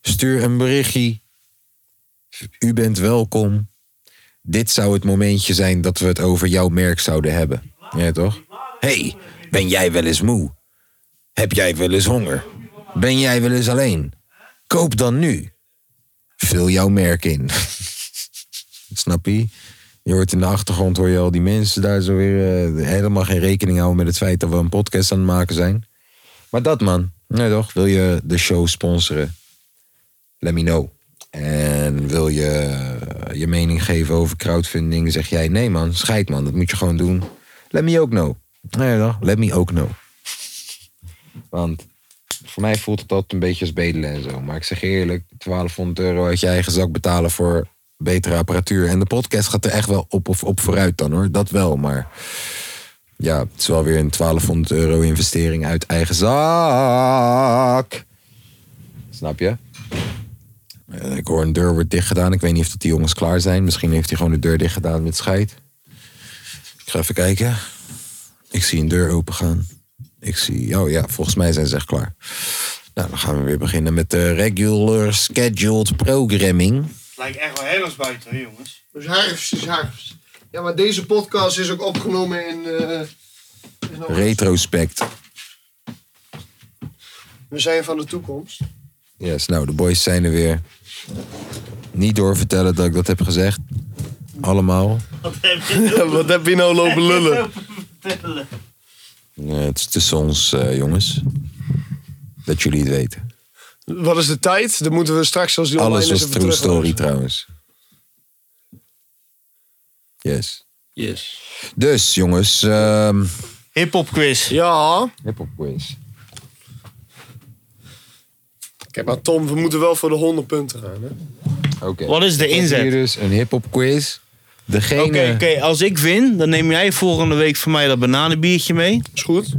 stuur een berichtje. U bent welkom. Dit zou het momentje zijn dat we het over jouw merk zouden hebben. Ja, toch? hey, ben jij wel eens moe? Heb jij wel eens honger? Ben jij wel eens alleen? Koop dan nu. Vul jouw merk in. [laughs] Snap je? Je hoort in de achtergrond hoor je al die mensen daar zo weer eh, helemaal geen rekening houden met het feit dat we een podcast aan het maken zijn. Maar dat man, nee toch? Wil je de show sponsoren? Let me know. En wil je eh, je mening geven over crowdfunding? Zeg jij nee man, scheid man, dat moet je gewoon doen. Let me ook know. Nee toch? Let me ook know. Want voor mij voelt het altijd een beetje als bedelen en zo. Maar ik zeg je eerlijk, 1200 euro uit je eigen zak betalen voor betere apparatuur. En de podcast gaat er echt wel op of op vooruit dan hoor. Dat wel, maar Ja, het is wel weer een 1200 euro investering uit eigen zak. Snap je? Eh, Ik hoor een deur wordt dichtgedaan. Ik weet niet of dat die jongens klaar zijn. Misschien heeft hij gewoon de deur dichtgedaan met scheid. Ik ga even kijken. Ik zie een deur opengaan. Ik zie, oh ja, volgens mij zijn ze echt klaar. Nou, dan gaan we weer beginnen met de regular scheduled programming. Lijkt echt wel heel erg buiten, hè, jongens. Dus herfst is herfst. Ja, maar deze podcast is ook opgenomen in... eh, in augustus. Retrospect. We zijn van de toekomst. Yes, nou, de boys zijn er weer. Niet doorvertellen dat ik dat heb gezegd. Allemaal. [laughs] Wat heb je nou lopen lullen? Eh, het is tussen ons, eh, jongens. Dat jullie het weten. Wat is de tijd? Dan moeten we straks als die online Alles is was even true terugluisteren. story trouwens. Yes. Yes. Dus, jongens. ehm Hip-hop quiz. Ja. Hip-hop quiz. Kijk maar Tom, we moeten wel voor de 100 punten gaan. Hè? Oké. Wat is de inzet? Hier dus een hip-hop quiz. Degene. Oké, oké, als ik win, dan neem jij volgende week van mij dat bananenbiertje mee. Is goed.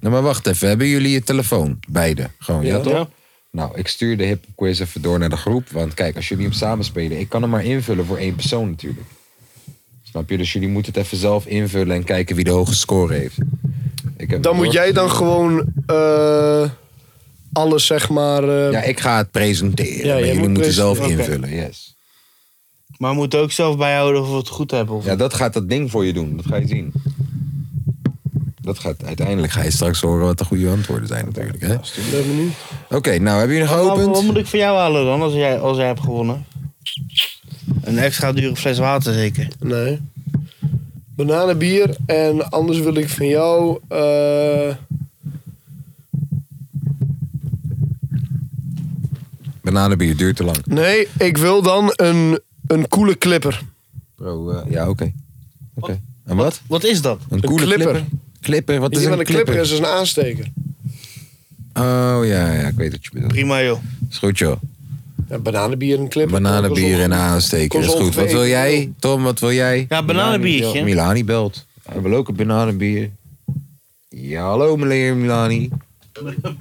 Nou, maar wacht even. Hebben jullie je telefoon? Beide. Gewoon, ja, Ja. toch? Ja. Nou, ik stuur de hip quiz even door naar de groep. Want kijk, als jullie hem samenspelen, ik kan hem maar invullen voor één persoon natuurlijk. Snap je? Dus jullie moeten het even zelf invullen en kijken wie de hoogste score heeft. Ik heb Dan moet jij dan gewoon eh, alles zeg maar... eh, Ja, ik ga het presenteren. jij maar jullie moet moeten zelf presenteren. Oké. invullen, yes. Maar we moeten ook zelf bijhouden of we het goed hebben. Of... Ja, dat gaat dat ding voor je doen. Dat ga je zien. Dat gaat, uiteindelijk ga je straks horen wat de goede antwoorden zijn natuurlijk. hè? Oké, ben benieuwd. nou, hebben jullie Maar wat, wat geopend? moet ik van jou halen dan, als jij, als jij hebt gewonnen? Een extra dure fles water zeker. Nee. Bananenbier en anders wil ik van jou... eh, Bananenbier duurt te lang. nee, ik wil dan een, een coole clipper. Bro, eh, ja, oké. Oké. En wat? Wat is dat? Een coole clipper. clipper. Clipper, wat Weet is je een wat clipper? een clipper is? Dat is een aansteker. Oh ja, ja, ik weet wat je bedoelt. Prima joh. Is goed joh. Ja, bananenbier en clipper. Bananenbier en aansteken. kost Is goed. ongeveer Wat wil één jij? euro. Tom, wat wil jij? Ja, bananenbiertje. Milani belt. Hij wil ook een bananenbier. Ja, hallo meneer Milani.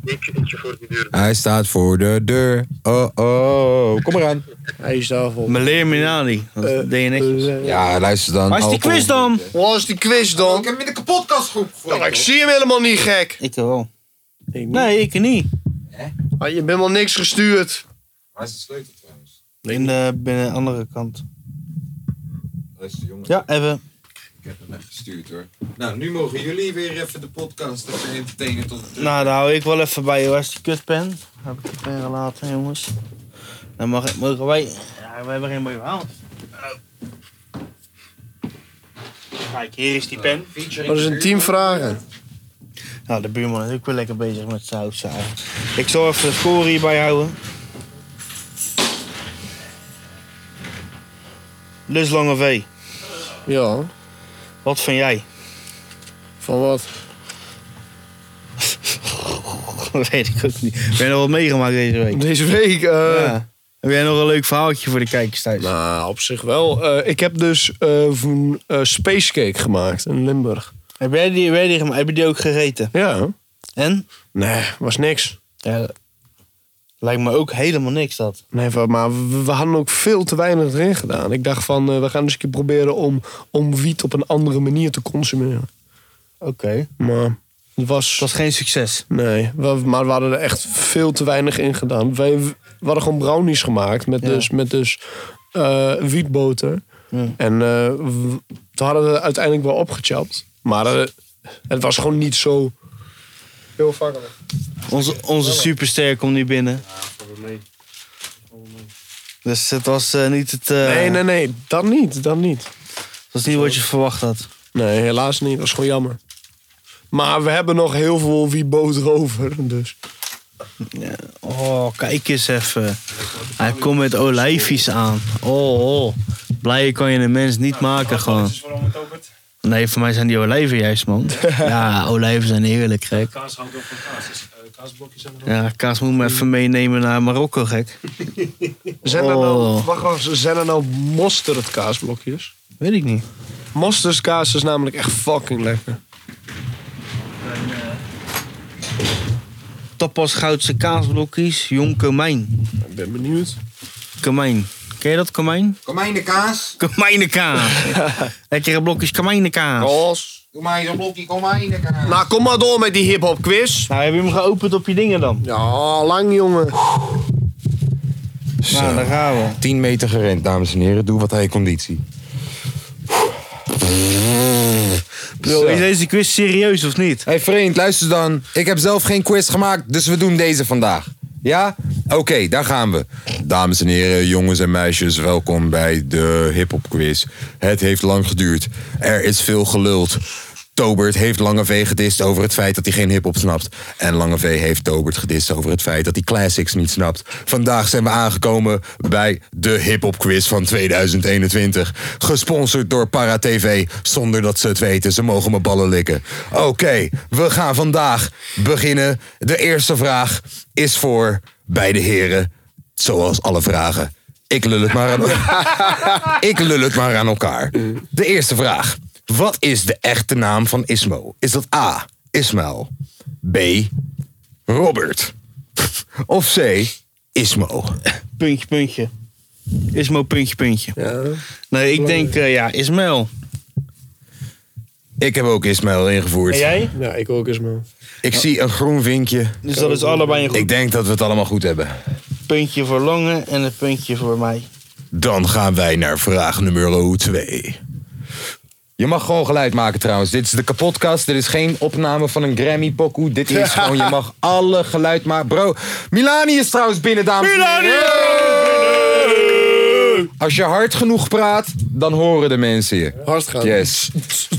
Ik eentje voor de deur. Hij staat voor de deur. Oh, oh. Kom maar aan. Hij is Eh, daarvoor. Meneer Minali. Dat is DNX. Ja, luister dan. Waar is die Eh, Alcohol. quiz dan? Waar is die quiz dan? hem in de podcastgroep Nou, ik zie hem helemaal niet gek. Ik wel. Nee, ik niet. Ah, je bent wel niks gestuurd. Waar is de sleutel trouwens? In de binnen andere kant. Luister jongen. Ja, even. Ik heb hem echt gestuurd hoor. Nou, nu mogen jullie weer even de podcast even entertainen tot de Nou, daar hou ik wel even bij. Waar is die kutpen? Heb ik de pen gelaten, jongens. Dan mag ik, mogen wij... Ja, we hebben geen mooie verhaal. Kijk, hier is die pen. Dat is een team vragen. Nou, de buurman is ook weer lekker bezig met saus. Ik zal even de score hierbij houden. Dus Lange V, Ja. wat vind jij? [laughs] Van wat? Weet ik ook niet. Heb jij nog wat meegemaakt deze week? Deze week. eh, Ja. Heb jij nog een leuk verhaaltje voor de kijkers thuis? Nou, op zich wel. Eh, ik heb dus eh van, eh, spacecake gemaakt in Limburg. Heb, jij die, heb, jij die, gema- heb je die ook gegeten? Ja. En? Nee, was niks. Ja, lijkt me ook helemaal niks dat. Nee, va- maar we, we hadden ook veel te weinig erin gedaan. Ik dacht van, eh, we gaan eens een keer proberen om, om wiet op een andere manier te consumeren. Oké. Maar het was... Het was geen succes. Nee, we, maar we hadden er echt veel te weinig in gedaan. Wij- We, hadden gewoon brownies gemaakt met Ja. dus, met dus eh, wietboter. Ja. En eh, w- toen hadden we het uiteindelijk wel opgechapt. Maar eh, het was gewoon niet zo... Heel vakkelijk. Onze, onze superster komt nu binnen. Dus het was eh, niet het... eh, Nee, nee, nee. Dat niet. Dat niet. Het was niet wat je verwacht had. Nee, helaas niet. Dat is gewoon jammer. Maar we hebben nog heel veel wietboter over. Dus. Oh, kijk eens even. Hij komt met olijfjes aan. Oh, oh. Blijer kan je een mens niet Nou, maken gewoon. Nee, voor mij zijn die olijven juist, [laughs] man. Ja, olijven zijn heerlijk, gek. Kaas houdt ook van kaas. Dus, eh, kaasblokjes en Ja, kaas moet me even meenemen naar Marokko, gek. Zijn, er nou, Oh. wacht, wacht, zijn er nou mosterdkaasblokjes? Weet ik niet. Mosterdkaas is namelijk echt fucking lekker. Tapas Goudse kaasblokjes, jong komijn. Ik ben benieuwd. Komijn. Ken je dat, komijn? Komijnen kaas. [laughs] Komijnenkaas. Lekkere blokjes komijnenkaas. Ros. Doe maar eens een blokje komijnen kaas. Nou, kom maar door met die hip-hop quiz. Nou, heb je hem geopend op je dingen dan? Ja, lang jongen. Nou, daar gaan we. 10 meter gerend, dames en heren. Doe wat hij conditie. Bro, is deze quiz serieus of niet? Hé hey vriend, luister dan. Ik heb zelf geen quiz gemaakt, dus we doen deze vandaag. Ja? Oké, daar gaan we. Dames en heren, jongens en meisjes, welkom bij de hip-hop quiz. Het heeft lang geduurd. Er is veel geluld. Tobert heeft Lange V gedist over het feit dat hij geen hip-hop snapt. En Lange V heeft Tobert gedist over het feit dat hij classics niet snapt. Vandaag zijn we aangekomen bij de hip-hop quiz van 2021. Gesponsord door Para TV, zonder dat ze het weten. Ze mogen me ballen likken. Oké, we gaan vandaag beginnen. De eerste vraag is voor beide heren, zoals alle vragen. Ik lul het maar aan ik lul het maar aan elkaar. De eerste vraag. Wat is de echte naam van Ismo? Is dat A. Ismael? B. Robert? Of C. Ismo? Puntje, puntje. Ismo, puntje, puntje. Nee, ik denk, eh, ja, Ismail. Ik heb ook Ismael ingevoerd. En jij? Ja, ik ook eens, man. Ik zie een groen vinkje. Dus dat is allebei een goed Ik denk dat we het allemaal goed hebben. puntje voor Lange en een puntje voor mij. Dan gaan wij naar vraag nummer 2. Je mag gewoon geluid maken trouwens. Dit is de kapotkast. Dit is geen opname van een Grammy pokoe. Dit [laughs] is gewoon, je mag alle geluid maken. Bro, Milani is trouwens binnen, dames en heren. Als je hard genoeg praat, dan horen de mensen je. Hard gaan. [laughs] Yes.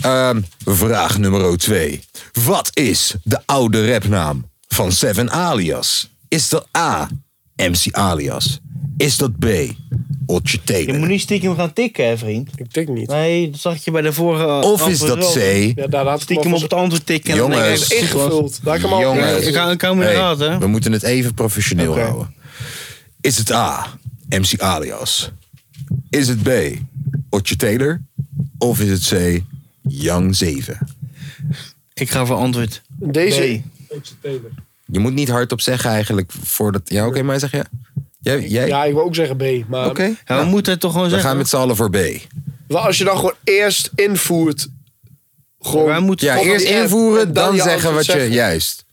Ehm, vraag nummer 2. Wat is de oude rapnaam van Seven Alias? Is dat A, MC Alias? Is dat B, Otje Je moet Taylor? niet stiekem gaan tikken, hè, vriend. Ik tik niet. Nee, dat zag je bij de vorige Of is antwoord dat C, wel. Ja, daar laat ik Stiekem op het antwoord tikken. en dan Jongens. denk ik, hey, ingevuld. Daar kan Jongens. al. Ik hou- ik hou me Hey, raad, hè. We moeten het even professioneel Oké. houden. Is het A, MC Alias? Is het B, Otje Taylor? Of is het C, Young 7? Ik ga voor antwoord. Deze. Nee. Je moet niet hardop zeggen eigenlijk voordat... Ja, oké, maar zeg je? Jij? jij? Ja, ik wil ook zeggen B. Maar Oké. Nou, Ja, we moeten het toch gewoon We zeggen. gaan met z'n allen voor B. Maar als je dan gewoon eerst invoert. Gewoon, Wij moeten Ja, op eerst die app invoeren, en dan dan je zeggen wat antwoord je... zeggen. Juist.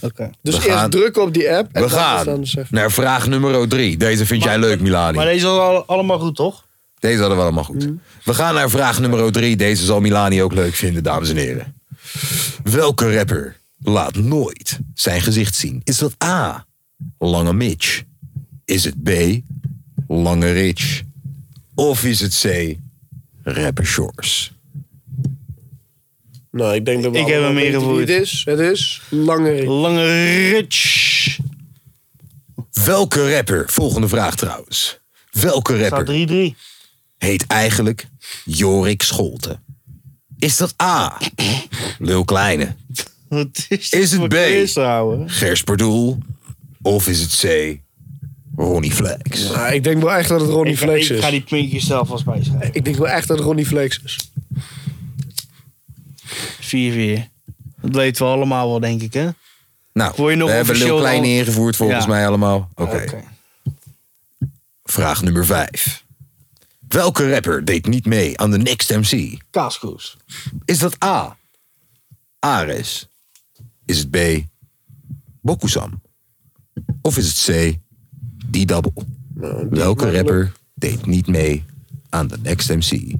Oké. dus We eerst gaan- drukken op die app. En We dan gaan Dan zeggen. naar vraag nummer 3. Deze vind jij leuk, Maar Milani. deze is al- allemaal goed, toch? Deze hadden we allemaal goed. We gaan naar vraag nummer 3. Deze zal Milani ook leuk vinden, dames en heren. Welke rapper laat nooit zijn gezicht zien? Is dat A. Lange Mitch? Is het B. Lange Rich? Of is het C. Rapper Shores? Nou, ik denk dat we Ik heb allemaal hem weten wie ingevoerd. Het is, het is langer. Lange Rich. Welke rapper, volgende vraag trouwens. Welke Staat rapper 3-3. heet eigenlijk Jorik Scholte? Is dat A. Lil Kleine? Wat is, Is het voor B? quiz, ouwe? Gers Pardoel? Of is het C. Ronnie Flex? Nou, ik denk wel echt dat het Ronnie Ik, ga- Flex ik ga is. die puntjes zelf als bijschrijven. Ik denk wel echt dat het Ronnie Flex is. 4-4. Dat weten we allemaal wel, denk ik, hè? Nou, Word je nog we hebben Lil officieel Kleine dan- ingevoerd volgens Ja. mij allemaal. Oké. Vraag nummer 5. Welke rapper deed niet mee aan de Next MC? Kaaskoes. Is dat A. Ares? Is het B. Bokusam? Of is het C. D-Double? Welke rapper deed niet mee aan de Next MC?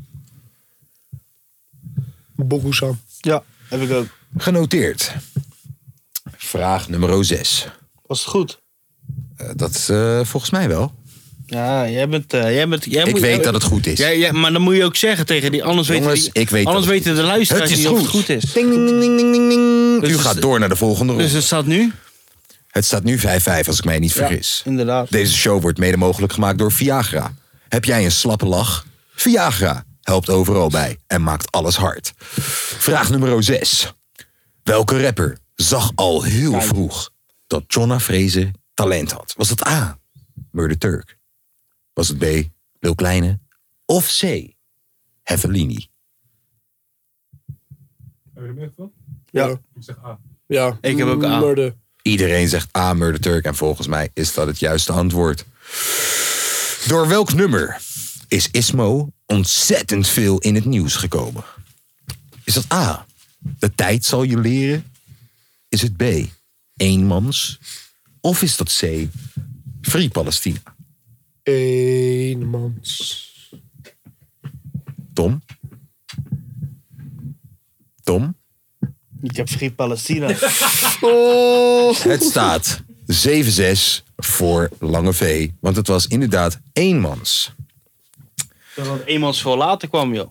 Bokusam. Ja, heb ik ook. Genoteerd. Vraag nummer 6. Was het goed? dat is eh, volgens mij wel. Ja, jij bent... eh, jij bent jij Ik moet, weet jij- dat het goed is. Ja, ja, maar dan moet je ook zeggen tegen die, anders Jongens, weten, die, ik weet anders dat het weten de Het luisteraars is niet of het goed. goed is. U Dus- gaat door naar de volgende ronde. Dus het staat nu? het staat nu 5-5 als ik mij niet vergis. Inderdaad. Deze show wordt mede mogelijk gemaakt door Viagra. Heb jij een slappe lach? Viagra helpt overal bij en maakt alles hard. Vraag nummer 6. Welke rapper zag al heel vroeg dat Jonna Freze talent had? Was het A. Murder Turk? Was het B. Lil Kleine? Of C. Hevelini? Hebben jullie hem ingevuld? Ja. Ik zeg A. Ja. Ik heb ook A. Murder. Iedereen zegt ah, Murder Turk. En volgens mij is dat het juiste antwoord. Door welk nummer is Ismo ontzettend veel in het nieuws gekomen? Is dat A. De tijd zal je leren? Is het B. Eenmans? Of is dat C. Free Palestina? Eenmans. Tom? Tom? Ik heb Free Palestina. Het staat 7-6 voor Lange V. Want het was inderdaad eenmans. Dat was eenmaals voor later kwam, joh.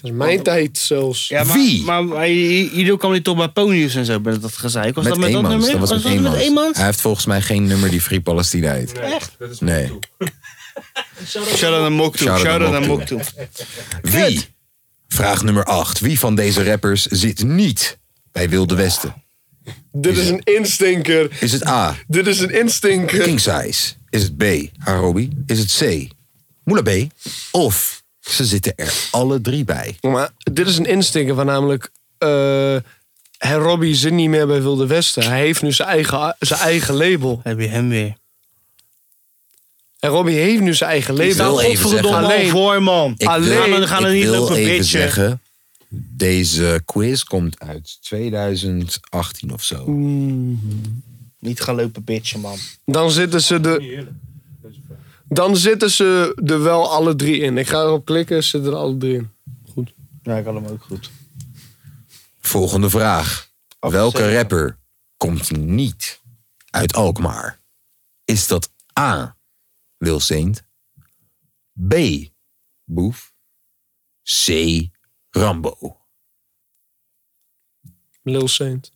Dat is mijn tijd zelfs. Ja, maar, Wie? Maar, maar Ido kwam niet toch bij Ponius en zo, met dat gezeik. Was dat met dat eenmans. nummer? Dat was met dat eenmans. met eenmans? Hij heeft volgens mij geen nummer die Free Palestina heet. Echt? Dat is Nee. Shout-out naar Mok toe. Shout-out aan Shout-out naar Mok Mok toe. Wie? Vraag nummer 8. Wie van deze rappers zit niet bij Wilde Ah. Westen? Dit is een instinker. Is het A. Dit is een instinker. King Size? Is het B. Harobi? Is het C. Moula B? Of ze zitten er alle drie bij. Maar dit is een instinker van namelijk... eh Herr Robbie zit niet meer bij Wilde Westen. Hij heeft nu zijn eigen, zijn eigen label. Heb je hem weer. En Robbie heeft nu zijn eigen label. wil even Godverdomme zeggen- al voor, man. Ik Alleen, wil, we gaan er ik niet wil lopen even bitchen. zeggen, deze quiz komt uit 2018 of zo. Niet gaan lopen bitchen, man. Dan zitten ze de. Dan zitten ze er wel alle drie in. Ik ga erop klikken, ze zitten er alle drie in. Ja, ik had hem ook goed. Volgende vraag. Welke rapper komt niet uit Alkmaar? Is dat A. Lil Saint? B. Boef? C. Rambo? Lil Saint.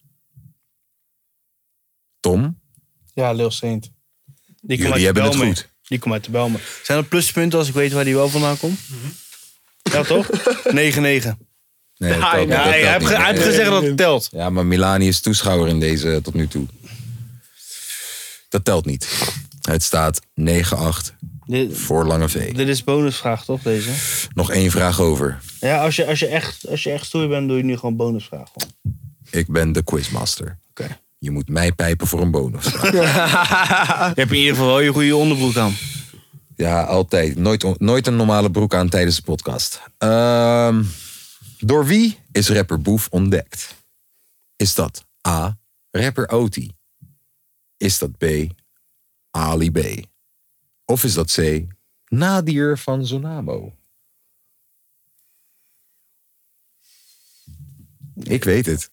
Tom? Ja, Lil Saint. Die komt uit Jullie de hebben het Belmen. goed. Die komt uit de Belmen. Zijn er pluspunten als ik weet waar die wel vandaan komt? Ja, [laughs] toch? 9-9. Nee, dat Ja, telt niet, dat hij telt heeft niet. ge- hij heeft gezegd dat het telt. Ja, maar Milani is toeschouwer in deze eh, tot nu toe. Dat telt niet. Het staat 9-8 Dit, voor Lange V. dit is bonusvraag, toch, deze? Nog één vraag over. Ja, als je, als je, echt, als je echt stoer bent, doe je nu gewoon bonusvraag. [laughs] gewoon. Ik ben de quizmaster. Oké. Je moet mij pijpen voor een bonus. [laughs] Je hebt in ieder geval wel je goede onderbroek aan. Ja, altijd. Nooit, on- nooit een normale broek aan tijdens de podcast. Ehm, door wie is rapper Boef ontdekt? Is dat A. Rapper Oti? Is dat B. Ali B? Of is dat C. Nadir van Zonamo? Ik weet het.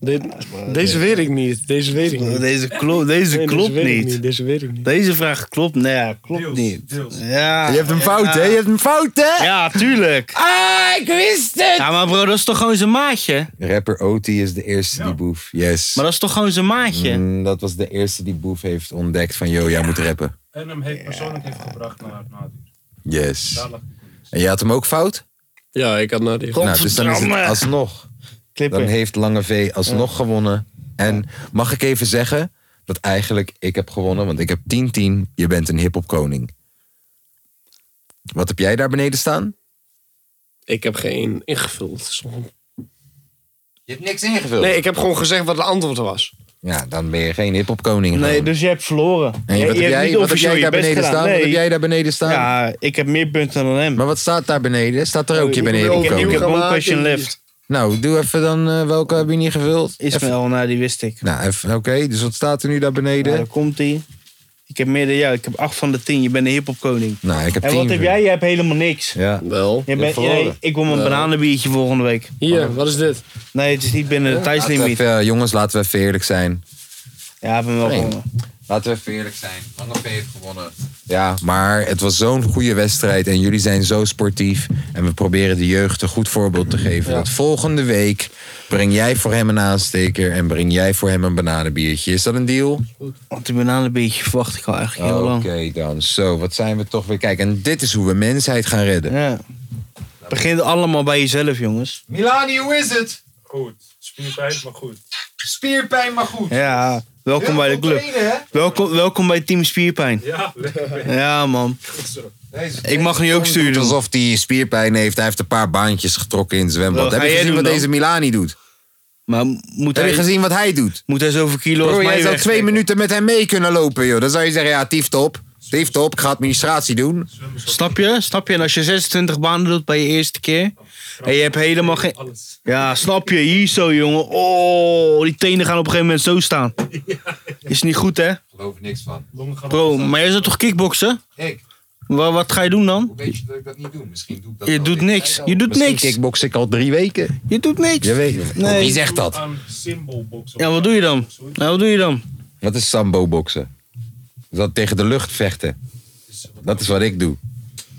Dit- deze weet ik niet. Deze weet ik niet. Nee, Deze, klo deze deze klopt weet ik niet. Deze weet ik niet. Deze vraag klopt. Nee, ja, klopt niet. Ja, Je hebt hem fout, hè? Je hebt hem fout, hè? ja, tuurlijk. Ah, ik wist het! Ja, maar bro, dat is toch gewoon zijn maatje? Rapper Oti is de eerste die Boef. Yes. Maar dat is toch gewoon zijn maatje? Mm, dat was de eerste die Boef heeft ontdekt van, yo, jij moet rappen. En hem heeft persoonlijk heeft gebracht naar Nadir. Yes. Daar lag En je had hem ook fout? Ja, ik had naar die. Nou, dus dan is het Godverdamme. alsnog. Dan Klippen. heeft Lange V alsnog gewonnen. En mag ik even zeggen dat eigenlijk ik heb gewonnen, want ik heb 10-10. Je bent een hip-hop koning. Wat heb jij daar beneden staan? Ik heb geen ingevuld. Je hebt niks ingevuld. Nee, ik heb gewoon gezegd wat het antwoord was. Ja, dan ben je geen hip-hop koning. Nee, gewoon. dus je hebt verloren. En je- wat je heb hebt jij, niet wat heb officieel jij daar je best beneden gedaan. staan? Wat heb Nee. jij daar beneden staan? Ja, ik heb meer punten dan hem. Maar wat staat daar beneden? Staat er ook je beneden wil ik, heb, ik gekomen? heb one Gemaakt question in die- left. Nou, doe even dan eh, welke heb je niet gevuld? Even- Ismaël, nou die wist ik. Nou, even- oké, dus wat staat er nu daar beneden? Nou, daar komt hij. Ik heb meer dan jou. Ik heb 8 van de 10. Je bent de hiphopkoning. Nou, ik heb En tien wat heb voor- jij? Je hebt helemaal niks. Ja. Wel. Je bent, verloren. nee, ik wil mijn bananenbiertje volgende week. Hier, wat is dit? Nee, het is niet binnen de Laten we tijdslimiet. even, eh, jongens, laten we even eerlijk zijn. Ja, ik ben wel Nee. gewonnen. Laten we even eerlijk zijn. Lange V heeft gewonnen. Ja, maar het was zo'n goede wedstrijd en jullie zijn zo sportief. En we proberen de jeugd een goed voorbeeld te geven. Dat volgende week breng jij voor hem een aansteker en breng jij voor hem een bananenbiertje. Is dat een deal? Want die bananenbiertje verwacht ik al eigenlijk heel Oh, Oké lang. dan. Zo, wat zijn we toch weer. Kijk, en dit is hoe we mensheid gaan redden. Ja. Het begint allemaal bij jezelf, jongens. Milani, hoe is het? Goed. Spierpijn, maar goed. Spierpijn, maar goed. Ja, welkom bij de club. Welkom, welkom bij Team Spierpijn. Ja, lekker. Ja, man. Ik mag nu ook Doet sturen. alsof hij spierpijn heeft. Hij heeft een paar baantjes getrokken in het zwembad. Wat ga Heb je jij gezien doen wat dan? deze Milani doet? Maar moet Heb hij, je gezien wat hij doet? moet hij zoveel kilo als Bro, mij jij zou weg- twee minuten met hem mee kunnen lopen, joh. Dan zou je zeggen, ja, tieftop. Tieftop, ik ga administratie doen. Snap je? Snap je? En als je 26 banen doet bij je eerste keer. En je hebt helemaal geen. Ja, snap je? Hier zo, jongen. Oh, die tenen gaan op een gegeven moment zo staan. Is niet goed, hè? geloof er niks van. Bro, maar jij zou toch kickboksen? Ik, Wat, wat ga je doen dan? hoe weet je dat ik dat niet doe? Misschien doe ik dat Je doet niks. Je doet niks. kickbox ik al drie weken. Je doet niks. Je weet het. Nee. Wie zegt dat? Aan symbolbox. Ja, wat doe je dan? Nou, wat doe je dan? Wat is sambo boksen? Dat tegen de lucht vechten. Dat is wat ik doe.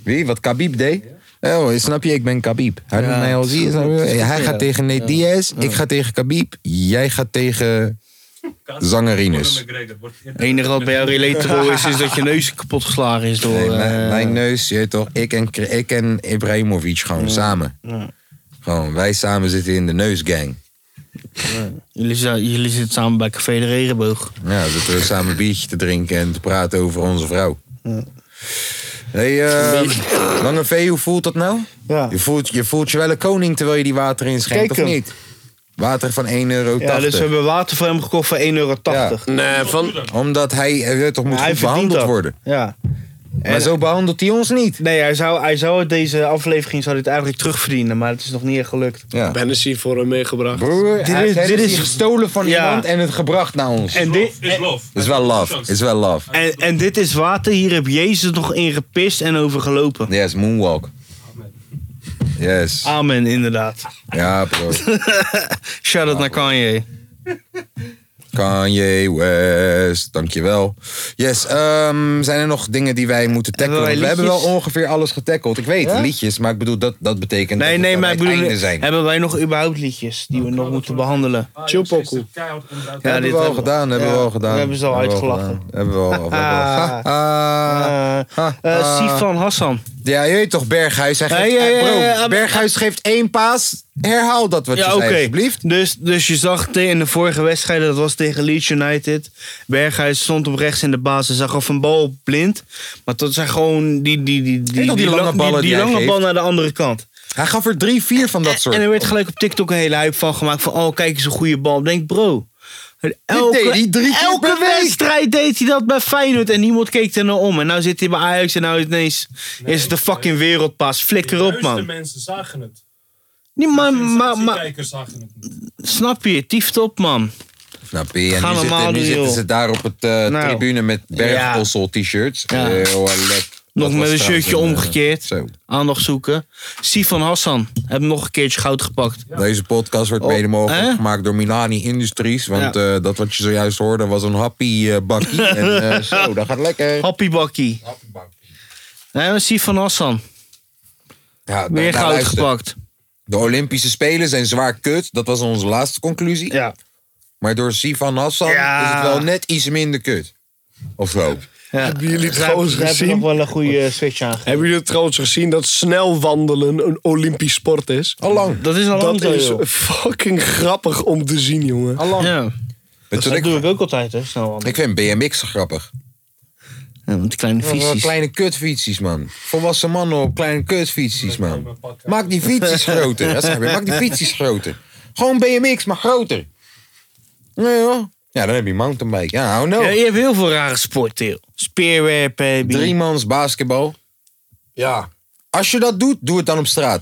Wie? Wat Khabib deed? Oh, snap je? Ik ben Khabib. Hij doet mij al zien. snap je? Hij gaat tegen Nate Diaz. Ik ga tegen Khabib. Jij gaat tegen zangerines. Het enige wat bij jou relatable is, is dat je neus kapot geslagen is door... Nee, mijn, eh, mijn neus, je weet toch? Ik en, Kri- ik en Ibrahimovic gewoon samen. Gewoon, wij samen zitten in de neusgang. jullie, zijn- jullie zitten samen bij Café de Regenboog. Ja, we zitten we samen een biertje te drinken en te praten over onze vrouw. hey, eh, Lange V, hoe voelt dat nou? Ja. Je, voelt, je voelt je wel een koning terwijl je die water inschenkt, Kijk of hem. niet? Water van 1,80 euro. Ja, dus we hebben water voor hem gekocht voor 1,80 euro. Nee, van, Omdat hij eh, weet toch moet Hij goed verdient behandeld dat. worden. Ja. Maar zo behandelt hij ons niet. Nee, hij zou, hij zou het- deze aflevering zou dit eigenlijk terugverdienen, maar het is nog niet echt gelukt. Ja. Hennessy voor hem Ah, meegebracht. Broer, dit is, dit is is- gestolen van Ja. iemand en het gebracht naar ons. En dit, Is love. is wel love, is wel love. en, en dit is water, hier heb Jezus nog in gepist en over gelopen. Yes, moonwalk. Yes. Amen, inderdaad. Ja, bro. Shout-out naar Kanye. Kanye West, dankjewel. Yes, ehm, zijn er nog dingen die wij moeten tackelen? Hebben wij we hebben wel liedjes? ongeveer alles getackeld. Ik weet, liedjes, maar ik bedoel, dat, dat betekent Nee, dat nee, we maar aan ik het bedoel, einde zijn. hebben wij nog überhaupt liedjes die we nog moeten behandelen? Chillpokoe. Ja, hebben we al gedaan, hebben we ja, al gedaan. we hebben ze al we uitgelachen. Ah. gedaan. Hebben we al. hebben we al- Ha, ha, Eh, ha, eh, ha. Sifan Hassan. Ja, je weet toch, Berghuis. Hij geeft, Ja, ja, ja, eh, bro, ja, ja. Berghuis geeft één paas. Herhaal dat wat je Ja, zei, oké. alsjeblieft. Dus, dus je zag te- in de vorige wedstrijd, dat was tegen Leeds United. Berghuis stond op rechts in de basis, zag of een bal blind. Maar dat zijn gewoon die, die, die, die, nog die lange lang- ballen die, die hij lange geeft? bal naar de andere kant. Hij gaf er drie, vier van dat soort. En er werd gelijk op TikTok een hele hype van gemaakt van, oh kijk eens een goede bal. Ik Denk bro. deed hij drie keer elke per week. wedstrijd deed hij dat bij Feyenoord en niemand keek er naar om. En nou zit hij bij Ajax en nou ineens is het de fucking wereldpas. Flikker op De man. mensen zagen het. Nee, maar, De maar, maar kijkers zagen het niet. snap je, tieft op man. Snap je? En Ga nu, zitten, normaal nu doen, zitten joh. ze daar op het eh, Nou. tribune met Eh, oh, bergossel t-shirts. Ja. Heel lekker. Nog met een shirtje omgekeerd. eh, Zo. Aandacht zoeken. Sifan Hassan. Heb nog een keertje goud gepakt. Deze podcast wordt Oh, mede mogelijk hè? gemaakt door Milani Industries. Want eh, dat wat je zojuist hoorde was een happy eh, [laughs] bakkie. en eh, zo, dat gaat lekker. Happy bakkie. Nee, maar Sifan Hassan. Ja, nou, Weer nou, goud luister. gepakt. De Olympische Spelen zijn zwaar kut. Dat was onze laatste conclusie. Ja. Maar door Sivan Hassan Ja. is het wel net iets minder kut. Of zo. Hebben jullie het Daar- trouwens daar heb ik gezien? nog wel een goede eh, switch aan. Hebben jullie het trouwens gezien dat snel wandelen een Olympisch sport is? Allang. Dat is al lang Dat zo, is joh. fucking grappig om te zien, jongen. Allang. Ja. En Dat, toen ik, doe ik ook altijd, hè. Snel wandelen. ik vind BMX grappig. ja, want die kleine Ja, maar visies. Kleine kutfietsies, man. Volwassen mannen op kleine kutfietsies, man. Maak die fietsies groter. Dat zeg ik. Maak die fietsies groter. Gewoon BMX, maar groter. Nee, hoor. Ja, dan heb je mountainbike. Ja, oh no. Ja, je hebt heel veel rare sporten, joh. Speerwerpen, baby. Driemans basketbal. Ja. Als je dat doet, doe het dan op straat.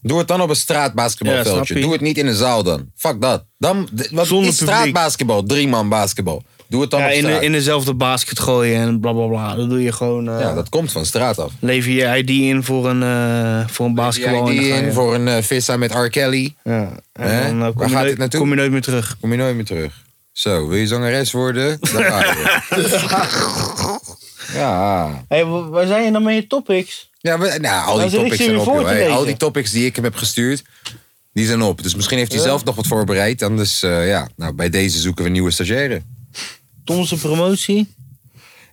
Doe het dan op een Ja, straatbasketbalveldje. snap je. doe het niet in een zaal dan. Fuck dat. Dan, d- wat Zonder is publiek. straatbasketbal? Drieman basketbal. Doe het dan ja, op in, de- straat. in dezelfde basket gooien en bla bla bla. Dat doe je gewoon. eh, Ja, dat komt van straat af. Lever je ID in voor een, eh voor een basketbal. en die dan ga je- in voor een eh, vissa met R. Kelly. Ja. En Hè? dan eh, Waar kom, je gaat nooit- dit naartoe? kom je nooit meer terug. Kom je nooit meer terug. Zo, wil je zangeres worden? Dan ga je. [laughs] ja. Hé, wa- waar zijn je dan met je topics? ja we- nou, al die Dan zit ik topics hier zijn op, voor joh. te Hey, lezen. al die topics die ik hem heb gestuurd, die zijn op. Dus misschien heeft hij zelf nog wat voorbereid. Anders, eh, ja, nou, bij deze zoeken we nieuwe stagiaire. Tomse promotie?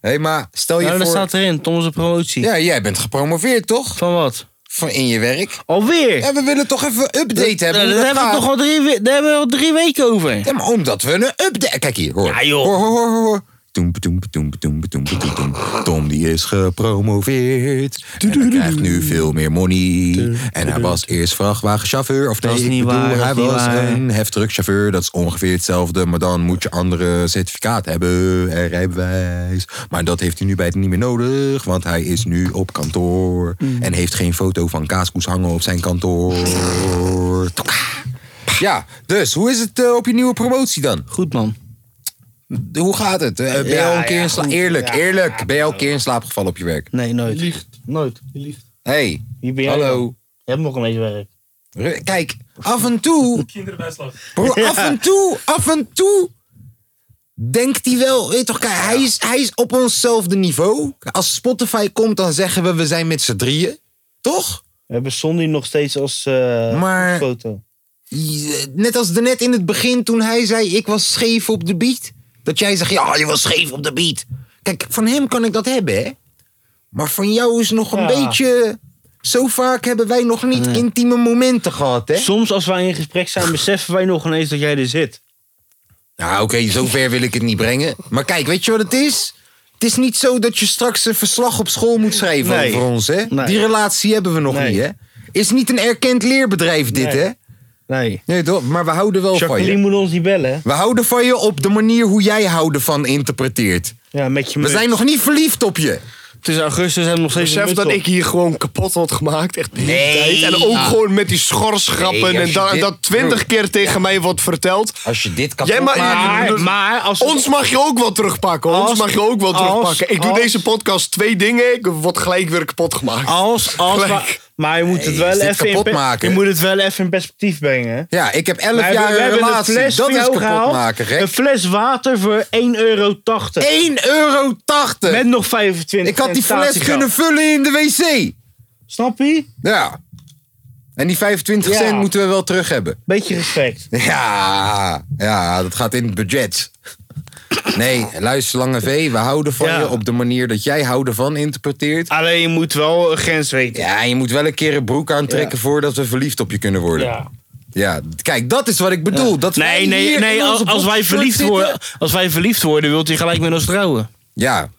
Hé, hey, maar stel Oh, je Nou, dat voor... staat erin. Tomse promotie. Ja, jij bent gepromoveerd, toch? Van wat? Van in je werk. Alweer? Ja, we willen toch even een update hebben. Nou, hoe daar, dat hebben we gaat. toch al drie, we- daar hebben we al drie weken over. Ja, maar omdat we een update... Kijk hier, hoor. Ja, joh. Hoor, hoor, hoor, hoor, hoor. Toem, toem, toem, toem, toem, toem, toem. Tom die is gepromoveerd. En hij krijgt nu veel meer money. En hij was eerst vrachtwagenchauffeur. Of nee, Dat is ik niet bedoel, waar, dat hij is niet was waar. een heftruckchauffeur. Dat is ongeveer hetzelfde. Maar dan moet je andere certificaat hebben. En rijbewijs. Maar dat heeft hij nu bij het niet meer nodig. Want hij is nu op kantoor. Mm. En heeft geen foto van kaaskoes hangen op zijn kantoor. Ja, dus hoe is het eh, op je nieuwe promotie dan? Goed man. De- Hoe gaat het? Eh, ben je al een keer in slaap? Eerlijk, eerlijk. Ben je al een keer in slaap gevallen op je werk? Nee, nooit. Liegt. Nooit. Hey, Wie ben jij? dan? hallo. Je hebt nog een beetje werk. Ru- Kijk, af en toe, Kinderbijslag. bro, af en toe, af en toe. Denkt hij wel, weet toch, kijk, hij is, hij is op onszelfde niveau. Als Spotify komt, dan zeggen we, we zijn met z'n drieën. Toch? We hebben Sonny nog steeds als eh, Maar- foto. Je- Net als net in het begin toen hij zei, ik was scheef op de beat. Dat jij zegt, ja, je was scheef op de beat. Kijk, van hem kan ik dat hebben, hè. Maar van jou is nog een Ja. beetje... Zo vaak hebben wij nog niet intieme momenten gehad, hè. Soms als wij in gesprek zijn, beseffen wij nog ineens dat jij er zit. Nou, oké, zover wil ik het niet brengen. Maar kijk, weet je wat het is? Het is niet zo dat je straks een verslag op school moet schrijven Nee. over ons, hè? Nee. Die relatie hebben we nog Nee. niet, hè? Is niet een erkend leerbedrijf dit, Nee. hè? Nee. Nee, toch? Maar we houden wel van Jacqueline je. moet ons niet bellen. hè? We houden van je op de manier hoe jij houden van interpreteert. Ja, met je We muts. zijn nog niet verliefd op je. Het is augustus en nog steeds Besef een dat muts op. ik hier gewoon kapot had gemaakt. Echt de hele Nee. tijd. En ook Ah. gewoon met die schorsgrappen. Nee, als en je da- dit- dat twintig keer tegen mij wordt verteld. Als je dit kan Jij ma- Maar, maar als Ons mag je ook wel terugpakken. Ons Als- mag je ook wel als- terugpakken. Ik doe als- deze podcast twee dingen. Ik word gelijk weer kapot gemaakt. Als, als, Gelijk. maar, maar je moet het Nee, is wel dit even in kapot pe- maken? Je moet het wel even in perspectief brengen. hè? Ja, ik heb We 11 hebben- jaar we een hebben een relatie. fles Dat voor is jou gehaald. kapotmaken, gek. Een fles water voor 1,80 euro. 1,80 euro. Met nog 25 Ik had die cent fles statiegeld. kunnen vullen in de wc. Snap je? Ja. En die 25 cent Ja. moeten we wel terug hebben. Beetje respect. [laughs] Ja, ja, dat gaat in het budget. Nee, luister Lange V, we houden van Ja. je op de manier dat jij houden van interpreteert. Alleen je moet wel een grens weten. Ja, je moet wel een keer een broek aantrekken voordat we verliefd op je kunnen worden. Ja, kijk, dat is wat ik bedoel. Dat wij Nee, nee, hier nee. in Als, onze als wij boxshort verliefd zitten- worden, als wij verliefd worden, wilt hij gelijk met ons trouwen. Ja,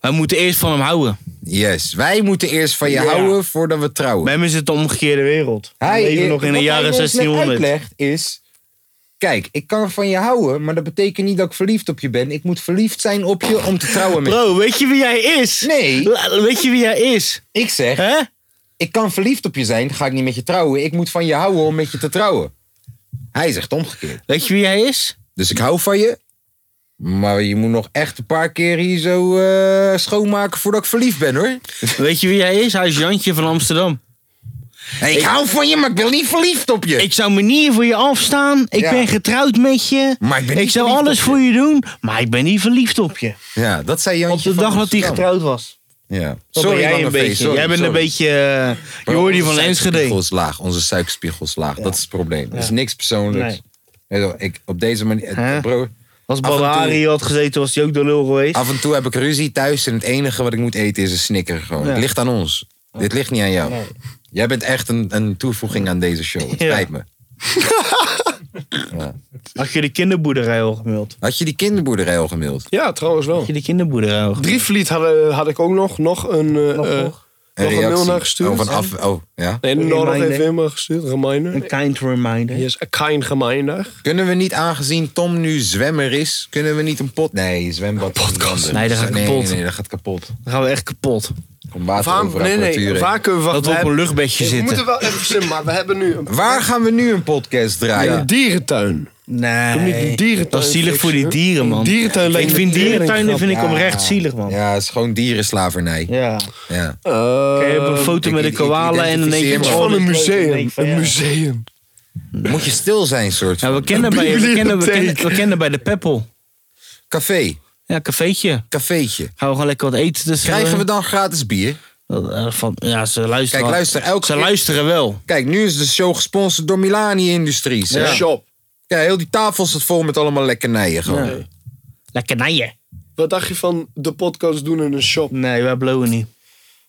Wij moeten eerst van hem houden. yes. Wij moeten eerst van je Ja. houden voordat we trouwen. Bij hem is het de omgekeerde wereld. Hij We leven is- nog in de wat hij jaren ons net 1600. uitlegt is... Kijk, ik kan van je houden, maar dat betekent niet dat ik verliefd op je ben. Ik moet verliefd zijn op je om te trouwen met je. Bro, weet je wie jij is? Nee, La- Weet je wie jij is? ik zeg, Hè? ik kan verliefd op je zijn, ga ik niet met je trouwen. Ik moet van je houden om met je te trouwen. Hij zegt omgekeerd. Weet je wie jij is? Dus ik hou van je, maar je moet nog echt een paar keer hier zo eh, schoonmaken voordat ik verliefd ben, hoor. Weet je wie hij is? Hij is Jantje van Amsterdam. Hey, ik, hou van je, maar ik ben niet verliefd op je. Ik zou me niet voor je afstaan. Ik Ja. ben getrouwd met je. Maar ik ben niet zou verliefd alles op voor je doen, maar ik ben niet verliefd op je. Ja, dat zei Op Jantje de van dag dat hij Amsterdam. getrouwd was. Ja. Dat ben jij Lange een V, beetje. sorry, jij bent sorry. een beetje. eh, je hoort hier van Onze Enschede. suikerspiegel is laag. Onze suikerspiegel is laag. Dat is het probleem. Dat is niks persoonlijks. Nee. Weet je wel, Ik, op deze manier... Hè? Bro, Als Af en toe- Balari had gezeten, was hij ook de lul geweest. af en toe heb ik ruzie thuis en het enige wat ik moet eten is een snicker gewoon. Het ligt aan ons. Dit ligt niet aan jou. Jij bent echt een, een toevoeging aan deze show. Het Ja. spijt me. Had je de kinderboerderij al gemeld? Had je die kinderboerderij al gemaild? Ja, trouwens wel. Had je de kinderboerderij al gemeld? Drievliet had, eh, had ik ook nog. Nog een, eh, eh, Een nog een mail naar gestuurd. Oh, van af, oh, ja. Nee, Een nog reminder. even helemaal gestuurd. Een Reminder. kind reminder. Yes, a kind reminder. Kunnen we niet, aangezien Tom nu zwemmer is, kunnen we niet een pot... Nee, zwembad. Podcast. Nee, dat gaat nee, kapot. Nee, nee, dat gaat kapot. Dan gaan we echt kapot. Kom water Waar, over nee, nee. apparatuur heen. Waar kunnen we... Dat we we op een hebben- luchtbedje we zitten. moeten wel even zin, maar we hebben nu een, Waar gaan we nu een podcast draaien? een dierentuin. Doe niet Nee. die dierentuin Dat is zielig voor die fixen. dieren, man. Dierentuin lijkt Ik me vind tering dierentuinen grappig. vind ik Ja. oprecht zielig, man. Ja, het is gewoon dierenslavernij. Ja. Ja. Eh, Ik heb een foto ik- met een ik koala en dan denk identificeer ik... me. oh, van dit een is leuk. Dan denk museum. ik van, Een ja. museum. Moet je stil zijn, soort Ja, van. we kennen bij, we kennen, we kennen, we kennen bij de Peppel. Café, Ja, cafeetje. cafeetje. Gaan we gewoon lekker wat eten. Dus Krijgen we dan gratis bier? Eh, Van, ja, ze luisteren. Kijk, wel. luister, elke Ze keer- luisteren wel. Kijk, nu is de show gesponsord door Milani Industries. hè? Shop. Ja, heel die tafel staat vol met allemaal lekkernijen gewoon. Ja. Lekker naar je. Wat dacht je van de podcast doen in een shop? Nee, wij blowen niet.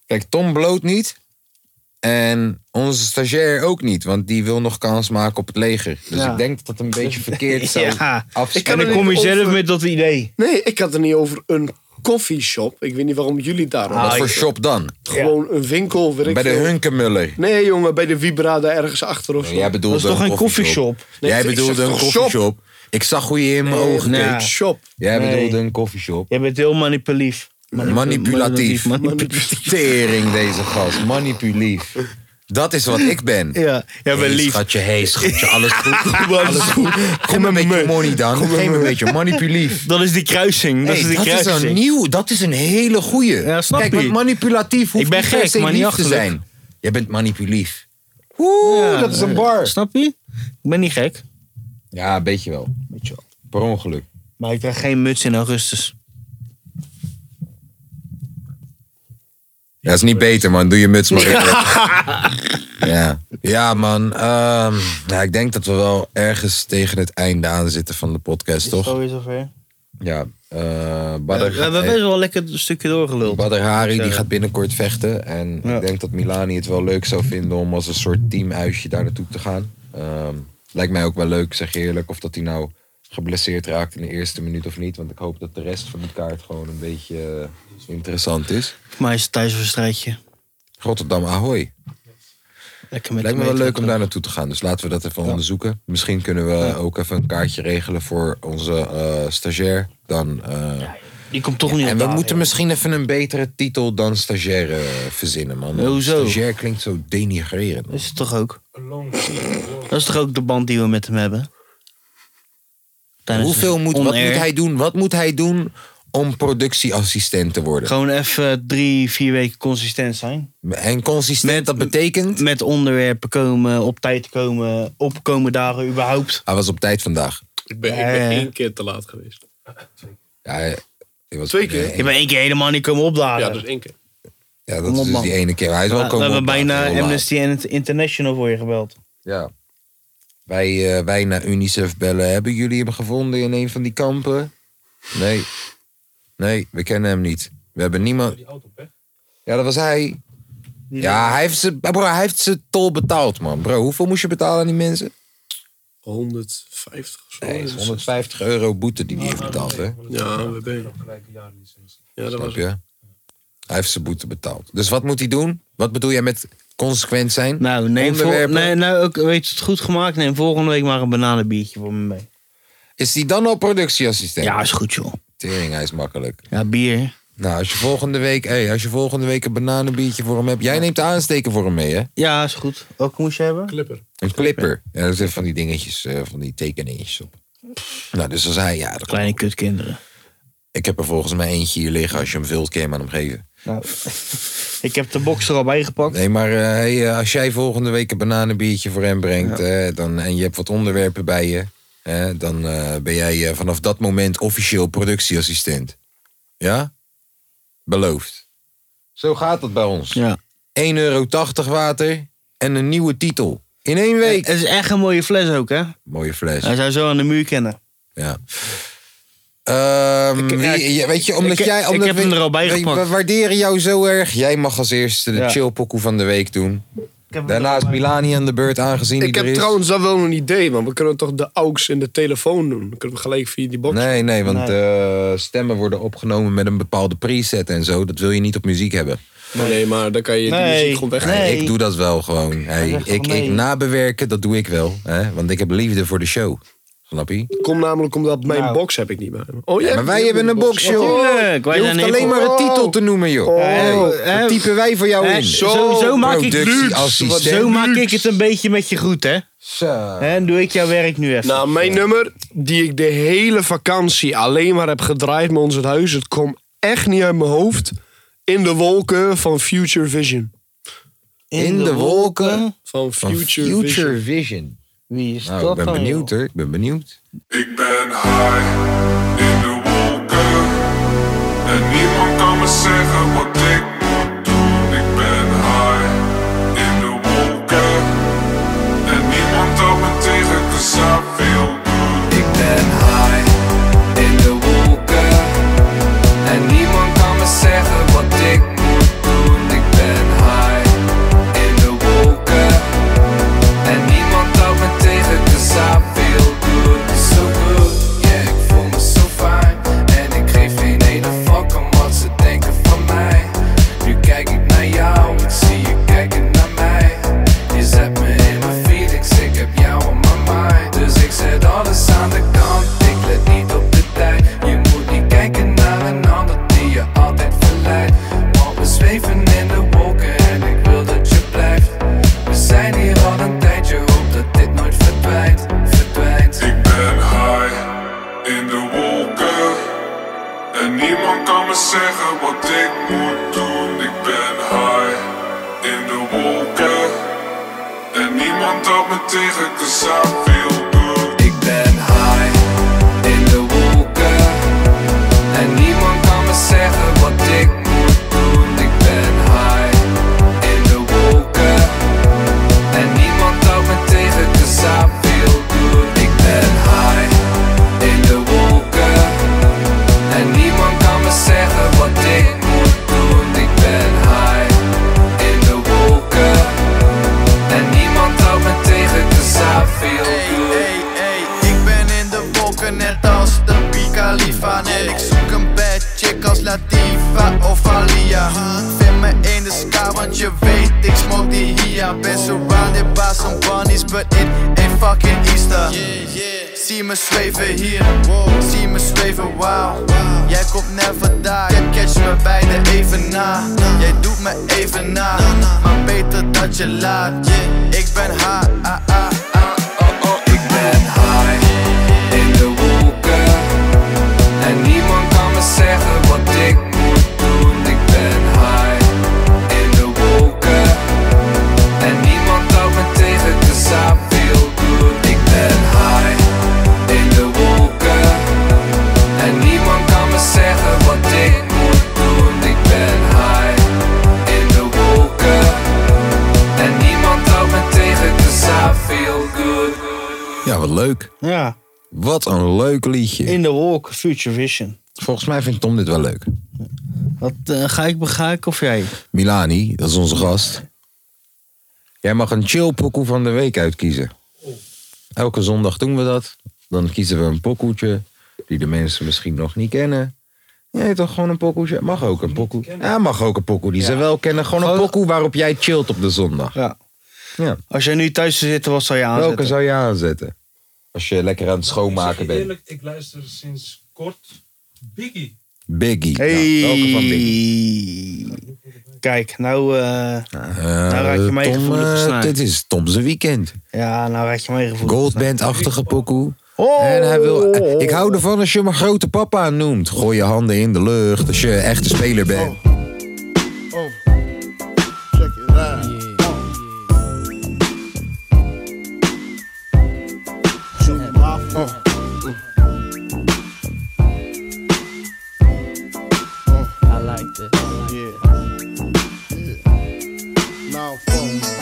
Kijk, Tom bloot niet. En onze stagiair ook niet, want die wil nog kans maken op het leger. Dus Ja. ik denk dat dat een beetje [laughs] verkeerd zou [laughs] Ja. afsluiten. kan En dan er kom je niet zelf over. met dat idee. Nee, ik had het niet over een koffieshop. Ik weet niet waarom jullie daar Wat Ah, voor shop dan? Gewoon een winkel. Weet ik Ah, Bij de veel. Hunkemuller. Nee, jongen, bij de Vibra daar ergens achter of zo. Jij bedoelde Dat is toch een geen koffieshop? Nee, Jij ik zeg bedoelde een toch shop? koffieshop. Ik zag hoe je in mijn ogen nee. keek. een Shop. Jij Nee. bedoelde een koffieshop. Jij bent heel manipulatief. Manipulatief. manipulatief. Tering deze gast. Manipulief. Dat is wat ik ben. Ja, jij bent Hey, lief. Schatje, hey, schatje, alles [laughs] goed. Alles goed. Geef me een beetje money dan. Geef me een beetje manipulief. Dat is die kruising. [laughs] Dat Hey, is die dat is kruising. een nieuw, dat is een hele goeie. Ja, snap Kijk, je. want manipulatief hoeft Ik ben niet per gek, se maar niet lief te achterlijk. zijn. Jij bent manipulief. Oeh, dat is een bar. Snap je? Ik ben niet gek. Ja, een beetje wel. Beetje wel. Per ongeluk. Maar ik draag geen muts in augustus. Ja, is niet beter, man. Doe je muts maar weer. Ja, ja man. Ehm, nou, ik denk dat we wel ergens tegen het einde aan zitten van de podcast, toch? is zover. Ja. eh We Badr, eh, hebben best wel lekker een stukje doorgeluld. Badr Hari die Ja. gaat binnenkort vechten. En Ja. ik denk dat Milani het wel leuk zou vinden om als een soort teamuitje daar naartoe te gaan. Ehm, lijkt mij ook wel leuk, zeg je eerlijk. Of dat hij nou geblesseerd raakt in de eerste minuut of niet. Want ik hoop dat de rest van die kaart gewoon een beetje eh, interessant is. Maar is het thuiswedstrijdje. Rotterdam, ahoy. Lekker met Het lijkt me de wel leuk om meter. daar naartoe te gaan. Dus laten we dat even onderzoeken. Misschien kunnen we ook even een kaartje regelen voor onze eh, stagiair. Dan, eh, Die komt toch niet en op we de moeten aarde. misschien even een betere titel dan stagiair eh, verzinnen, man. Want Hoezo? Stagiair klinkt zo denigrerend. man. Is het toch ook? Dat is toch ook de band die we met hem hebben? Tijdens Hoeveel het moet, wat moet eh, on-air. hij doen? Wat moet hij doen om productieassistent te worden? Gewoon even drie, vier weken consistent zijn. En consistent, Met- dat betekent... Met onderwerpen komen, op tijd komen, opkomen dagen überhaupt. Hij was op tijd vandaag. Ik ben, ik Ja, ja, ben ja. één keer te laat geweest. Ja, hij- hij was, Twee keer? nee, Je bent één keer helemaal niet komen Ah, opdagen. Ja, dus één keer. ja, dat Kom is op, dus man. die ene keer. Hij is wel we komen hebben opdagen, heel bijna laat. Amnesty International voor je gebeld. Ja. Wij, eh, wij naar UNICEF bellen. Hebben jullie hem gevonden in een van die kampen? Nee. Nee, we kennen hem niet. We hebben niemand. Ja, dat was hij. Ja, hij heeft ze, bro, hij heeft ze tol betaald, man. Bro, hoeveel moest je betalen aan die mensen? 150 of zo. Dus- Nee, 150 euro boete die hij heeft betaald, hè? Ja, we ben Ja, dat Snap was je? Hij heeft zijn boete betaald. Dus wat moet hij doen? Wat bedoel jij met consequent zijn? Nou, neem vol- Onderwerpen. nee, nou ook, weet je het goed gemaakt? Neem volgende week maar een bananenbiertje voor me mee. Is hij dan al productieassistent? Ja, is goed joh. Tering, hij is makkelijk. Ja, bier. Nou, als je volgende week, hey, als je volgende week een bananenbiertje voor hem hebt. Jij neemt de aansteker voor hem mee, hè? Ja, is goed. Welke moest je hebben? Clipper. Een clipper. Ja, dat zijn van die dingetjes, eh, van die tekeningetjes op. Nou, dus als hij, ja, dat Kleine kutkinderen. ik heb er volgens mij eentje hier liggen. Als je hem wilt, kan je hem aan hem geven. Nou, ik heb de box er al bij gepakt. Nee, maar eh, hey, eh, als jij volgende week een bananenbiertje voor hem brengt hè, dan, en je hebt wat onderwerpen bij je, hè, dan eh, ben jij eh, vanaf dat moment officieel productieassistent. Ja? Beloofd. Zo gaat dat bij ons. Ja. 1,80 euro water en een nieuwe titel. In één week. Het is echt een mooie fles ook, hè? Mooie fles. Hij zou zo aan de muur kennen. Ja. Ehm, Ik- wie- ja, ik- ja, weet je, omdat ik- jij... ik omdat heb hem we- er al bij we- gepakt. We waarderen jou zo erg. Jij mag als eerste de Ja. chillpokoe van de week doen. Daarna is Milani aan de beurt aangezien die Ik er heb is. trouwens dan wel een idee, man. We kunnen toch de aux in de telefoon doen? Dan kunnen we gelijk via die box. Nee, nee, want eh, stemmen worden opgenomen met een bepaalde preset en zo. Dat wil je niet op muziek hebben. Nee, maar dan kan je die Nee. muziek gewoon weg. Nee. Ik doe dat wel gewoon. Hey, zegt ik, van nee. ik nabewerken, dat doe ik wel. Hè? Want ik heb liefde voor de show. Snap je? Kom namelijk omdat mijn Nou. box heb ik niet bij me. Oh, ja, maar wij hebben een box, Oh, joh. Tuurlijk, wij Je zijn hoeft alleen hiphop. maar een titel te noemen, joh. Oh. Hey, dat typen wij voor jou Hè, in. zo, zo maak ik Productieassistent. Zo maak ik het een beetje met je goed, hè? Zo. En doe ik jouw werk nu even. Nou, mijn nummer die ik de hele vakantie alleen maar heb gedraaid met ons het huis. Het kwam echt niet uit mijn hoofd. In de wolken van Future Vision. In de wolken Van van Future, Future, Vision. Vision. Wie is Nou, dat ik ben dan, benieuwd joh? hoor. Ik ben benieuwd. Ik ben high in de wolken en niemand kan me zeggen wat ik moet doen. Ik ben high in de wolken en niemand kan me tegen, dus I feel good. Ik ben high in de wolken en niemand kan me zeggen wat ik moet doen. Ik ben high in de Niemand kan me zeggen wat ik moet doen. Ik ben high in de wolken. En niemand had me tegen, cause I feel good. Ik ben high in de wolken. En niemand kan me zeggen wat ik moet doen. Ik ben high in de wolken. En niemand houdt me tegen, cause I feel good. Ik ben high in de wolken. En niemand kan me zeggen wat ik moet doen. Ik ben high in de wolken. En niemand houdt me tegen, cause I feel good. Ik ben in de wolken net als de Pika Lifa En ik zoek een bad chick als Latifa of Alia Vind me in de sky want je weet ik smoke die hier Ben surrounded by some bunnies but it ain't fucking Easter Zie me zweven hier, zie me zweven wow Jij komt net vandaag, jij catch me bij de even na Jij doet me even na, maar beter dat je laat Ik ben ha, ah, ah, ah, oh, oh, ik ben high in de wolken. En niemand kan me zeggen wat ik moet doen. Ik ben high in de wolken. En niemand houdt me tegen, cause I feel good. Ik ben high in de wolken. En niemand kan me zeggen wat ik moet doen. Ik ben high in de wolken. En niemand houdt me tegen, cause I feel good. Ja, wat leuk. Ja. Wat een leuk liedje. In the Walk, Future Vision. Volgens mij vindt Tom dit wel leuk. Wat eh, ga ik begrijpen of jij? Milani, dat is onze gast. Jij mag een chill pokoe van de week uitkiezen. Elke zondag doen we dat. Dan kiezen we een pokoetje die de mensen misschien nog niet kennen. Nee, toch gewoon een pokoetje. Mag ook een pokoe. Ja, mag ook een pokoe die ze wel kennen. Gewoon een pokoe waarop jij chillt op de zondag. Ja. ja. Als jij nu thuis zou zitten, wat zou je aanzetten? Welke zou je aanzetten? Als je lekker aan het schoonmaken bent. Eerlijk, ik luister sinds kort Biggie. Biggie. Hey. Nou, welke van Biggie? Kijk, nou, eh nou raak je Eh, mij Tom, eh, gevoelig gesnaard. Dit is Tom's weekend. Ja, nou raak je mij gevoelig Goldband-achtige pokoe. Oh. En hij wil, ik hou ervan als je me grote papa noemt. Gooi je handen in de lucht als je echte speler bent. I like this. Yeah. Now, folks.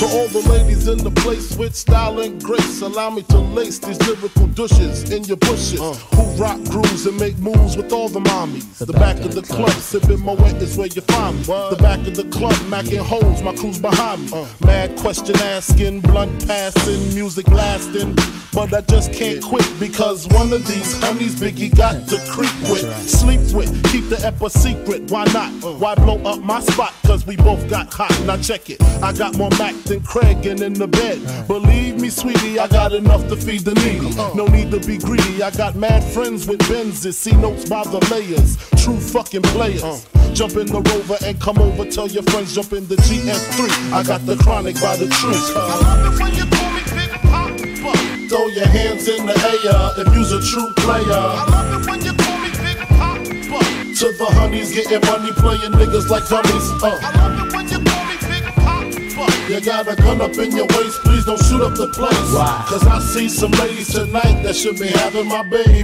To all the ladies in the place with style and grace, allow me to lace these lyrical douches in your bushes. Who rock grooves and make moves with all the mommies. Uh. The, back, of the club, sipping my wet is where you find me. The back of the club, macking holes, my crew's behind me. Mad question asking, blunt passing, music lasting. But I just can't quit because one of these homies Biggie got to creep with, sleep with, keep the ep a secret. Why not? Why blow up my spot? Cause we both got hot. Now check it. I got more Mac than Craig and in the bed. Believe me, sweetie, I got enough to feed the needy. No need to be greedy. I got mad friends with Benzes. See notes by the layers. True fucking players. Jump in the rover and come over. Tell your friends, jump in the GF3. I got the chronic by the tree. Throw your hands in the air if you's a true player. To the honeys, getting money, playing niggas like dummies. Uh. You got a gun up in your waist, please don't shoot up the place. Why? Cause I see some ladies tonight that should be having my baby.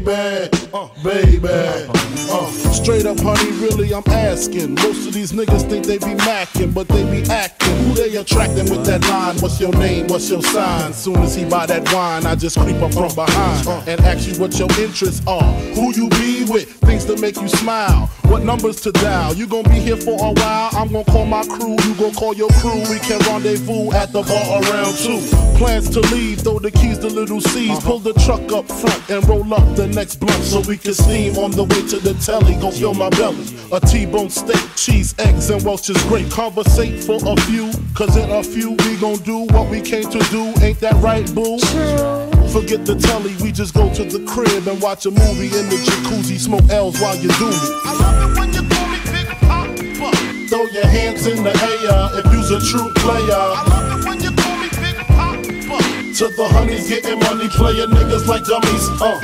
Uh, baby. Uh, straight up, honey, really, I'm asking. Most of these niggas think they be macking, but they be acting. Who they attracting with that line? What's your name? What's your sign? Soon as he buy that wine, I just creep up from behind and ask you what your interests are. Who you be with? Things to make you smile. What numbers to dial? You gonna be here for a while. I'm gonna call my crew. You gonna call your crew. We can rendezvous at the bar around two. Plans to leave. Throw the keys to little C's. Pull the truck up front and roll up the next blunt so we can steam on the way to the telly. Go fill my belly. A T-bone steak, cheese, eggs, and Welch's grape. Conversate for a few, cause in a few we gon' do what we came to do. Ain't that right, boo? Forget the telly, we just go to the crib and watch a movie in the jacuzzi. Smoke L's while you do me. Throw your hands in the air if you's a true player. To the honeys getting money, playing niggas like dummies. Uh.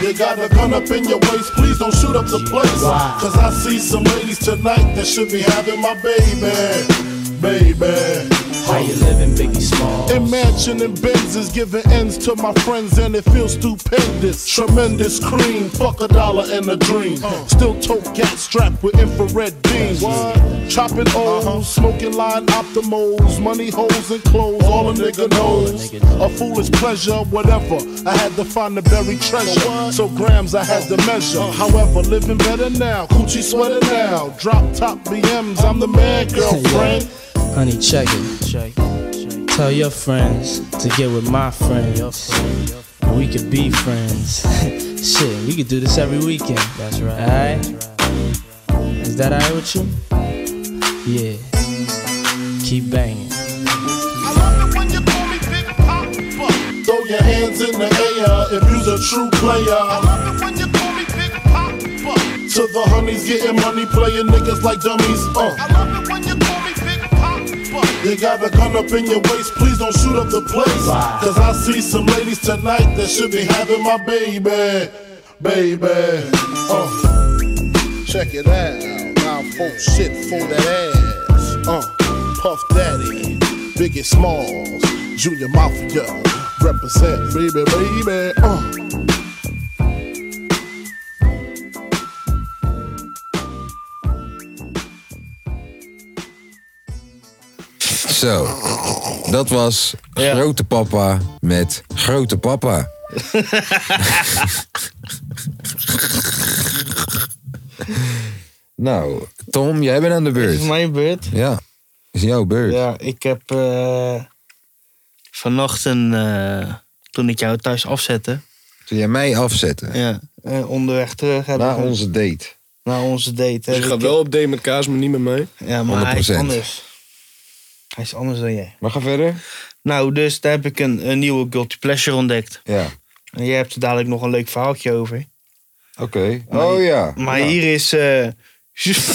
You got a gun up in your waist, please don't shoot up the place. Cause I see some ladies tonight that should be having my baby. Baby. How you living, Biggie Small? In mansion and Benz is giving ends to my friends and it feels stupendous. Tremendous cream, fuck a dollar and a dream. Still tote gas strapped with infrared beams. Chopping O's, smoking line optimals, money holes and clothes, all a nigga knows. A foolish pleasure, whatever. I had to find the buried treasure, so grams I had to measure. However, living better now, coochie sweater now. Drop top BMs, I'm the man, girlfriend. Honey, check it. Tell your friends to get with my friends. And we could be friends. Shit, we could do this every weekend. That's right. Alright? Is that alright with you? Yeah. Keep banging. Throw your hands in the air if you's a true player. To the honeys getting money, playing niggas like dummies. Uh. You got a gun up in your waist, please don't shoot up the place. Cause I see some ladies tonight that should be having my baby. Baby. Uh. Check it out. Now, folks, shit for that ass. Uh. Puff Daddy. Biggest Smalls. Junior Mafia. Represent, baby, baby. Uh. Zo, dat was Grote Papa met Grote [laughs] Papa. nou, Tom, jij bent aan de Het is beurt. mijn beurt. Ja, is jouw beurt. Ja, ik heb eh, vannacht een. eh, toen ik jou thuis afzette. Toen jij mij afzette. Ja. eh, onderweg terug. heb Na ik- onze date. Na onze date. Dus je gaat wel op date met kaas, maar niet met mij. Ja, maar hij is 100%. anders. Hij is anders dan jij. Maar ga verder. Nou, dus daar heb ik een, een nieuwe Guilty Pleasure ontdekt. Ja. En jij hebt er dadelijk nog een leuk verhaaltje over. Oké. Oh ja. Maar Nou, hier is... eh,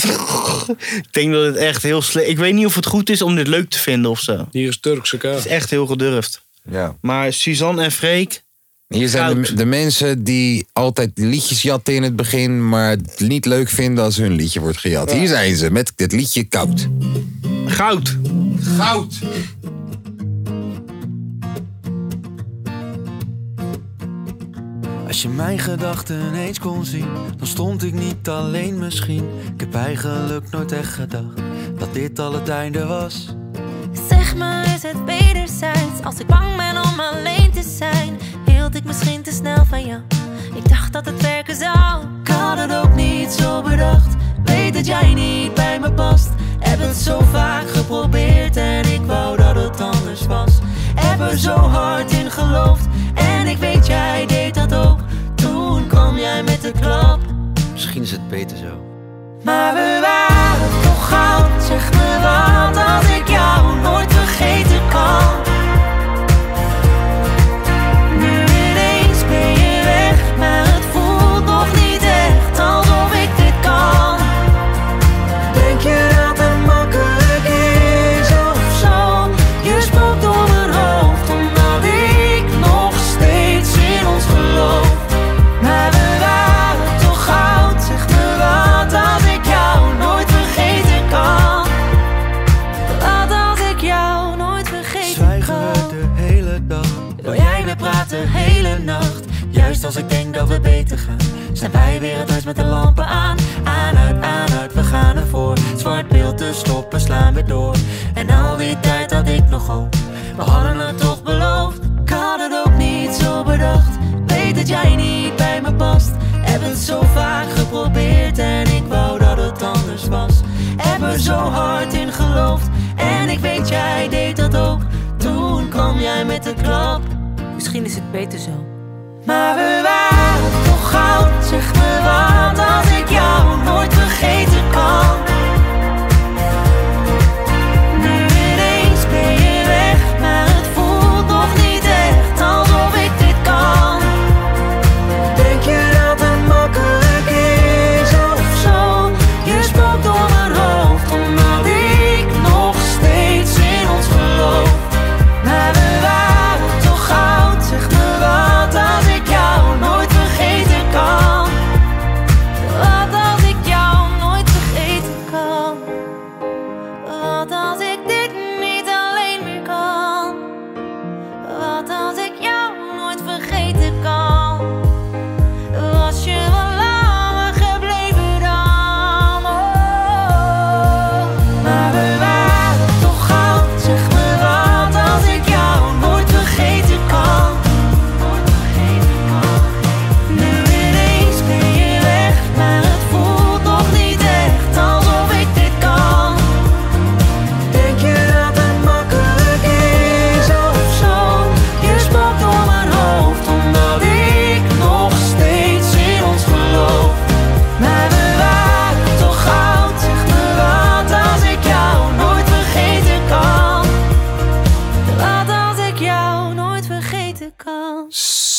[laughs] ik denk dat het echt heel slecht... Ik weet niet of het goed is om dit leuk te vinden of zo. Hier is Turkse kaas. Het is echt heel gedurfd. Ja. Maar Suzanne en Freek... Hier zijn de, de mensen die altijd liedjes jatten in het begin, maar het niet leuk vinden als hun liedje wordt gejat. Hier zijn ze met dit liedje koud. Goud. Goud. Als je mijn gedachten eens kon zien, dan stond ik niet alleen misschien. Ik heb eigenlijk nooit echt gedacht dat dit al het einde was. Zeg me, is het wederzijds? Als ik bang ben om alleen te zijn, hield ik misschien te snel van jou. Ik dacht dat het werken zou. Ik had het ook niet zo bedacht, weet dat jij niet bij me past. Heb het zo vaak geprobeerd en ik wou dat het anders was. Heb er zo hard in geloofd en ik weet jij deed dat ook. Toen kwam jij met de klap. Misschien is het beter zo. Maar we waren toch goud, zeg me wat als ik jou nooit vergeten kan. Nu ineens ben je weg, maar het voelt nog niet echt alsof ik dit kan. Denk je dat het makkelijk is of zo? Je spookt door mijn hoofd omdat ik nog steeds in ons geloof. Maar we waren toch goud, zeg me wat als ik jou nooit vergeten kan. Wat als ik jou nooit vergeten Zwijgen kan? we de hele dag. Wil jij weer praten de hele nacht? Juist als ik denk dat we beter gaan, zijn wij weer het huis met de lampen aan. Aan, uit, aan, uit, we gaan ervoor. Zwart beeld, te stoppen, slaan we door. En al die tijd had ik nog hoop, we hadden het toch beloofd. Ik had het ook niet zo bedacht, weet dat jij niet bij me past. Heb het zo vaak geprobeerd en ik wou dat het anders was. Heb er zo hard in geloofd en ik weet jij deed dat ook. Toen kwam jij met de klap. Misschien is het beter zo. Maar we waren toch goud, zeg me wat als ik jou nooit vergeten kan. Nu ineens ben je weg, maar het voelt nog niet echt alsof ik dit kan. Denk je dat het makkelijk is of zo? Je spookt door mijn hoofd omdat ik nog steeds in ons geloof. Maar we waren toch goud, zeg me wat als ik jou oh.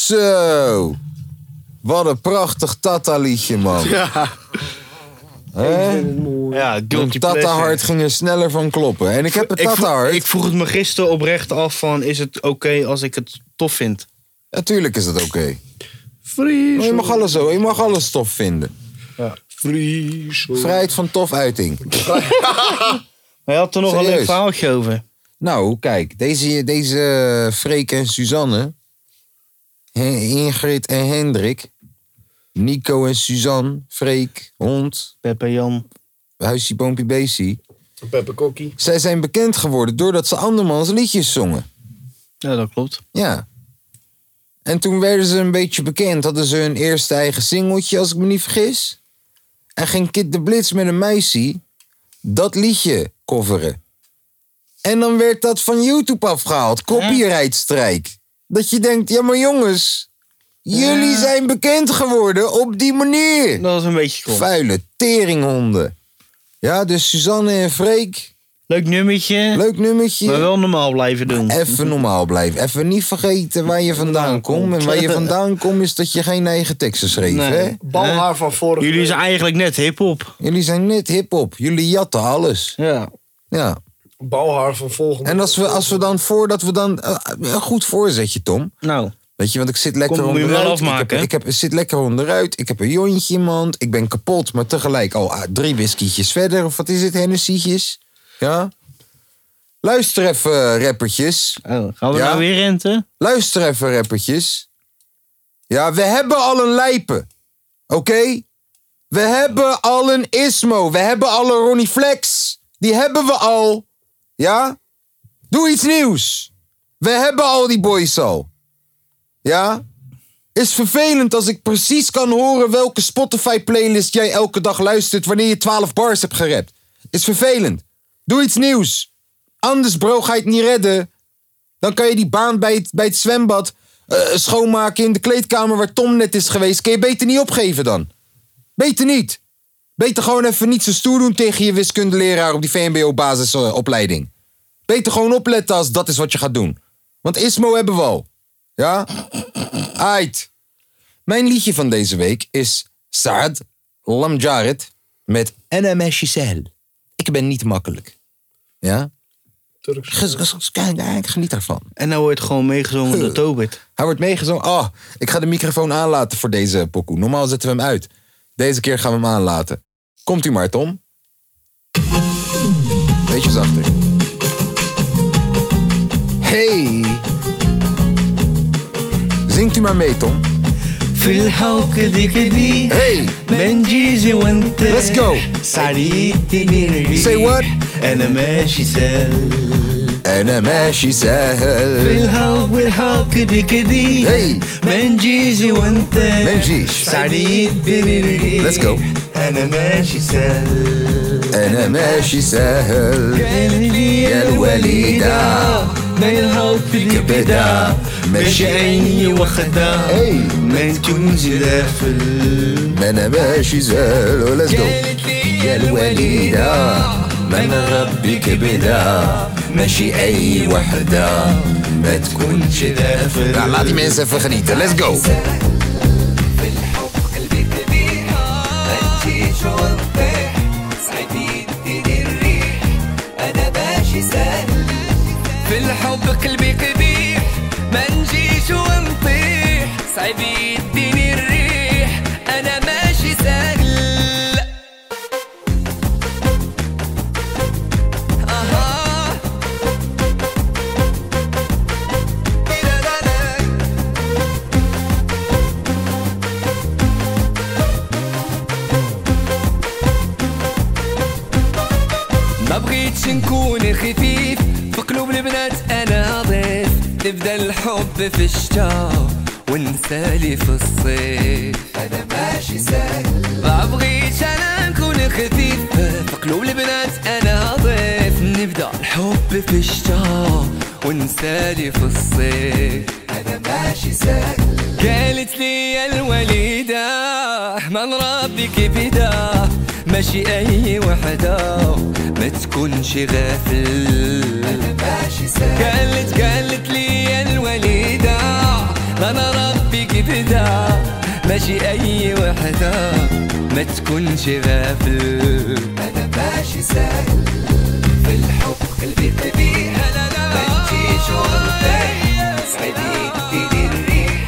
Zo. Wat een prachtig Tata-liedje, man. Ja. Hè? Ja, Mijn guilty Tata pleasure. hart ging er sneller van kloppen. En ik heb een Ik Tata vroeg, hart. ik vroeg het me gisteren oprecht af van, is het oké als ik het tof vind? Natuurlijk is dat oké. Maar Je mag alles zo, je mag alles tof vinden. Ja. Vrijheid van tof uiting. Maar je had er nog een leuk Serieus. verhaaltje over. Nou, kijk, deze, deze eh, Freek en Suzanne, He- Ingrid en Hendrik, Nico en Suzanne, Freek, Hond, Peppe Jan, Huisje Boompie Beestie. Peppe Kokkie. Zij zijn bekend geworden doordat ze andermans liedjes zongen. Ja, dat klopt. Ja. En toen werden ze een beetje bekend. Hadden ze hun eerste eigen singeltje, als ik me niet vergis. En ging Kid de Blitz met een meisje dat liedje coveren. En dan werd dat van YouTube afgehaald. Copyrightstrijk. Dat je denkt, ja maar jongens... Jullie zijn bekend geworden op die manier. Dat is een beetje cool. Vuile teringhonden. Ja, dus Suzanne en Freek. Leuk nummertje. Leuk nummertje. Maar wel normaal blijven doen. Even normaal blijven. Even niet vergeten waar je vandaan komt. En waar je vandaan komt is dat je geen eigen teksten schreef. Nee. Hè? Balhaar van vorige Jullie zijn eigenlijk net hip-hop. Jullie zijn net hip-hop. Jullie jatten alles. Ja. Ja. Balhaar van volgende. En als we, als we dan voordat we dan. eh, een goed voorzetje, Tom. Nou. Weet je, want ik zit lekker Kom, moet je hem wel onderuit. ik, afmaken, heb, hè? ik, heb, ik zit lekker onderuit. Ik heb een jontje in mijn hand. Ik ben kapot, maar tegelijk al ah, drie whiskietjes verder. Of wat is het, Hennessy'tjes? Ja. Luister even, eh, rappertjes. Gaan we Ja? nou weer renten? Luister even, rappertjes. Ja, we hebben al een lijpen. Oké? We hebben al een Ismo. We hebben al een Ronnie Flex. Die hebben we al. Ja? Doe iets nieuws. We hebben al die boys al. Ja? Is vervelend als ik precies kan horen welke Spotify-playlist jij elke dag luistert wanneer je 12 bars hebt gerapt. Is vervelend. Doe iets nieuws. Anders, bro, ga je het niet redden. Dan kan je die baan bij het, bij het zwembad eh, schoonmaken in de kleedkamer waar Tom net is geweest. Kun je beter niet opgeven dan. Beter niet. Beter gewoon even niet zo stoer doen tegen je wiskundeleraar op die VMBO-basisopleiding. Beter gewoon opletten als dat is wat je gaat doen. Want ISMO hebben we al. Ja? Ait. Mijn liedje van deze week is Saad Lamjaret met NMS Giselle. Ik ben niet makkelijk. Ja? Ges- ges- ges- Kijk, ik geniet daarvan. En nou wordt gewoon meegezongen door Tobit. Hij wordt meegezongen. Oh, ik ga de microfoon aanlaten voor deze pokoe. Normaal zetten we hem uit. Deze keer gaan we hem aanlaten. Komt u maar, Tom. Beetje zachter. Hey! Zingt u maar mee, Tom. Feel how कदी कदी Hey! Benji जीवंत Let's go. Sari तिनी Say what? En een meisje zelf. En een meisje zelf. Feel how feel how कदी कदी Hey! Benji जीवंत Benji. साड़ी तिनी Let's go. En een meisje zelf. En een meisje zelf. يا الوليدة. ما يهوب الكبدة ماشي عيني وخدة ما تكونش غافل En een meisje zelf. oh, Let's go. يا الوليدة من ربك بدا ماشي أي وحدة ما تكونش غافل Nou, laat die mensen even genieten. Let's go. في الحب قلبي قبيح ما نجيش ونطيح صعيب يديني الريح انا ماشي سهل اها لا لا لا ما بغيتش نكون خفيف في قلوب البنات انا ضيف نبدا الحب في الشتاء ونسالي في الصيف انا ماشي سهل ما بغيتش انا نكون خفيف في قلوب البنات انا ضيف نبدا الحب في الشتاء ونسالي في الصيف انا ماشي سهل قالت لي يا الوليدة من ربك بدا ماشي أي وحدة ما تكونش غافل أنا ماشي قالت قالت لي يا الوليدة من ربك بدا وحدة ماشي أي وحدة ما تكونش غافل أنا ماشي سهل في الحب قلبي طبيعي ما تجيش وارتاح سعيدين تدير الريح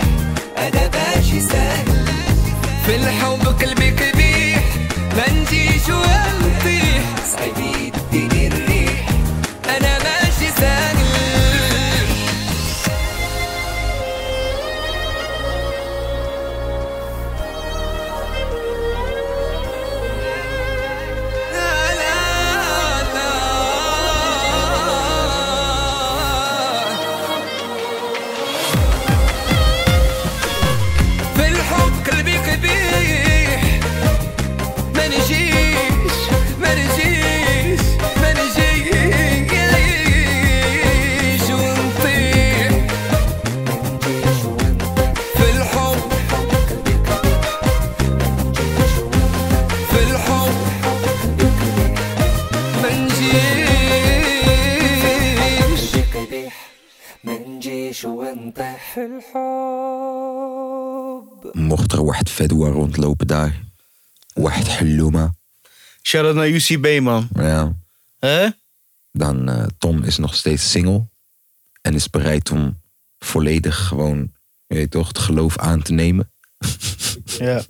أنا ماشي سهل في الحب قلبي قبيح ما نجيش ونطيح سعيدين تدير الريح أنا ماشي سهل في الحب قلبي قبيح ما نجيش ما نجيش ما نجيش ونطيح في الحب في الحب ما نجيش ما نجيش ونطيح في الحب Mocht er wacht Fedwa rondlopen daar. Wacht Hallouma. Shout-out naar UCB, man. Ja. Hè? Dan eh, Tom is nog steeds single. En is bereid om volledig gewoon, je weet toch, het geloof aan te nemen. Ja.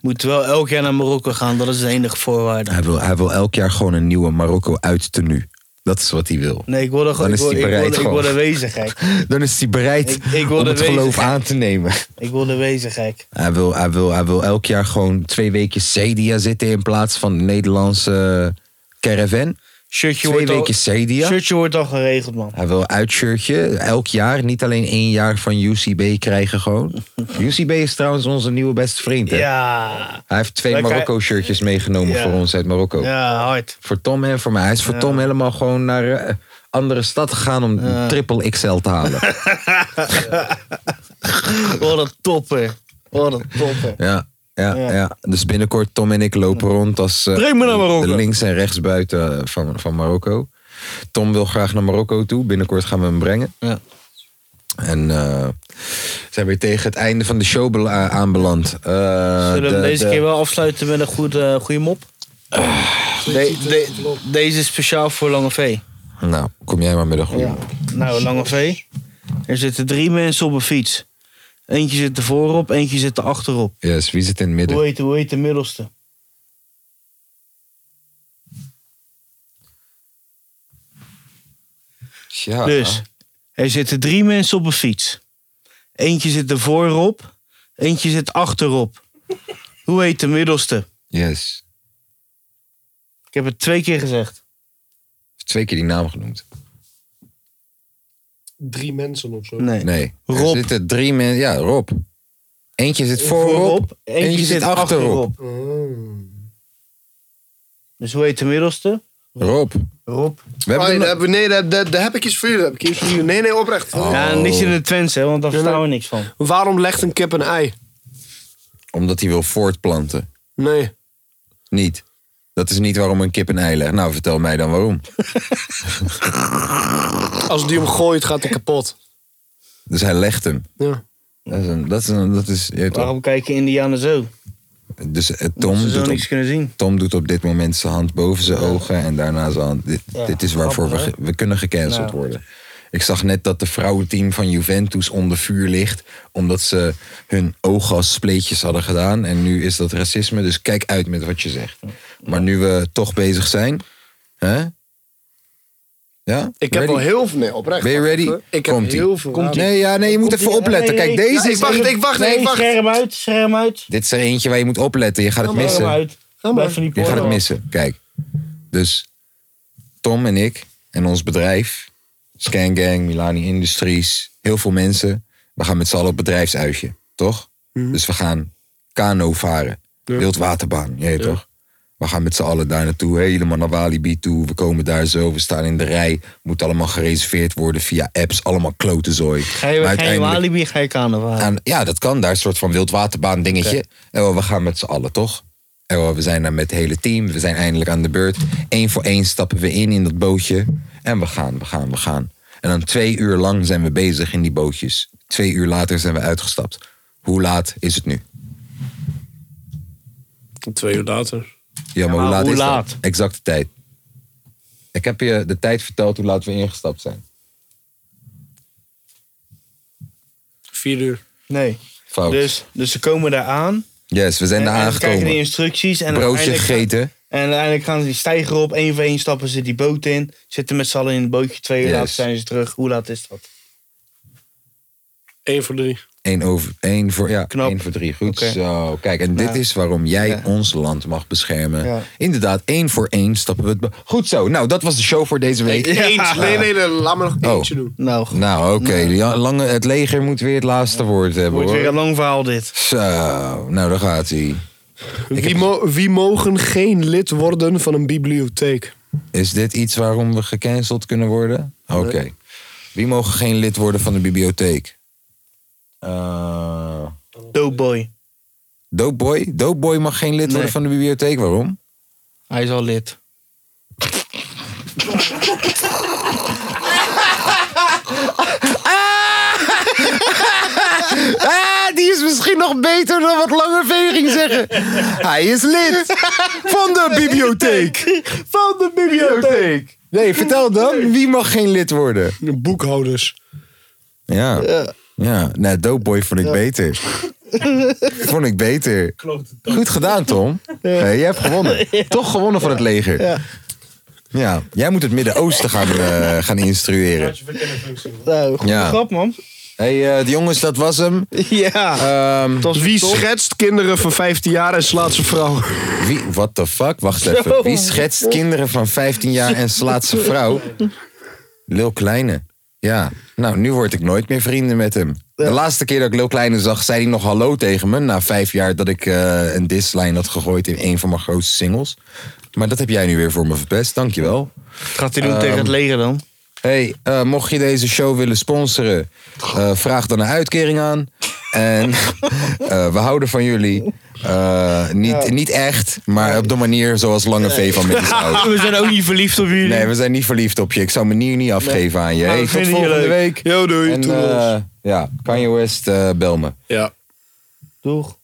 Moet wel elk jaar naar Marokko gaan, dat is de enige voorwaarde. Hij wil, hij wil elk jaar gewoon een nieuwe Marokko uit tenue. Dat is wat hij wil. Nee, ik word Dan er gewoon. Ik is word, hij ik bereid word, ik gewoon. word er wezen, gek. Dan is hij bereid Ik- ik wil om de het geloof wezigheid. aan te nemen. Ik word er wezen, gek. Hij wil, hij, wil, hij wil elk jaar gewoon twee weken Cedia zitten in plaats van de Nederlandse caravan. Shirtje twee wordt al- weken Cedia. Shirtje wordt al geregeld, man. Hij wil uitshirtje. Elk jaar, niet alleen één jaar van UCB krijgen [laughs] gewoon. UCB is trouwens onze nieuwe beste vriend. Hè? Ja. Hij heeft twee Wij krij- Marokko-shirtjes meegenomen Ja. voor ons uit Marokko. Ja, hard. Voor Tom en voor mij. Hij is voor Ja. Tom helemaal gewoon naar eh, andere stad gegaan om Ja. triple XL te [laughs] halen. Wat een topper. Wat een topper. Ja, ja, ja. Dus binnenkort Tom en ik lopen rond als eh, Breng me naar Marokko. de links en rechts buiten eh, van, van Marokko. Tom wil graag naar Marokko toe. Binnenkort gaan we hem brengen. Ja. En eh, zijn weer tegen het einde van de show bela- aanbeland. Eh, Zullen we de- hem deze de- Ah. keer wel afsluiten met een goede, eh, goede mop? De- de- deze is speciaal voor Lange V. Nou, kom jij maar met een goede. Nou, Lange V. Er zitten drie mensen op een fiets. Eentje zit er voorop, eentje zit er achterop. Yes, wie zit in het midden? Hoe heet, hoe heet de middelste? Ja. Dus er zitten drie mensen op een fiets. Eentje zit er voorop, eentje zit achterop. Hoe heet de middelste? Yes. Ik heb het twee keer gezegd. Twee keer die naam genoemd. Drie mensen of zo. Nee. Nee. Er zitten drie mensen. Ja, Rob. Eentje zit voorop, eentje, zit achterop. Dus hoe heet de middelste? Rob. Rob. We hebben Oh, er daar nog- hebben- nee, daar, daar, daar heb ik iets voor jullie. daar heb ik iets voor jullie. Nee, nee, oprecht. Oh. Ja, niet in het Twents, hè, want daar verstaan we niks van. Waarom legt een kip een ei? Omdat hij wil voortplanten. Nee. Niet. Dat is niet waarom een kip een ei legt. Nou, vertel mij dan waarom. Als die hem gooit, gaat hij kapot. Dus hij legt hem. Ja. Dat is, een, dat is, een- dat is je weet toch. Waarom kijken Indianen zo? Dus eh, Tom, ze zo doet niks op, kunnen zien. Tom doet op dit moment zijn hand boven zijn ogen en daarna zijn hand. Dit, Ja, dit is waarvoor we, grappig, ge- we kunnen gecanceld Ja. worden. Ik zag net dat de vrouwenteam van Juventus onder vuur ligt. Omdat ze hun ogen als spleetjes hadden gedaan. En nu is dat racisme. Dus kijk uit met wat je zegt. Maar nu we toch bezig zijn. Hè? Ja? Ik heb al heel veel. Nee, oprecht. Ben je ready? Ik heb Komt-ie. heel veel. Komt-ie. Nee, ja, nee, je moet even opletten. Kijk, deze is. Ik wacht, ik wacht, nee, ik wacht. Scherm uit, scherm uit. Dit is er eentje waar je moet opletten. Je gaat het Scherm missen. uit. Blijf van die Je gaat het porno. missen. Kijk. Dus Tom en ik en ons bedrijf, Scan Gang, Milani Industries, heel veel mensen. We gaan met z'n allen op bedrijfsuitje, toch? Dus we gaan kano varen. Wildwaterbaan, je weet toch? We gaan met z'n allen daar naartoe, helemaal naar Walibi toe. We komen daar zo, we staan in de rij. Moet allemaal gereserveerd worden via apps, allemaal klotenzooi. Ga je, Maar ga je uiteindelijk- alibi, ga je carnaval. aan- ja, dat kan daar. Een soort van wildwaterbaan dingetje. En wel, we gaan met z'n allen, toch? En wel, we zijn daar met het hele team. We zijn eindelijk aan de beurt. Eén voor één stappen we in in dat bootje. En we gaan, we gaan, we gaan. En dan twee uur lang zijn we bezig in die bootjes. Twee uur later zijn we uitgestapt. Hoe laat is het nu? Twee uur later. Ja, maar, maar hoe laat hoe is laat? dat? Exacte tijd. Ik heb je de tijd verteld hoe laat we ingestapt zijn. Vier uur. Nee. Fout. Dus, dus ze komen daar aan. Yes, we zijn en, daar en ze krijgen de aangekomen. instructies. En Broodje uiteindelijk- gegeten. En uiteindelijk gaan ze die stijger op. één voor één stappen ze die boot in. Zitten met z'n allen in het bootje. Twee uur Yes. later zijn ze terug. Hoe laat is dat? Eén voor drie. Eén, over, één, voor, ja, één voor drie. Goed zo. Kijk, en dit Ja. is waarom jij ons land mag beschermen. Ja. Inderdaad, één voor één stappen we het... be- Goed zo. Nou, dat was de show voor deze week. Eentje. Nee, nee, nee, laat Oh. me nog eentje doen. Nou, nou oké. Ja, lange- Het leger moet weer het laatste woord hebben, Wordt hoor. weer een lang verhaal dit. Zo, nou daar gaat hij. Wie, mo- wie mogen geen lid worden van een bibliotheek? Is dit iets waarom we gecanceld kunnen worden? Oké. Wie mogen geen lid worden van de bibliotheek? Eh Dopeboy. Dopeboy? Dopeboy mag geen lid worden van de bibliotheek. Waarom? Hij is al lid. Ah, die is misschien nog beter dan wat Lange ging [laughs] zeggen. Hij is lid van de bibliotheek. Van de bibliotheek. Nee, vertel dan. Wie mag geen lid worden? Boekhouders. Ja. Ja. Nee, Dopeboy vond ik [laughs] beter. Vond ik beter. Goed gedaan, Tom. Hey, jij hebt gewonnen. Toch gewonnen van het leger. Ja. Jij moet het Midden-Oosten gaan, eh, gaan instrueren. Nou, goede Ja. grap, man. hey, eh, de jongens, dat was hem. Ja. wie schetst kinderen van 15 jaar en slaat zijn vrouw? Wie, what the fuck? Wacht even. Wie schetst kinderen van 15 jaar en slaat zijn vrouw? Lil Kleine. Ja, nou, nu word ik nooit meer vrienden met hem. De laatste keer dat ik Lil Kleine zag, zei hij nog hallo tegen me. Na vijf jaar dat ik eh, een dislijn had gegooid in een van mijn grootste singles. Maar dat heb jij nu weer voor me verpest, dankjewel. Gaat hij Ehm, doen tegen het leger dan? hey, eh, mocht je deze show willen sponsoren, eh, vraag dan een uitkering aan. En eh, we houden van jullie. Eh, niet, niet echt, maar op de manier zoals Lange V van Middels houdt. We zijn ook niet verliefd op jullie. Nou, Nee, we zijn niet verliefd op je. Ik zou mijn nier niet afgeven aan je. Maar we Hey, tot vinden je volgende leuk. week. Yo, doei. En, Toedels. eh, ja, Kanye West, eh bel me. Ja. Doeg.